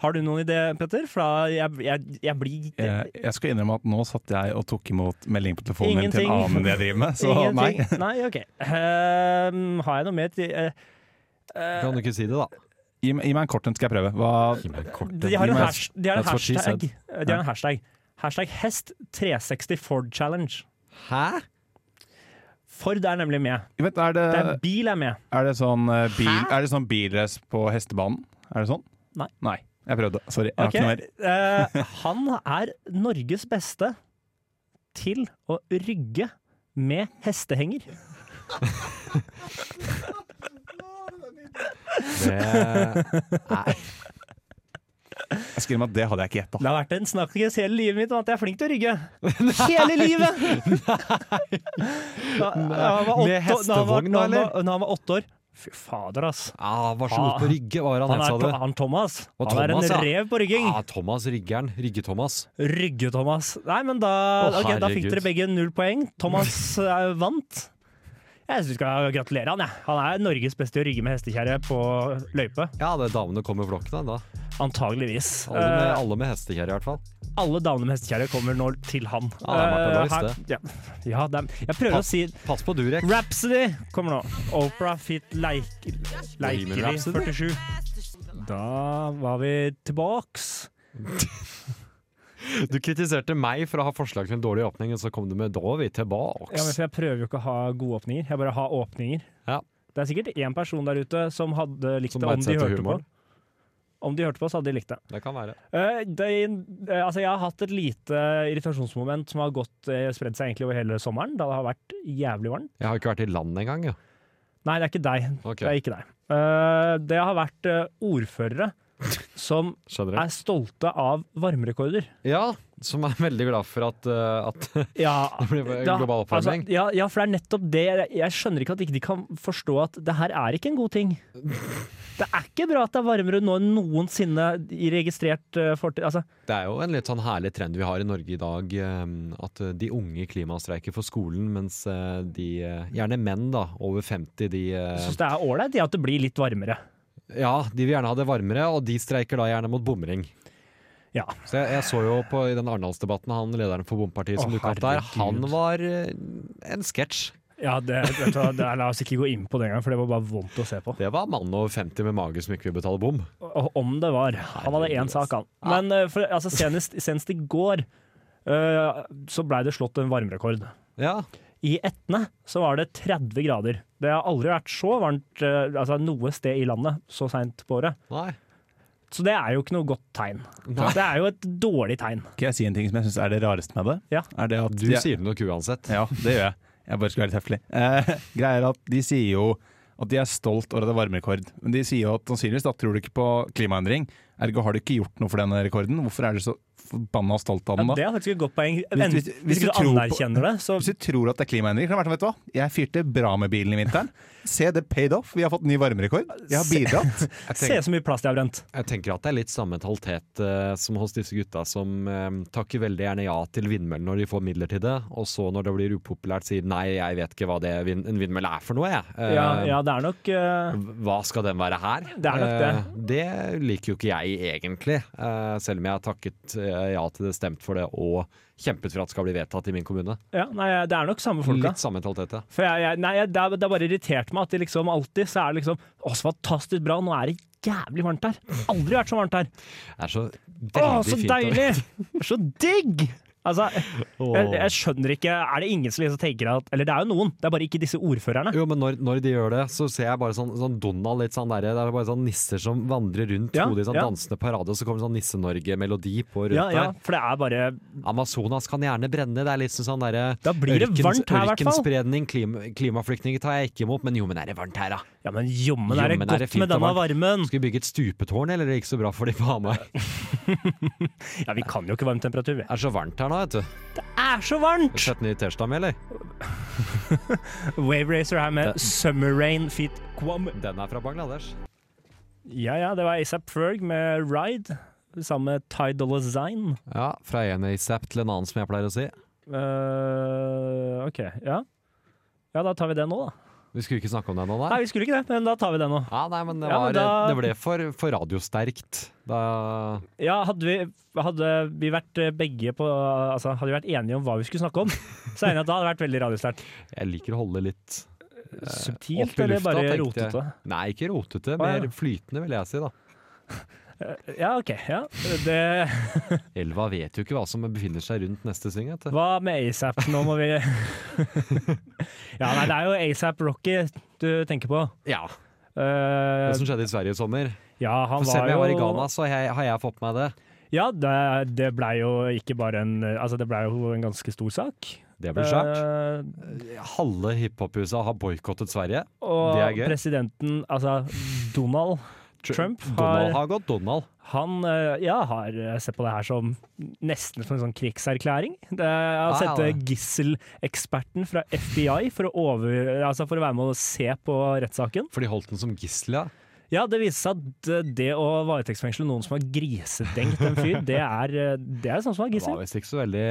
Speaker 2: Har du noen idé, Petter? For da jeg, jeg, jeg blir
Speaker 5: Jeg, Eh, jeg skal innrømme at nå satt jeg og tok imot melding på telefonen min til en
Speaker 2: Ingenting.
Speaker 5: annen enn det jeg driver med. Så nei.
Speaker 2: Ingenting. Nei, ok. Ehm, har jeg noe mer til eh, eh,
Speaker 3: Kan du ikke si det, da?
Speaker 5: Gi, meg- gi meg en kort en, skal jeg prøve. Hva,
Speaker 3: Gi meg en kort
Speaker 2: De har en,
Speaker 5: Gi meg-
Speaker 2: hash, de har en
Speaker 5: that's what she
Speaker 2: hashtag.
Speaker 5: said.
Speaker 2: De har en hashtag. Hashtag hest 360 Ford Challenge.
Speaker 3: Hæ?
Speaker 2: Ford er nemlig med.
Speaker 5: vet, du, er, det,
Speaker 2: Det
Speaker 3: Eh,
Speaker 2: er bil er med.
Speaker 5: er det sånn eh, bil, er det sånn bilrace på hestebanen? Er det sånn?
Speaker 2: Nei.
Speaker 5: Nei. Jeg prøvde. Sorry. Jeg har
Speaker 2: Ok,
Speaker 5: ikke noe mer.
Speaker 2: eh, han er Norges beste til å rygge med hestehenger.
Speaker 3: Det
Speaker 5: Jeg skriver meg at det hadde jeg ikke gjetta.
Speaker 2: Det har vært en snakkis hele livet mitt om at jeg er flink til å rygge. Hele livet! Da, da han var åtte-
Speaker 3: Med
Speaker 2: da han var-
Speaker 3: hestevogn,
Speaker 2: da han var-
Speaker 3: eller?
Speaker 2: Når han var åtte år Fy fader, ass.
Speaker 3: ah, var så god på rygge, var han,
Speaker 2: Han
Speaker 3: het, sa
Speaker 2: er,
Speaker 3: du.
Speaker 2: han Thomas.
Speaker 3: Og
Speaker 2: Han er en
Speaker 3: Thomas, ja.
Speaker 2: rev på rygging.
Speaker 3: Ah, Thomas Ryggeren. Rygge-Thomas.
Speaker 2: Rygge, Thomas. Nei, men da,
Speaker 3: Å,
Speaker 2: ok, da fikk
Speaker 3: herregud.
Speaker 2: dere begge null poeng. Thomas eh, vant. Jeg syns vi skal gratulere han. jeg. Han er Norges beste til å rygge med hestekjerre på løype.
Speaker 3: Ja, det er damene kommer i flokken, da. da.
Speaker 2: Antageligvis.
Speaker 3: Alle med,
Speaker 2: Eh,
Speaker 3: alle med hestekjerre, i hvert fall.
Speaker 2: alle damene med hestekjerre kommer nå til han.
Speaker 3: Ja, det Ah. er Martha Louise,
Speaker 2: Eh, her- ja, ja, det er, jeg prøver å si
Speaker 3: Pass på Durek.
Speaker 2: Rhapsody kommer nå. Opera Fit Leikeri
Speaker 3: Bohemian Rhapsody.
Speaker 2: 47. Da var vi tilbaks.
Speaker 3: Du kritiserte meg for å ha forslag til en dårlig åpning, og så kom du med 'da er vi
Speaker 2: Ja, men
Speaker 3: tilbake'.
Speaker 2: for jeg prøver jo ikke å ha gode åpninger. Jeg bare har åpninger.
Speaker 3: Ja.
Speaker 2: Det er sikkert én person der ute som hadde likt
Speaker 3: Som
Speaker 2: det om de
Speaker 3: verdsetter
Speaker 2: hørte
Speaker 3: humoren.
Speaker 2: på. Om de hørte på, så hadde de likt det.
Speaker 3: Det kan være.
Speaker 2: Eh, det eh, altså, jeg har hatt et lite irritasjonsmoment som har gått, eh, spredd seg egentlig over hele sommeren, da det har vært jævlig varmt.
Speaker 3: Jeg har ikke vært i land engang, jo.
Speaker 2: Nei, det er ikke deg.
Speaker 3: Ok,
Speaker 2: Det er ikke deg. Eh, det har vært eh, ordførere som
Speaker 3: skjønner
Speaker 2: er stolte av varmerekorder.
Speaker 3: jeg. Ja, som er veldig glad for at, eh, at
Speaker 2: Ja,
Speaker 3: Det blir bare
Speaker 2: da-
Speaker 3: eh, global oppvarming.
Speaker 2: Altså, ja, ja, for det er nettopp det. Jeg- Jeg skjønner ikke at ikke de kan forstå at det her er ikke en god ting. Det er ikke bra at det er varmere nå enn noensinne i registrert eh, fortid. Altså,
Speaker 3: Det er jo en litt sånn herlig trend vi har i Norge i dag, eh, at eh, de unge klimastreiker for skolen, mens eh, de, eh, gjerne menn da, over 50, de, eh,
Speaker 2: jeg syns det er ålreit ja, at det blir litt varmere.
Speaker 3: ja, de vil gjerne ha det varmere, og de streiker da gjerne mot bomring.
Speaker 2: Ja.
Speaker 3: Så jeg, jeg så jo på i den Arendalsdebatten, han lederen for Bompartiet som
Speaker 2: Å,
Speaker 3: dukket opp der, han
Speaker 2: herregud.
Speaker 3: var eh, en sketsj.
Speaker 2: Ja, det, vet du hva, det, La oss ikke gå inn på det engang, for det var bare vondt å se på.
Speaker 3: Det var mannen over 50 med mage som ikke vil betale bom.
Speaker 2: Og Om det var. Han hadde én sak, han.
Speaker 3: Ja.
Speaker 2: Men eh, for, altså, senest, senest i går eh, så blei det slått en varmerekord.
Speaker 3: Ja,
Speaker 2: I Etne så var det 30 grader. Det har aldri vært så varmt eh, altså noe sted i landet så seint på året.
Speaker 3: nei.
Speaker 2: Så det er jo ikke noe godt tegn. Det er jo et dårlig tegn.
Speaker 5: Kan jeg si en ting som jeg syns er det rareste med det?
Speaker 2: Ja.
Speaker 5: Er det at
Speaker 3: Du sier det nok uansett.
Speaker 5: Ja, det gjør jeg. Jeg bare skal være litt høflig. Eh, greier at De sier jo at de er stolt over at det er varmerekord, men de sier jo at sannsynligvis da tror du ikke på klimaendring. Ergo har du ikke gjort noe for denne rekorden. Hvorfor er du så forbanna stolt av
Speaker 2: Ja,
Speaker 5: den
Speaker 2: det
Speaker 5: da?
Speaker 2: er faktisk et godt poeng.
Speaker 5: Hvis-
Speaker 2: Enten-
Speaker 5: hvis-
Speaker 2: Hvis,
Speaker 5: hvis du
Speaker 2: du
Speaker 5: tror på-
Speaker 2: anerkjenner det, så
Speaker 5: Hvis du tror at det er klimaendring, kan det være sånn, vet du hva, jeg fyrte bra med bilen i vinteren. Se, det paid off. Vi har fått ny varmerekord. Jeg har bidratt.
Speaker 2: se så mye plass de har brent.
Speaker 3: Jeg tenker at det er litt samme mentalitet eh, som hos disse gutta som eh, takker veldig gjerne ja til vindmøller når de får midler til det, og så når det blir upopulært sier nei, jeg vet ikke hva det vind en vindmølle er for noe, jeg. Eh,
Speaker 2: Ja, ja, det er nok eh,
Speaker 3: Hva skal den være her?
Speaker 2: Det er nok det.
Speaker 3: Eh, det liker jo ikke jeg egentlig, eh, selv om jeg har takket eh, ja til det, stemt for det og kjempet for at det skal bli vedtatt i min kommune.
Speaker 2: ja, Nei, det er nok samme folka.
Speaker 3: Litt samme mentalitet, ja.
Speaker 2: For jeg, jeg, nei, jeg, det, er, det er bare irritert meg at det liksom alltid så er det liksom Å, så fantastisk bra, nå er det jævlig varmt her. Aldri vært så varmt her.
Speaker 3: Det er så
Speaker 2: Å,
Speaker 3: veldig
Speaker 2: så
Speaker 3: fint. å-
Speaker 2: deilig! Så digg! Altså, jeg, jeg skjønner ikke Er det ingen som liksom tenker at Eller det er jo noen, det er bare ikke disse ordførerne.
Speaker 3: Jo, men når, når de gjør det, så ser jeg bare sånn, sånn Donald litt sånn derre Det er bare sånn nisser som vandrer rundt
Speaker 2: Ja,
Speaker 3: hodet i sånn
Speaker 2: ja.
Speaker 3: dansende parade, og så kommer sånn Nisse-Norge-melodi på rundt
Speaker 2: Ja, ja,
Speaker 3: der.
Speaker 2: for det er bare
Speaker 3: Amazonas kan gjerne brenne, det er liksom sånn derre
Speaker 2: Da blir det varmt her, i hvert fall.
Speaker 3: Ørkenspredning, klima, klimaflyktninger tar jeg ikke imot, men jo, men er det varmt her, da?
Speaker 2: Ja, men jommen er det
Speaker 3: Jommen er det
Speaker 2: godt
Speaker 3: fint
Speaker 2: med denne
Speaker 3: og
Speaker 2: varmen.
Speaker 3: Skal vi bygge et stupetårn, eller er det ikke så bra for de på Hamar? Det
Speaker 2: Ja, vi kan jo ikke varm temperatur, vi.
Speaker 3: er så varmt her nå, vet du.
Speaker 2: Det er så varmt!
Speaker 3: Sett ned i tirsdag med, eller?
Speaker 2: Wave Racer her med
Speaker 3: Det-
Speaker 2: Summer Rain Fit Quam.
Speaker 3: Den er fra Bangladesh.
Speaker 2: Ja ja, det var ASAP Ferg med Ride. Sammen med Ty Dolla Sign.
Speaker 3: Ja, fra en ASAP til en annen, som jeg pleier å si.
Speaker 2: Eh, OK, ja. Ja, da tar vi det nå, da.
Speaker 3: Vi skulle ikke snakke om det nå,
Speaker 2: Nei, vi skulle ikke det, men da tar vi det nå.
Speaker 3: Ja, nei, men det,
Speaker 2: Ja,
Speaker 3: var,
Speaker 2: men da-
Speaker 3: det ble for, for radiosterkt. Da,
Speaker 2: Ja, hadde vi, hadde vi vært eh, begge på Altså, hadde vi vært enige om hva vi skulle snakke om, så er jeg enig i at da hadde det vært veldig radiosterkt.
Speaker 3: jeg liker å holde litt
Speaker 2: Subtilt,
Speaker 3: Eh, opp i
Speaker 2: eller
Speaker 3: lufta,
Speaker 2: bare
Speaker 3: tenkte jeg.
Speaker 2: rotete?
Speaker 3: Nei, ikke rotete,
Speaker 2: Å, ja.
Speaker 3: mer flytende, vil jeg si. da
Speaker 2: Ja, OK. Ja. Det,
Speaker 3: Elva vet jo ikke hva som befinner seg rundt neste sving. vet du.
Speaker 2: hva med ASAP? Nå må vi Ja, nei, det er jo ASAP Rocky du tenker på.
Speaker 3: Ja,
Speaker 2: Eh,
Speaker 3: Det som skjedde i Sverige i sommer.
Speaker 2: ja, han
Speaker 3: For
Speaker 2: var
Speaker 3: selv om jeg var i
Speaker 2: jo-
Speaker 3: Ghana, så har jeg, har jeg fått med det.
Speaker 2: Ja, det, det blei jo ikke bare en Altså, det blei jo en ganske stor sak.
Speaker 3: Det blir svært.
Speaker 2: Eh,
Speaker 3: Halve hiphophuset har boikottet Sverige.
Speaker 2: og
Speaker 3: Det er gøy.
Speaker 2: presidenten, altså Donald
Speaker 3: Tr-
Speaker 2: Trump har-
Speaker 3: Donald har gått Donald.
Speaker 2: han eh, ja, har eh, sett på det her som nesten som en sånn krigserklæring. Det, jeg har
Speaker 3: Ja,
Speaker 2: sett
Speaker 3: ja,
Speaker 2: eh,
Speaker 3: det.
Speaker 2: gisseleksperten fra FBI for å, over, altså for å være med og se på rettssaken.
Speaker 3: For de holdt den som gissel, ja.
Speaker 2: Ja, det viser seg at eh, det å varetektsfengsle noen som har grisedengt en fyr, det er, eh, det er sånn som er
Speaker 3: Det var
Speaker 2: gissel.
Speaker 3: visst ikke så veldig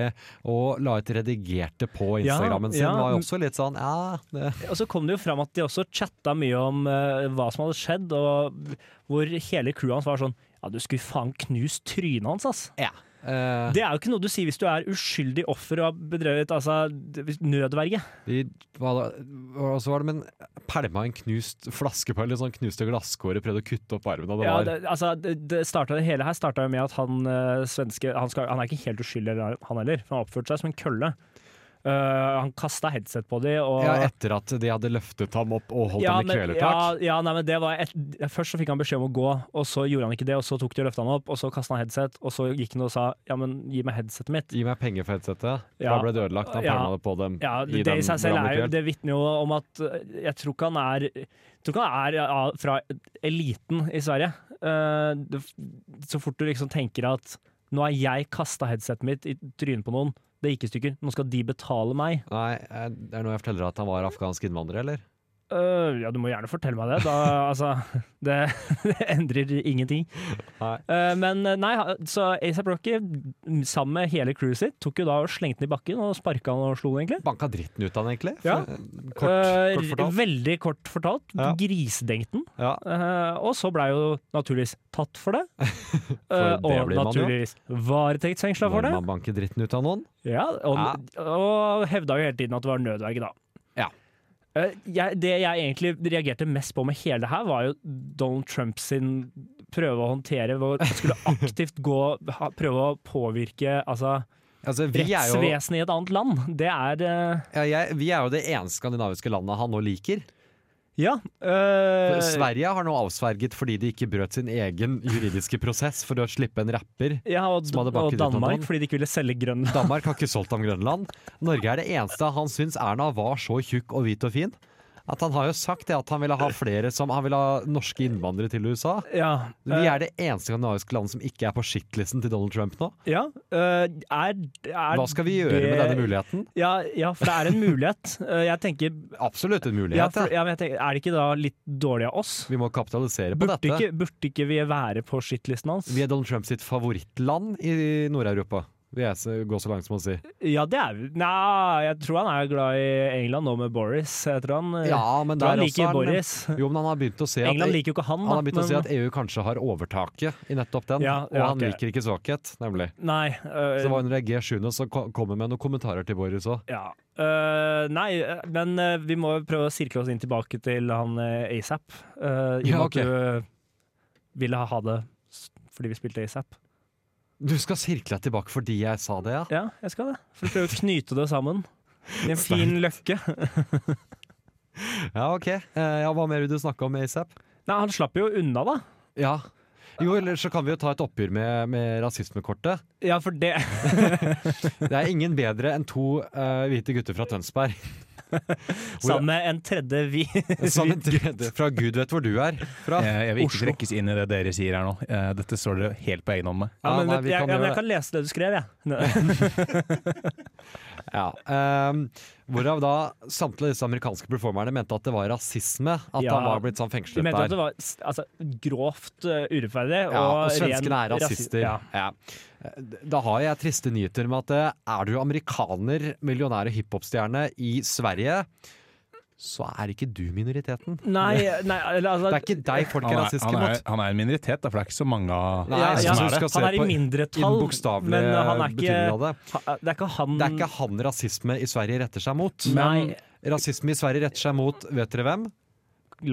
Speaker 3: Og la ut redigerte på
Speaker 2: Ja,
Speaker 3: Instagrammen sin.
Speaker 2: ja,
Speaker 3: var jo
Speaker 2: men-
Speaker 3: også litt sånn ja, det,
Speaker 2: Og så kom det jo fram at de også chatta mye om eh, hva som hadde skjedd, og hvor hele crewet hans var sånn Ja, du skulle faen knust trynet hans, ass.
Speaker 3: ja. Eh,
Speaker 2: Det er jo ikke noe du sier hvis du er uskyldig offer og har bedrevet altså, nødverge.
Speaker 3: de, hva da, og så var det men pælma en knust flaske på, eller sånn knuste glasskåret, prøvde å kutte opp armen, og det
Speaker 2: Ja,
Speaker 3: var
Speaker 2: det, altså, det, det, startet, det hele her starta jo med at han eh, svenske han, skal, han er ikke helt uskyldig, han heller. For han oppførte seg som en kølle. Eh, han kasta headset på de og
Speaker 3: ja, etter at de hadde løftet ham opp og holdt
Speaker 2: Ja,
Speaker 3: ham i
Speaker 2: men-
Speaker 3: kvelertak.
Speaker 2: Ja, ja, nei, men det var et, først så fikk han beskjed om å gå, og så gjorde han ikke det. Og så tok de og løfta han opp, og så kasta han headset, og så gikk han og sa ja, men gi meg headsetet mitt.
Speaker 3: Gi meg penger for headsetet. Da
Speaker 2: Ja.
Speaker 3: ble det ødelagt. Han
Speaker 2: Ja.
Speaker 3: pælma det på dem.
Speaker 2: Ja,
Speaker 3: i
Speaker 2: det i
Speaker 3: den
Speaker 2: seg selv er jo,
Speaker 3: rammekrøll.
Speaker 2: det vitner jo om at eh, jeg tror ikke han er, jeg tror ikke han er ja, fra eliten i Sverige. Eh, det- Så fort du liksom tenker at nå har jeg kasta headsetet mitt i trynet på noen, det gikk i stykker, nå skal de betale meg.
Speaker 3: Nei, eh, det er noe jeg forteller at han var afghansk innvandrer, eller?
Speaker 2: Eh, ja, du må gjerne fortelle meg det. Da, altså, det, det endrer ingenting.
Speaker 3: Nei.
Speaker 2: Eh, men eh, nei, ha- så ASAP Rocky sammen med hele crewet sitt tok jo da og slengte den i bakken og sparka han og slo den, egentlig.
Speaker 3: Banka dritten ut av han, egentlig.
Speaker 2: Ja.
Speaker 3: For- Kort,
Speaker 2: Eh,
Speaker 3: kort fortalt.
Speaker 2: Veldig kort fortalt.
Speaker 3: Ja.
Speaker 2: Grisedengten.
Speaker 3: Ja.
Speaker 2: Eh, og så blei jo naturligvis tatt for det.
Speaker 3: For
Speaker 2: Eh,
Speaker 3: det
Speaker 2: og
Speaker 3: blir man jo.
Speaker 2: naturligvis varetektsfengsla for
Speaker 3: Når
Speaker 2: det.
Speaker 3: man banker dritten ut av noen.
Speaker 2: Ja, og, og hevda jo hele tiden at det var nødverge, da.
Speaker 3: Ja.
Speaker 2: Eh, jeg, det jeg egentlig reagerte mest på med hele det her, var jo Donald Trump sin prøve å håndtere hvor han skulle aktivt gå ha, prøve å påvirke altså,
Speaker 3: Altså, vi er jo
Speaker 2: rettsvesenet i et annet land. Det er eh,
Speaker 3: Ja, jeg, vi er jo det ene skandinaviske landet han nå liker.
Speaker 2: Ja. eh,
Speaker 3: Sverige har nå avsverget fordi de ikke brøt sin egen juridiske prosess for å slippe en rapper.
Speaker 2: Ja, og,
Speaker 3: Som hadde
Speaker 2: og
Speaker 3: bakket ut noen
Speaker 2: Danmark,
Speaker 3: vann.
Speaker 2: fordi de ikke ville selge Grønland.
Speaker 3: Danmark har ikke solgt ham Grønland. Norge er det eneste han syns Erna var så tjukk og hvit og fin. At han har jo sagt det at han ville ha flere som Han ville ha norske innvandrere til USA.
Speaker 2: Ja,
Speaker 3: Vi er det eneste skandinaviske landet som ikke er på shitlisten til Donald Trump nå.
Speaker 2: ja, eh, er, er
Speaker 3: Hva skal vi gjøre
Speaker 2: det-
Speaker 3: med denne muligheten?
Speaker 2: Ja, ja, for det er en mulighet. Eh, jeg tenker,
Speaker 3: Absolutt en
Speaker 2: ja,
Speaker 3: mulighet.
Speaker 2: for,
Speaker 3: ja.
Speaker 2: ja, men jeg tenker Er det ikke da litt dårlig av oss?
Speaker 3: Vi må kapitalisere på
Speaker 2: Burde
Speaker 3: dette.
Speaker 2: ikke, burde ikke vi være på shitlisten hans?
Speaker 3: Vi er Donald Trump sitt favorittland i Nord-Europa. Vil jeg s- gå så langt som å si.
Speaker 2: Ja, det er vi. Nei, jeg tror han er glad i England nå med Boris. Jeg tror han, eh,
Speaker 3: Ja, men
Speaker 2: tror han
Speaker 3: der
Speaker 2: liker
Speaker 3: også er han
Speaker 2: Boris.
Speaker 3: Jo, men han har begynt å se at, E
Speaker 2: England liker jo ikke han,
Speaker 3: han har
Speaker 2: da,
Speaker 3: begynt å se
Speaker 2: men-
Speaker 3: at EU kanskje har overtaket i nettopp den,
Speaker 2: Ja,
Speaker 3: og
Speaker 2: ja,
Speaker 3: han
Speaker 2: ok.
Speaker 3: liker ikke svakhet, nemlig.
Speaker 2: Nei. eh,
Speaker 3: Så det var under G7 og så ko- kommer med noen kommentarer til Boris òg.
Speaker 2: Ja. Eh, nei, eh, men eh, vi må jo prøve å sirkle oss inn tilbake til han eh, ASAP. eh, I og med
Speaker 3: Ja,
Speaker 2: at
Speaker 3: ok.
Speaker 2: du eh, ville ha det s- fordi vi spilte ASAP.
Speaker 3: Du skal sirkle deg tilbake fordi jeg sa det, ja?
Speaker 2: Ja, jeg skal det. For å prøve å knyte det sammen. I en fin løkke.
Speaker 3: Ja, ok. Eh, Ja, hva mer vil du snakke om med ASAP?
Speaker 2: Nei, han slapp jo unna, da.
Speaker 3: Ja. Jo, eller så kan vi jo ta et oppgjør med, med rasismekortet.
Speaker 2: Ja, for det
Speaker 3: Det er ingen bedre enn to eh, hvite gutter fra Tønsberg.
Speaker 2: Sammen med en tredje vi
Speaker 3: Som en tredje fra Gud vet hvor du er fra.
Speaker 5: Eh, Jeg, jeg vil ikke
Speaker 3: Oslo.
Speaker 5: trekkes inn i det dere sier her nå. Eh, Dette står dere helt på egen hånd med.
Speaker 2: Ja,
Speaker 3: Ja,
Speaker 2: men
Speaker 3: nei,
Speaker 2: vet-
Speaker 3: vi
Speaker 2: jeg, ja,
Speaker 3: kan
Speaker 2: men jeg
Speaker 3: gjøre det.
Speaker 2: kan lese det du skrev, jeg.
Speaker 3: Ja. ehm, hvorav da samtlige disse amerikanske performerne mente at det var rasisme at
Speaker 2: Ja.
Speaker 3: han var blitt sånn
Speaker 2: De
Speaker 3: fengslet
Speaker 2: mente at
Speaker 3: der.
Speaker 2: det var s- altså, grovt eh, urettferdig.
Speaker 3: Ja, og
Speaker 2: ren
Speaker 3: svenskene er
Speaker 2: rasi-
Speaker 3: rasister.
Speaker 2: Ja.
Speaker 3: Ja. Eh, Da har jeg triste nyheter med at eh, er du amerikaner, millionær og hiphopstjerne i Sverige, så er ikke du minoriteten.
Speaker 2: Nei, nei, eller altså
Speaker 3: Det er ikke deg folk
Speaker 5: Han
Speaker 3: er
Speaker 5: er,
Speaker 3: rasiske
Speaker 5: han, er,
Speaker 3: mot.
Speaker 5: han er en minoritet, da, for det er ikke så mange av
Speaker 3: Nei,
Speaker 2: ja,
Speaker 3: jeg
Speaker 2: ja,
Speaker 3: synes du skal se
Speaker 2: han er i
Speaker 3: på i den
Speaker 2: mindretall, men
Speaker 3: bokstavelige
Speaker 2: eh, han er ikke,
Speaker 3: betydningen av det.
Speaker 2: ha- eh, det er ikke han
Speaker 3: Det er ikke han rasisme i Sverige retter seg mot.
Speaker 2: Nei.
Speaker 3: Rasisme i Sverige retter seg mot, vet dere hvem?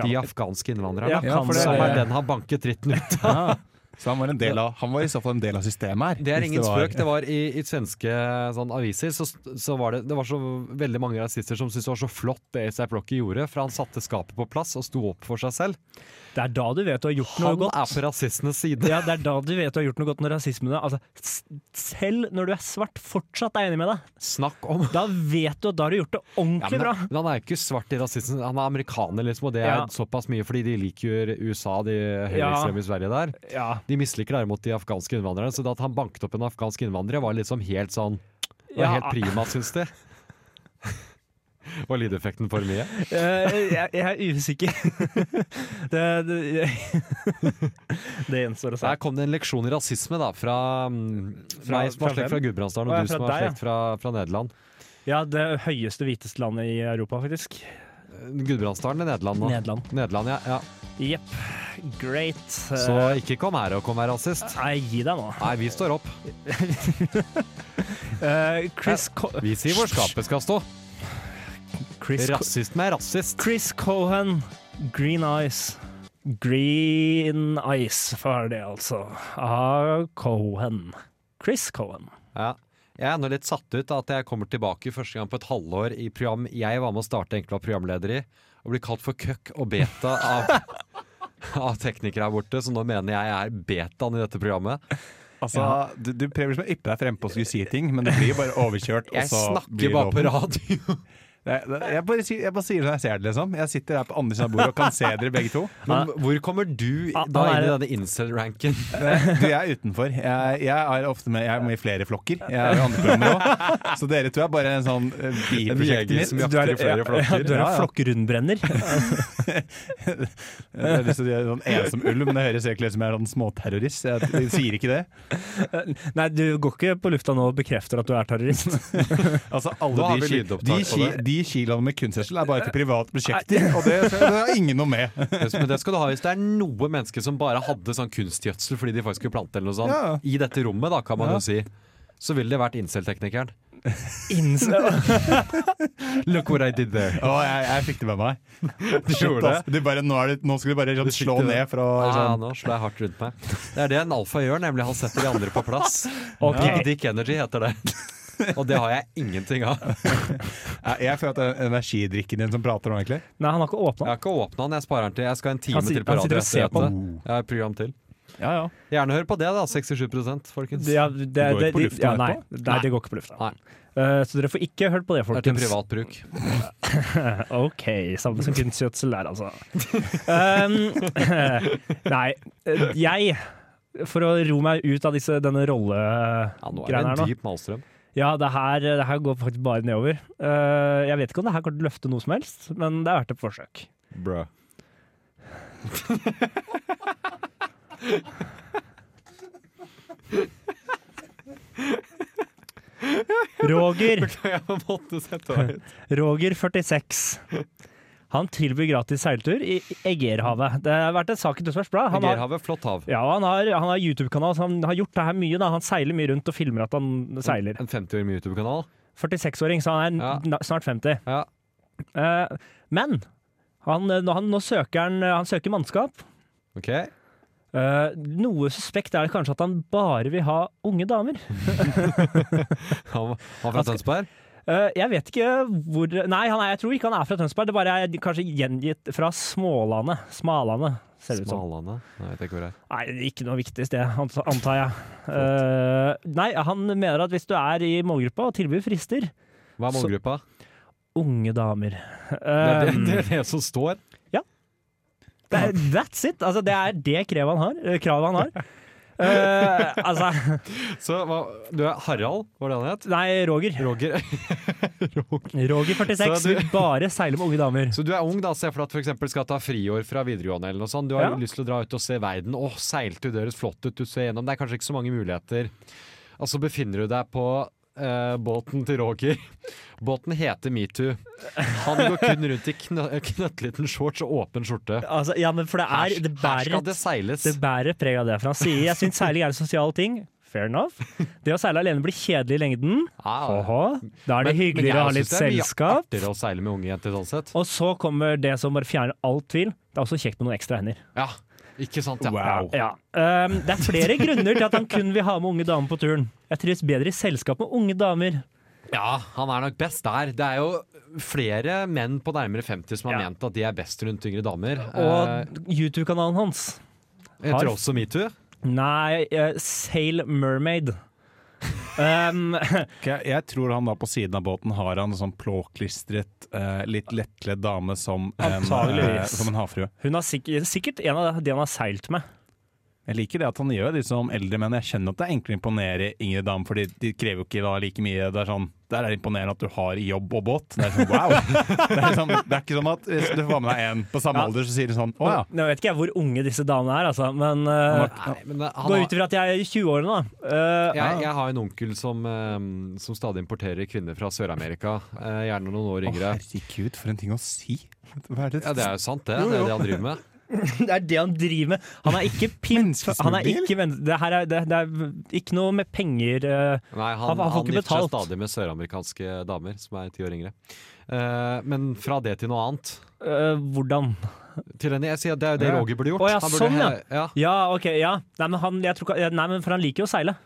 Speaker 3: De afghanske innvandrerne.
Speaker 2: Ja,
Speaker 5: Ja,
Speaker 2: kan
Speaker 5: for det-
Speaker 2: være-
Speaker 3: Som er den han banket dritten ut av.
Speaker 5: Ja. Så han var, en del av, han var i så fall en del av systemet her.
Speaker 3: Det er
Speaker 5: hvis
Speaker 3: ingen
Speaker 5: var-
Speaker 3: spøk. Det var i, i svenske sånn, aviser så, så var det, det var så veldig mange rasister som syntes det var så flott det A$AP Rocky gjorde, for han satte skapet på plass og sto opp for seg selv.
Speaker 2: Det er da du vet du har gjort noe
Speaker 3: Han
Speaker 2: godt.
Speaker 3: er på rasistenes side.
Speaker 2: Ja, det er da du vet du har gjort noe godt når rasismen er altså, s- Selv når du er svart, fortsatt er jeg enig med deg.
Speaker 3: Snakk om
Speaker 2: Da vet du at da har du gjort det
Speaker 3: Ja,
Speaker 2: ordentlig
Speaker 3: men,
Speaker 2: bra.
Speaker 3: men han er jo ikke svart i rasismen, han er amerikaner, liksom, og det er
Speaker 2: Ja.
Speaker 3: såpass mye fordi de liker jo USA, de
Speaker 2: Ja.
Speaker 3: høyreekstreme i Sverige der.
Speaker 2: Ja,
Speaker 3: De misliker derimot de afghanske innvandrerne, så det at han banket opp en afghansk innvandrer var liksom helt sånn Det var
Speaker 2: Ja.
Speaker 3: helt prima, syns de. Var lydeffekten for mye?
Speaker 2: eh, jeg, jeg er usikker. det, det, det gjenstår å se.
Speaker 3: Der kom det en leksjon i rasisme, da, fra, mm,
Speaker 2: Fra-
Speaker 3: meg som har
Speaker 2: fra
Speaker 3: slekt
Speaker 2: hvem?
Speaker 3: fra Gudbrandsdalen,
Speaker 2: Å, ja,
Speaker 3: og du
Speaker 2: fra
Speaker 3: som har
Speaker 2: deg, ja.
Speaker 3: slekt fra, fra Nederland.
Speaker 2: Ja, det høyeste hviteste landet i Europa, faktisk.
Speaker 3: Eh, Gudbrandsdalen eller Nederland nå?
Speaker 2: Nederland.
Speaker 3: Nederland, ja, ja.
Speaker 2: Jepp. Great.
Speaker 3: Så ikke kom her og kom være rasist.
Speaker 2: Nei, gi deg nå.
Speaker 3: Nei, vi står opp.
Speaker 2: Eh, Chris, Co
Speaker 3: Vi sier hvor skapet skal stå.
Speaker 2: Chris, Co
Speaker 3: Rasist med rasist.
Speaker 2: Chris Cohen, Green Eyes. Green Eyes var det, altså. Av Cohen. Chris Cohen.
Speaker 3: Ja. Jeg er ennå litt satt ut av at jeg kommer tilbake første gang på et halvår i program jeg var med å starte egentlig var programleder i, og blir kalt for køkk og beta av, av teknikere her borte, så nå mener jeg jeg er betaen i dette programmet.
Speaker 5: Altså, du, du prøver liksom å yppe deg frempå og skulle si ting, men det blir bare overkjørt. og
Speaker 3: Jeg
Speaker 5: så blir
Speaker 3: snakker
Speaker 5: det
Speaker 3: bare på
Speaker 5: over.
Speaker 3: radio.
Speaker 5: Det- det- Jeg bare sier, jeg bare sier det når jeg ser det, liksom. Jeg sitter her på andre siden av bordet og kan se dere begge to.
Speaker 3: Men hvor kommer du
Speaker 2: Ah,
Speaker 3: da
Speaker 2: han
Speaker 3: inn i
Speaker 2: er-
Speaker 3: denne incel-ranken?
Speaker 5: Det- eh, Du, jeg er utenfor. Jeg, jeg er ofte med, jeg er med i flere flokker. Jeg er i andre programmer også. Så dere tror jeg er bare er en sånn eh,
Speaker 3: En
Speaker 5: biprosjekt
Speaker 3: jeger
Speaker 5: mitt.
Speaker 3: som jakter i flere
Speaker 2: Ja,
Speaker 3: flokker.
Speaker 2: du er
Speaker 5: Ja,
Speaker 2: en
Speaker 5: ja.
Speaker 2: flokkrundbrenner.
Speaker 5: Jeg har lyst til å gjøre sånn ensom ulv, men det høres egentlig ut som jeg er sånn småterrorist. Jeg, jeg sier ikke det.
Speaker 2: Nei, du går ikke på lufta nå og bekrefter at du er terrorist.
Speaker 5: Altså,
Speaker 3: Da har
Speaker 5: alle de,
Speaker 3: vi
Speaker 5: ki-
Speaker 3: lydopptak
Speaker 5: de,
Speaker 3: på
Speaker 5: ki,
Speaker 3: det.
Speaker 5: de kiloene med kunstgjødsel er bare til private prosjekter, og det, det har ingen noe med.
Speaker 3: Men det skal du ha hvis det er noe menneske som bare hadde sånn kunstgjødsel fordi de faktisk skulle plante eller noe sånt,
Speaker 5: Ja.
Speaker 3: i dette rommet, da, kan man
Speaker 5: Ja.
Speaker 3: jo si. Så ville det vært incel-teknikeren.
Speaker 2: Innså-
Speaker 3: Look what I did there.
Speaker 5: Å, jeg, jeg fikk det med meg.
Speaker 3: Du gjorde det?
Speaker 5: Du bare, nå, er det, nå skal du bare sånn,
Speaker 3: Du fikk
Speaker 5: slå
Speaker 3: det.
Speaker 5: ned fra
Speaker 3: Ja,
Speaker 5: sånn.
Speaker 3: Ah, nå slår jeg hardt rundt meg. Det er det en alfa gjør, nemlig han setter de andre på plass.
Speaker 2: Ok.
Speaker 3: Big Dick Energy heter det. Og det har jeg ingenting av.
Speaker 5: Jeg, jeg føler at det er energidrikken din som prater nå, egentlig.
Speaker 2: Nei, han har ikke
Speaker 3: Jeg
Speaker 2: åpna.
Speaker 3: har ikke åpna den, jeg sparer den til. Jeg skal ha en time
Speaker 2: Han sit-
Speaker 3: til på
Speaker 2: han sitter
Speaker 3: radio.
Speaker 2: og ser
Speaker 3: etter
Speaker 2: på
Speaker 3: dette. Jeg har et program til.
Speaker 5: Ja, ja.
Speaker 3: Gjerne hør på det, da. 67 folkens. Det
Speaker 2: Ja, det, det,
Speaker 5: går ikke på
Speaker 2: de-
Speaker 5: lufta
Speaker 2: ja, nei,
Speaker 5: etterpå?
Speaker 2: nei, det går ikke på lufta.
Speaker 3: Nei.
Speaker 2: Eh, så dere får ikke hørt på det,
Speaker 3: er til
Speaker 2: folkens.
Speaker 3: privat bruk.
Speaker 2: OK, samme som kunstgjødsel der, altså. Um, nei, eh, jeg For å ro meg ut av disse, denne
Speaker 3: Ja, nå er det
Speaker 2: rollegreiene her
Speaker 3: en
Speaker 2: nå
Speaker 3: dyp malstrøm.
Speaker 2: Ja, det her, det her går faktisk bare nedover. Eh, jeg vet ikke om det her kommer til å løfte noe som helst, men det er verdt et forsøk.
Speaker 3: Brø.
Speaker 2: Roger,
Speaker 3: Jeg måtte sette deg ut.
Speaker 2: Roger 46. Han tilbyr gratis seiltur i Egerhavet. Det har vært en sak i Tønsbergs Blad. Han har-
Speaker 3: Gerhavet, flott hav.
Speaker 2: Ja, han har, han har YouTube-kanal, så han har gjort det her mye. Da. Han seiler mye rundt og filmer at han seiler.
Speaker 3: En 50 år med YouTube-kanal.
Speaker 2: 46-åring, så han er
Speaker 3: Ja.
Speaker 2: na- snart 50.
Speaker 3: Ja.
Speaker 2: Eh, men han, eh, nå- han, nå søker han, eh, han søker mannskap.
Speaker 3: OK.
Speaker 2: Eh, Eh, noe suspekt er det kanskje at han bare vil ha unge damer.
Speaker 3: Han, han fra Tønsberg?
Speaker 2: Eh, jeg vet ikke hvor Nei, han er, jeg tror ikke han er fra Tønsberg. Det bare er kanskje gjengitt fra Smålandet. Smalandet, ser det ut som.
Speaker 3: Smalane? Nei, jeg vet ikke hvor det er.
Speaker 2: Nei, ikke noe viktig sted, ant- antar jeg. Eh, nei, han mener at hvis du er i målgruppa og tilbyr frister
Speaker 3: Hva er
Speaker 2: Så-
Speaker 3: målgruppa?
Speaker 2: Unge damer.
Speaker 3: Det
Speaker 2: Eh,
Speaker 3: er det, det, er det som står.
Speaker 2: det er, that's it! Altså, det er det krevet han har. eh, Kravet han har. Eh, altså
Speaker 3: Så hva, du er Harald, var det han het?
Speaker 2: Nei, Roger.
Speaker 3: Roger.
Speaker 2: Roger 46
Speaker 3: Så du-
Speaker 2: vil bare seile med unge damer.
Speaker 3: Så du er ung, da. Se for deg at for eksempel skal ta friår fra videregående. eller noe sånt. Du har
Speaker 2: Ja.
Speaker 3: lyst til å dra ut og se verden. Å, seilte du deres flott ut, du ser gjennom. Det er kanskje ikke så mange muligheter. Og så befinner du deg på eh, båten til Roger. Båten heter Metoo. Han går kun rundt i knø eh, knøttliten shorts og åpen skjorte.
Speaker 2: Altså, ja, men for det
Speaker 3: Her,
Speaker 2: er Det
Speaker 3: her
Speaker 2: bærer
Speaker 3: skal det seiles.
Speaker 2: Det bærer preg av det. For han sier jeg syns seiling er en sosial ting. Fair enough. Det å seile alene blir kjedelig i lengden.
Speaker 3: Ja,
Speaker 2: Åhå. Da er det
Speaker 3: Men- men jeg
Speaker 2: hyggeligere å ha
Speaker 3: synes
Speaker 2: litt
Speaker 3: det er mye
Speaker 2: selskap.
Speaker 3: Artigere å seile med unge jenter sånn sett.
Speaker 2: Og så kommer det som bare fjerner all tvil. Det er også kjekt med noen ekstra hender.
Speaker 3: Ja, ikke sant? Ja.
Speaker 2: Ja. Um, det er flere grunner til at han kun vil ha med unge damer på turen. Jeg trives bedre i selskap med unge damer.
Speaker 3: Ja, han er nok best der. Det er jo flere menn på nærmere 50 som har
Speaker 2: Ja.
Speaker 3: ment at de er best rundt yngre damer. Eh,
Speaker 2: Og YouTube-kanalen hans.
Speaker 3: jeg tror også metoo.
Speaker 2: Nei, eh, Sail Mermaid. Um,
Speaker 5: Jeg, jeg tror han da på siden av båten har han en sånn plåklistret, eh, litt lettkledd dame som en,
Speaker 2: Antageligvis.
Speaker 5: eh, som en havfrue.
Speaker 2: hun er sikkert, sikkert en av de han har seilt med.
Speaker 5: Jeg liker det at han gjør de som eldre menn. Jeg skjønner at det er enklere å imponere yngre damer, for de, de krever jo ikke da like mye. Det er sånn, Der er det imponerende at du har jobb og båt. Det er sånn, wow! Det er, sånn, det er ikke sånn at hvis du får med deg en på samme
Speaker 2: Ja.
Speaker 5: alder, så sier du sånn Å ja.
Speaker 2: Nå vet ikke jeg hvor unge disse damene er, altså, men uh,
Speaker 3: Nei, men eh, han
Speaker 2: gå
Speaker 3: har,
Speaker 2: ut ifra at jeg er i 20-årene, da. Eh,
Speaker 3: jeg, jeg har en onkel som, eh, som stadig importerer kvinner fra Sør-Amerika. eh, gjerne noen år
Speaker 5: Å,
Speaker 3: yngre.
Speaker 5: herregud, for en ting å si! Hva er det?
Speaker 3: Ja, Det er jo sant, det. Det er det han driver med.
Speaker 2: Det er det han driver med. Han er ikke pimp.
Speaker 5: Menneskesmugler,
Speaker 2: Han er ikke, men- det, her er, det, det er ikke noe med penger eh,
Speaker 3: Nei,
Speaker 2: Han-
Speaker 3: han,
Speaker 2: han
Speaker 3: han,
Speaker 2: får ikke
Speaker 3: gifter seg
Speaker 2: betalt.
Speaker 3: stadig med søramerikanske damer som er ti år yngre. Eh, men fra det til noe annet.
Speaker 2: eh, Hvordan?
Speaker 3: Til henne, jeg sier at Det er jo det
Speaker 5: Ja.
Speaker 3: Roger burde gjort.
Speaker 2: Å, ja,
Speaker 3: Han burde
Speaker 2: sånn, ja.
Speaker 3: he- ja.
Speaker 2: Ja, OK, ja. Nei, men, han, jeg tror, ikke- nei, men for han liker jo å seile.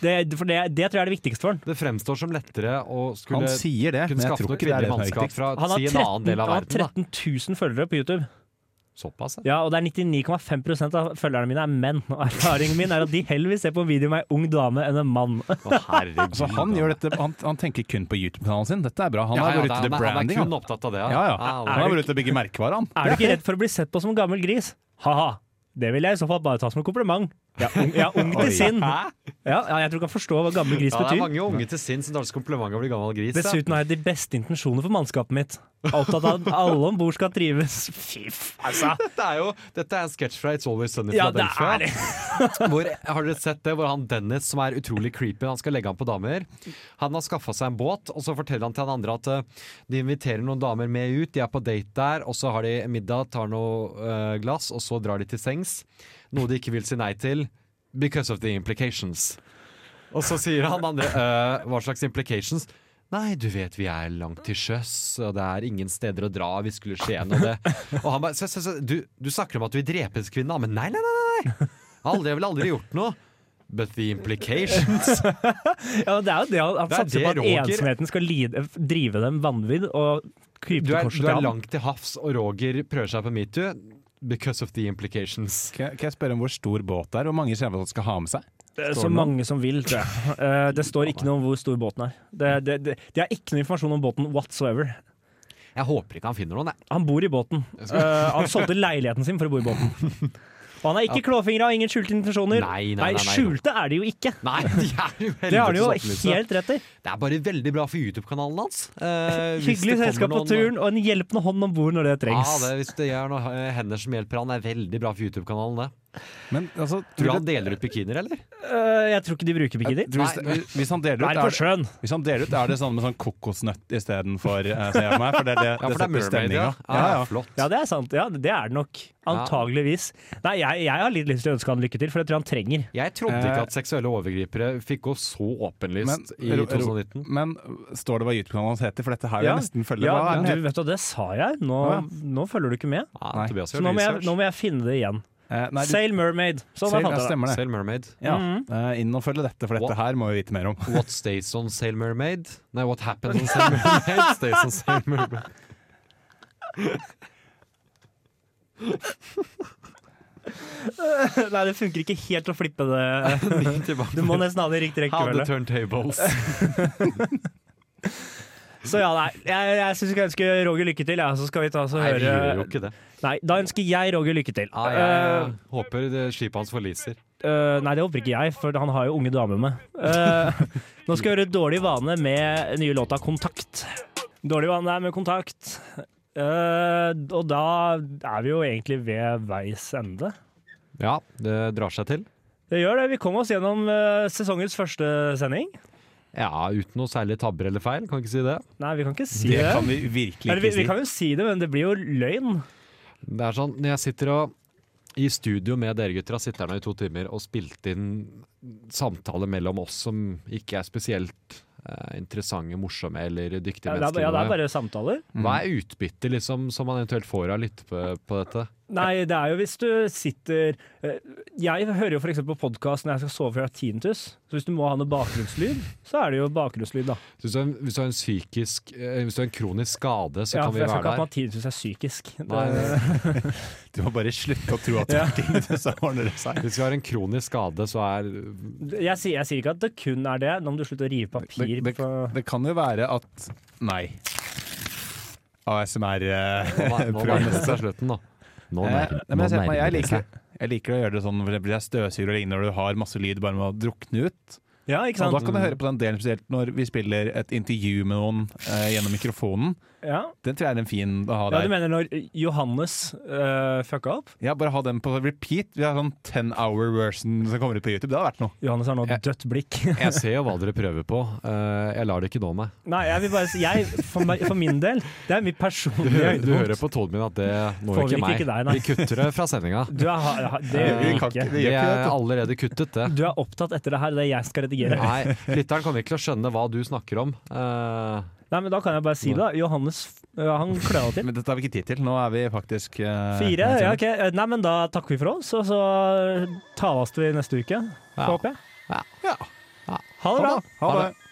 Speaker 2: Det, for det, det tror jeg er det viktigste for han.
Speaker 3: Det fremstår som lettere å
Speaker 5: Han
Speaker 3: skulle
Speaker 5: sier det,
Speaker 3: kunne
Speaker 5: men jeg
Speaker 3: skaffe
Speaker 5: tror
Speaker 3: noe
Speaker 5: ikke det
Speaker 3: kvinnelig
Speaker 5: er det som er
Speaker 3: mannskap
Speaker 5: riktig.
Speaker 3: fra
Speaker 2: Han har
Speaker 3: si en
Speaker 2: 13,
Speaker 3: annen del av
Speaker 2: han har
Speaker 3: verden.
Speaker 2: 13 000 følgere på YouTube,
Speaker 3: Da. Såpass, ja.
Speaker 2: Ja, og det er 99,5 av følgerne mine er menn. Og erfaringen min er at de heller vil se på en video med ei ung dame enn en mann.
Speaker 3: Å, herregud.
Speaker 5: Altså, han, gjør dette, han, han tenker kun på YouTube-kanalen sin. Dette er bra. Han
Speaker 3: Ja,
Speaker 5: har
Speaker 3: ja, det
Speaker 5: vært ute
Speaker 3: er-
Speaker 5: til
Speaker 3: Han
Speaker 5: branding.
Speaker 3: er kun
Speaker 5: Han,
Speaker 3: opptatt av det,
Speaker 5: ja, ja.
Speaker 3: Ja,
Speaker 5: han har vært ute til å bygge merkevare, han.
Speaker 2: Er du ikke redd for å bli sett på som en gammel gris? Ha-ha. Det vil jeg i så fall bare ta som en kompliment. Jeg er ung, jeg er ung til sinn. Ja, ja, jeg tror ikke han forstår hva gammel gris
Speaker 3: ja, det er
Speaker 2: betyr.
Speaker 3: mange unge til sinns som tar som kompliment å bli gammel gris. ja.
Speaker 2: Dessuten har jeg de beste intensjoner for mannskapet mitt. Opptatt av at alle om bord skal trives. Fy f- altså.
Speaker 3: Dette er jo Dette er en sketsj fra It's Always Sunny i
Speaker 2: Ja, det er
Speaker 3: Philadelphia.
Speaker 2: det.
Speaker 3: Hvor, har dere sett det? Hvor han Dennis, som er utrolig creepy, han skal legge an på damer. Han har skaffa seg en båt, og så forteller han til han andre at eh, de inviterer noen damer med ut, de er på date der, og så har de middag, tar noe eh, glass, og så drar de til sengs. Noe de ikke vil si nei til because of the implications. Og så sier han andre «Øh, hva slags implications? Nei, du vet vi er langt til sjøs, og det er ingen steder å dra hvis skulle skje noe. Det. Og han bare «Se, se, se, du, du snakker om at du vil drepe disse kvinnene, men nei, nei, nei. nei. Jeg har aldri, jeg ville aldri gjort noe. But the implications
Speaker 2: Ja, det er jo det han- han
Speaker 3: Det er
Speaker 2: satser på
Speaker 3: det
Speaker 2: at
Speaker 3: Roger-
Speaker 2: ensomheten skal lide, drive dem vanvidd og krype
Speaker 3: Du
Speaker 2: til
Speaker 3: er,
Speaker 2: korset
Speaker 3: du
Speaker 2: til
Speaker 3: er
Speaker 2: ham.
Speaker 3: langt til havs, og Roger prøver seg på metoo because of the implications.
Speaker 5: Kan jeg, kan jeg spørre om hvor stor båt det er? Hvor mange skjermer han skal ha med seg?
Speaker 2: Det er
Speaker 5: Står
Speaker 2: Så
Speaker 5: det noe?
Speaker 2: mange som vil, tror jeg. Eh, Det står ikke noe om hvor stor båten er. Det, det, det, de har ikke noe informasjon om båten whatsoever.
Speaker 3: Jeg håper ikke han finner noen, jeg.
Speaker 2: Han bor i båten. Eh, han solgte leiligheten sin for å bo i båten. Og han er ikke klåfingra og ingen skjulte intensjoner.
Speaker 3: Nei, nei, nei, nei.
Speaker 2: skjulte er de jo ikke.
Speaker 3: Nei, de er jo
Speaker 2: Det har de jo
Speaker 3: helvetes opplyste.
Speaker 2: helt rett i.
Speaker 3: Det er bare veldig bra for YouTube-kanalen hans. Eh, hvis det
Speaker 2: Hyggelig
Speaker 3: kommer
Speaker 2: selskap på
Speaker 3: noen-
Speaker 2: turen og en hjelpende hånd om bord når det trengs.
Speaker 3: Ja, det, hvis det er noen eh, hender som hjelper han, er veldig bra for YouTube-kanalen. det.
Speaker 5: Men altså,
Speaker 3: Tror du
Speaker 5: tror
Speaker 3: han
Speaker 5: du
Speaker 3: deler ut bikinier, eller?
Speaker 2: Eh, jeg tror ikke de bruker bikini.
Speaker 5: tror du- hvis han deler
Speaker 2: Det
Speaker 5: ut,
Speaker 2: er
Speaker 5: er
Speaker 2: på
Speaker 5: det,
Speaker 2: sjøen.
Speaker 5: hvis han deler ut, er det sånn med sånn kokosnøtt istedenfor uh, meg? For det, er det,
Speaker 3: Ja, for det
Speaker 5: setter
Speaker 3: er Mermaid, ja.
Speaker 5: stemninga.
Speaker 3: ja, ja. Flott.
Speaker 2: Ja, det er sant. Ja, det er det nok. Antageligvis. Nei, jeg, jeg har litt lyst til å ønske han lykke til, for det tror jeg han trenger.
Speaker 3: Jeg trodde
Speaker 5: Eh,
Speaker 3: ikke at seksuelle overgripere fikk gå så åpenlyst i
Speaker 5: Ro- Ro-
Speaker 3: 2019.
Speaker 5: men står det hva YouTube-kanalen hans heter? For dette her vil
Speaker 2: Ja.
Speaker 5: jeg nesten følge.
Speaker 2: Ja,
Speaker 5: hva er den
Speaker 2: du
Speaker 5: heter?
Speaker 2: vet du, det sa jeg. Nå,
Speaker 5: Å, ja.
Speaker 2: nå følger du ikke med.
Speaker 3: Ja,
Speaker 5: Nei.
Speaker 3: Ah, Tobias
Speaker 2: Så
Speaker 3: gjør
Speaker 2: nå må, jeg,
Speaker 3: research.
Speaker 2: nå må jeg finne det igjen.
Speaker 5: Eh, nei, du-
Speaker 2: Sail Mermaid. Sånn
Speaker 5: Sail,
Speaker 2: jeg fant
Speaker 5: ja,
Speaker 2: jeg det.
Speaker 5: stemmer det.
Speaker 3: Sail Mermaid.
Speaker 5: Ja.
Speaker 2: Mhm.
Speaker 5: Eh, inn og følge dette, for dette
Speaker 3: What?
Speaker 5: her må vi vite mer om.
Speaker 3: What stays on Sail Mermaid? Nei, what happens on Sail Mermaid stays on Sail Mermaid.
Speaker 2: Nei, det funker ikke helt å flippe det. Du må nesten ha det i riktig
Speaker 3: How the
Speaker 2: rekkefølge.
Speaker 3: turntables.
Speaker 2: Så ja, nei. Jeg, jeg syns vi kan ønske Roger lykke til, ja, så skal vi ta oss og
Speaker 3: Nei, vi gjør jo
Speaker 2: høre eh,
Speaker 3: ikke det.
Speaker 2: Nei, da ønsker jeg Roger lykke til.
Speaker 3: Ah, jeg, jeg håper det- skipet hans forliser.
Speaker 2: Eh, eh, nei, det håper ikke jeg, for han har jo unge damer med. Eh, nå skal vi høre Dårlig vane med nye låta 'Kontakt'. Dårlig vane er med kontakt. Eh, og da er vi jo egentlig ved veis ende.
Speaker 3: Ja, det drar seg til.
Speaker 2: Det gjør det. Vi kom oss gjennom eh, sesongens første sending.
Speaker 3: Ja, uten noe særlig tabber eller feil, kan ikke si det.
Speaker 2: Nei, vi kan ikke si
Speaker 5: Det
Speaker 2: det.
Speaker 5: kan vi virkelig
Speaker 2: Eller, vi,
Speaker 5: ikke
Speaker 2: vi
Speaker 5: si.
Speaker 2: kan jo si det, men det blir jo løgn.
Speaker 3: Det er sånn, når jeg sitter og i studio med dere gutter har sittet her nå i to timer og spilt inn samtaler mellom oss som ikke er spesielt eh, interessante, morsomme eller dyktige
Speaker 2: Ja, det er,
Speaker 3: mennesker.
Speaker 2: ja, det er bare samtaler.
Speaker 5: Mm.
Speaker 3: Hva er utbyttet liksom, som man eventuelt får av å lytte på, på dette?
Speaker 2: Nei, det er jo hvis du sitter eh, Jeg hører jo f.eks. på podkast når jeg skal sove for jeg har tinnitus. Så hvis du må ha noe bakgrunnslyd, så er det jo bakgrunnslyd, da.
Speaker 3: Så Hvis du, har en- hvis du har en psykisk eh, Hvis du har en kronisk skade, så
Speaker 2: Ja,
Speaker 3: kan
Speaker 2: for
Speaker 3: vi
Speaker 2: jeg skal ikke
Speaker 3: være
Speaker 2: eh, at
Speaker 3: der.
Speaker 2: man tinnitus er psykisk. Det,
Speaker 3: Nei, nei, nei.
Speaker 5: Du må bare slutte å tro at det er ting, så ordner det seg.
Speaker 3: Hvis vi har en kronisk skade, så er
Speaker 2: jeg, sier, jeg sier ikke at det kun er det. Nå må du slutte å rive papir
Speaker 5: Det, det,
Speaker 2: på
Speaker 5: det kan jo være at Nei.
Speaker 3: Nå
Speaker 5: eh,
Speaker 3: nær- nå nærmer det
Speaker 5: ASMR-programmet.
Speaker 3: seg slutten, da. Nå
Speaker 5: Eh,
Speaker 3: nærmer,
Speaker 5: nei, men
Speaker 3: nå
Speaker 5: jeg, ser på meg, jeg,
Speaker 3: nærmer det
Speaker 5: liker,
Speaker 3: seg.
Speaker 5: jeg liker å gjøre det sånn for eksempel jeg er støvsuger og lignende når du har masse lyd bare med å drukne ut.
Speaker 2: Ja, ikke
Speaker 5: Og da
Speaker 2: sant?
Speaker 5: kan du høre på den delen spesielt når vi spiller et intervju med noen eh, gjennom mikrofonen.
Speaker 2: Ja.
Speaker 5: Den tror jeg er en fin å ha
Speaker 2: ja, du
Speaker 5: der.
Speaker 2: mener når Johannes uh, fucka opp?
Speaker 5: Ja, bare ha den på repeat. Vi har sånn 10 hour version som kommer ut på YouTube. Det hadde vært noe.
Speaker 2: Johannes har nå
Speaker 3: Ja.
Speaker 2: dødt blikk.
Speaker 3: Jeg ser jo hva dere prøver på. Eh, jeg lar det ikke nå meg.
Speaker 2: Nei, jeg vil bare si jeg, for, meg, for min del, det er mitt
Speaker 3: Du,
Speaker 2: personlige
Speaker 3: hø- du
Speaker 2: høydepunkt.
Speaker 3: hører på tonen min at det når
Speaker 2: Påvirker
Speaker 3: ikke meg.
Speaker 2: ikke deg, nei.
Speaker 3: Vi kutter det fra sendinga.
Speaker 2: Du er, ha- ha- det gjør
Speaker 3: Vi
Speaker 2: vi
Speaker 5: kan
Speaker 2: ikke.
Speaker 5: ikke- det
Speaker 3: Det
Speaker 5: gjør ikke
Speaker 3: er
Speaker 5: det,
Speaker 3: allerede kuttet, det.
Speaker 2: Du er opptatt etter det her, det er jeg skal redigere.
Speaker 3: Nei, lytteren kommer ikke til å skjønne hva du snakker om. Eh,
Speaker 2: Nei, men da kan jeg bare si det. da. Johannes øh, han kløna til.
Speaker 5: Men dette har vi ikke tid til. Nå er vi faktisk eh,
Speaker 2: Fire. Ja, ok. Nei, men da takker vi for oss, og så tales vi neste uke,
Speaker 3: Ja.
Speaker 2: håper jeg.
Speaker 3: Ja.
Speaker 2: Ha det bra.
Speaker 5: Ha det.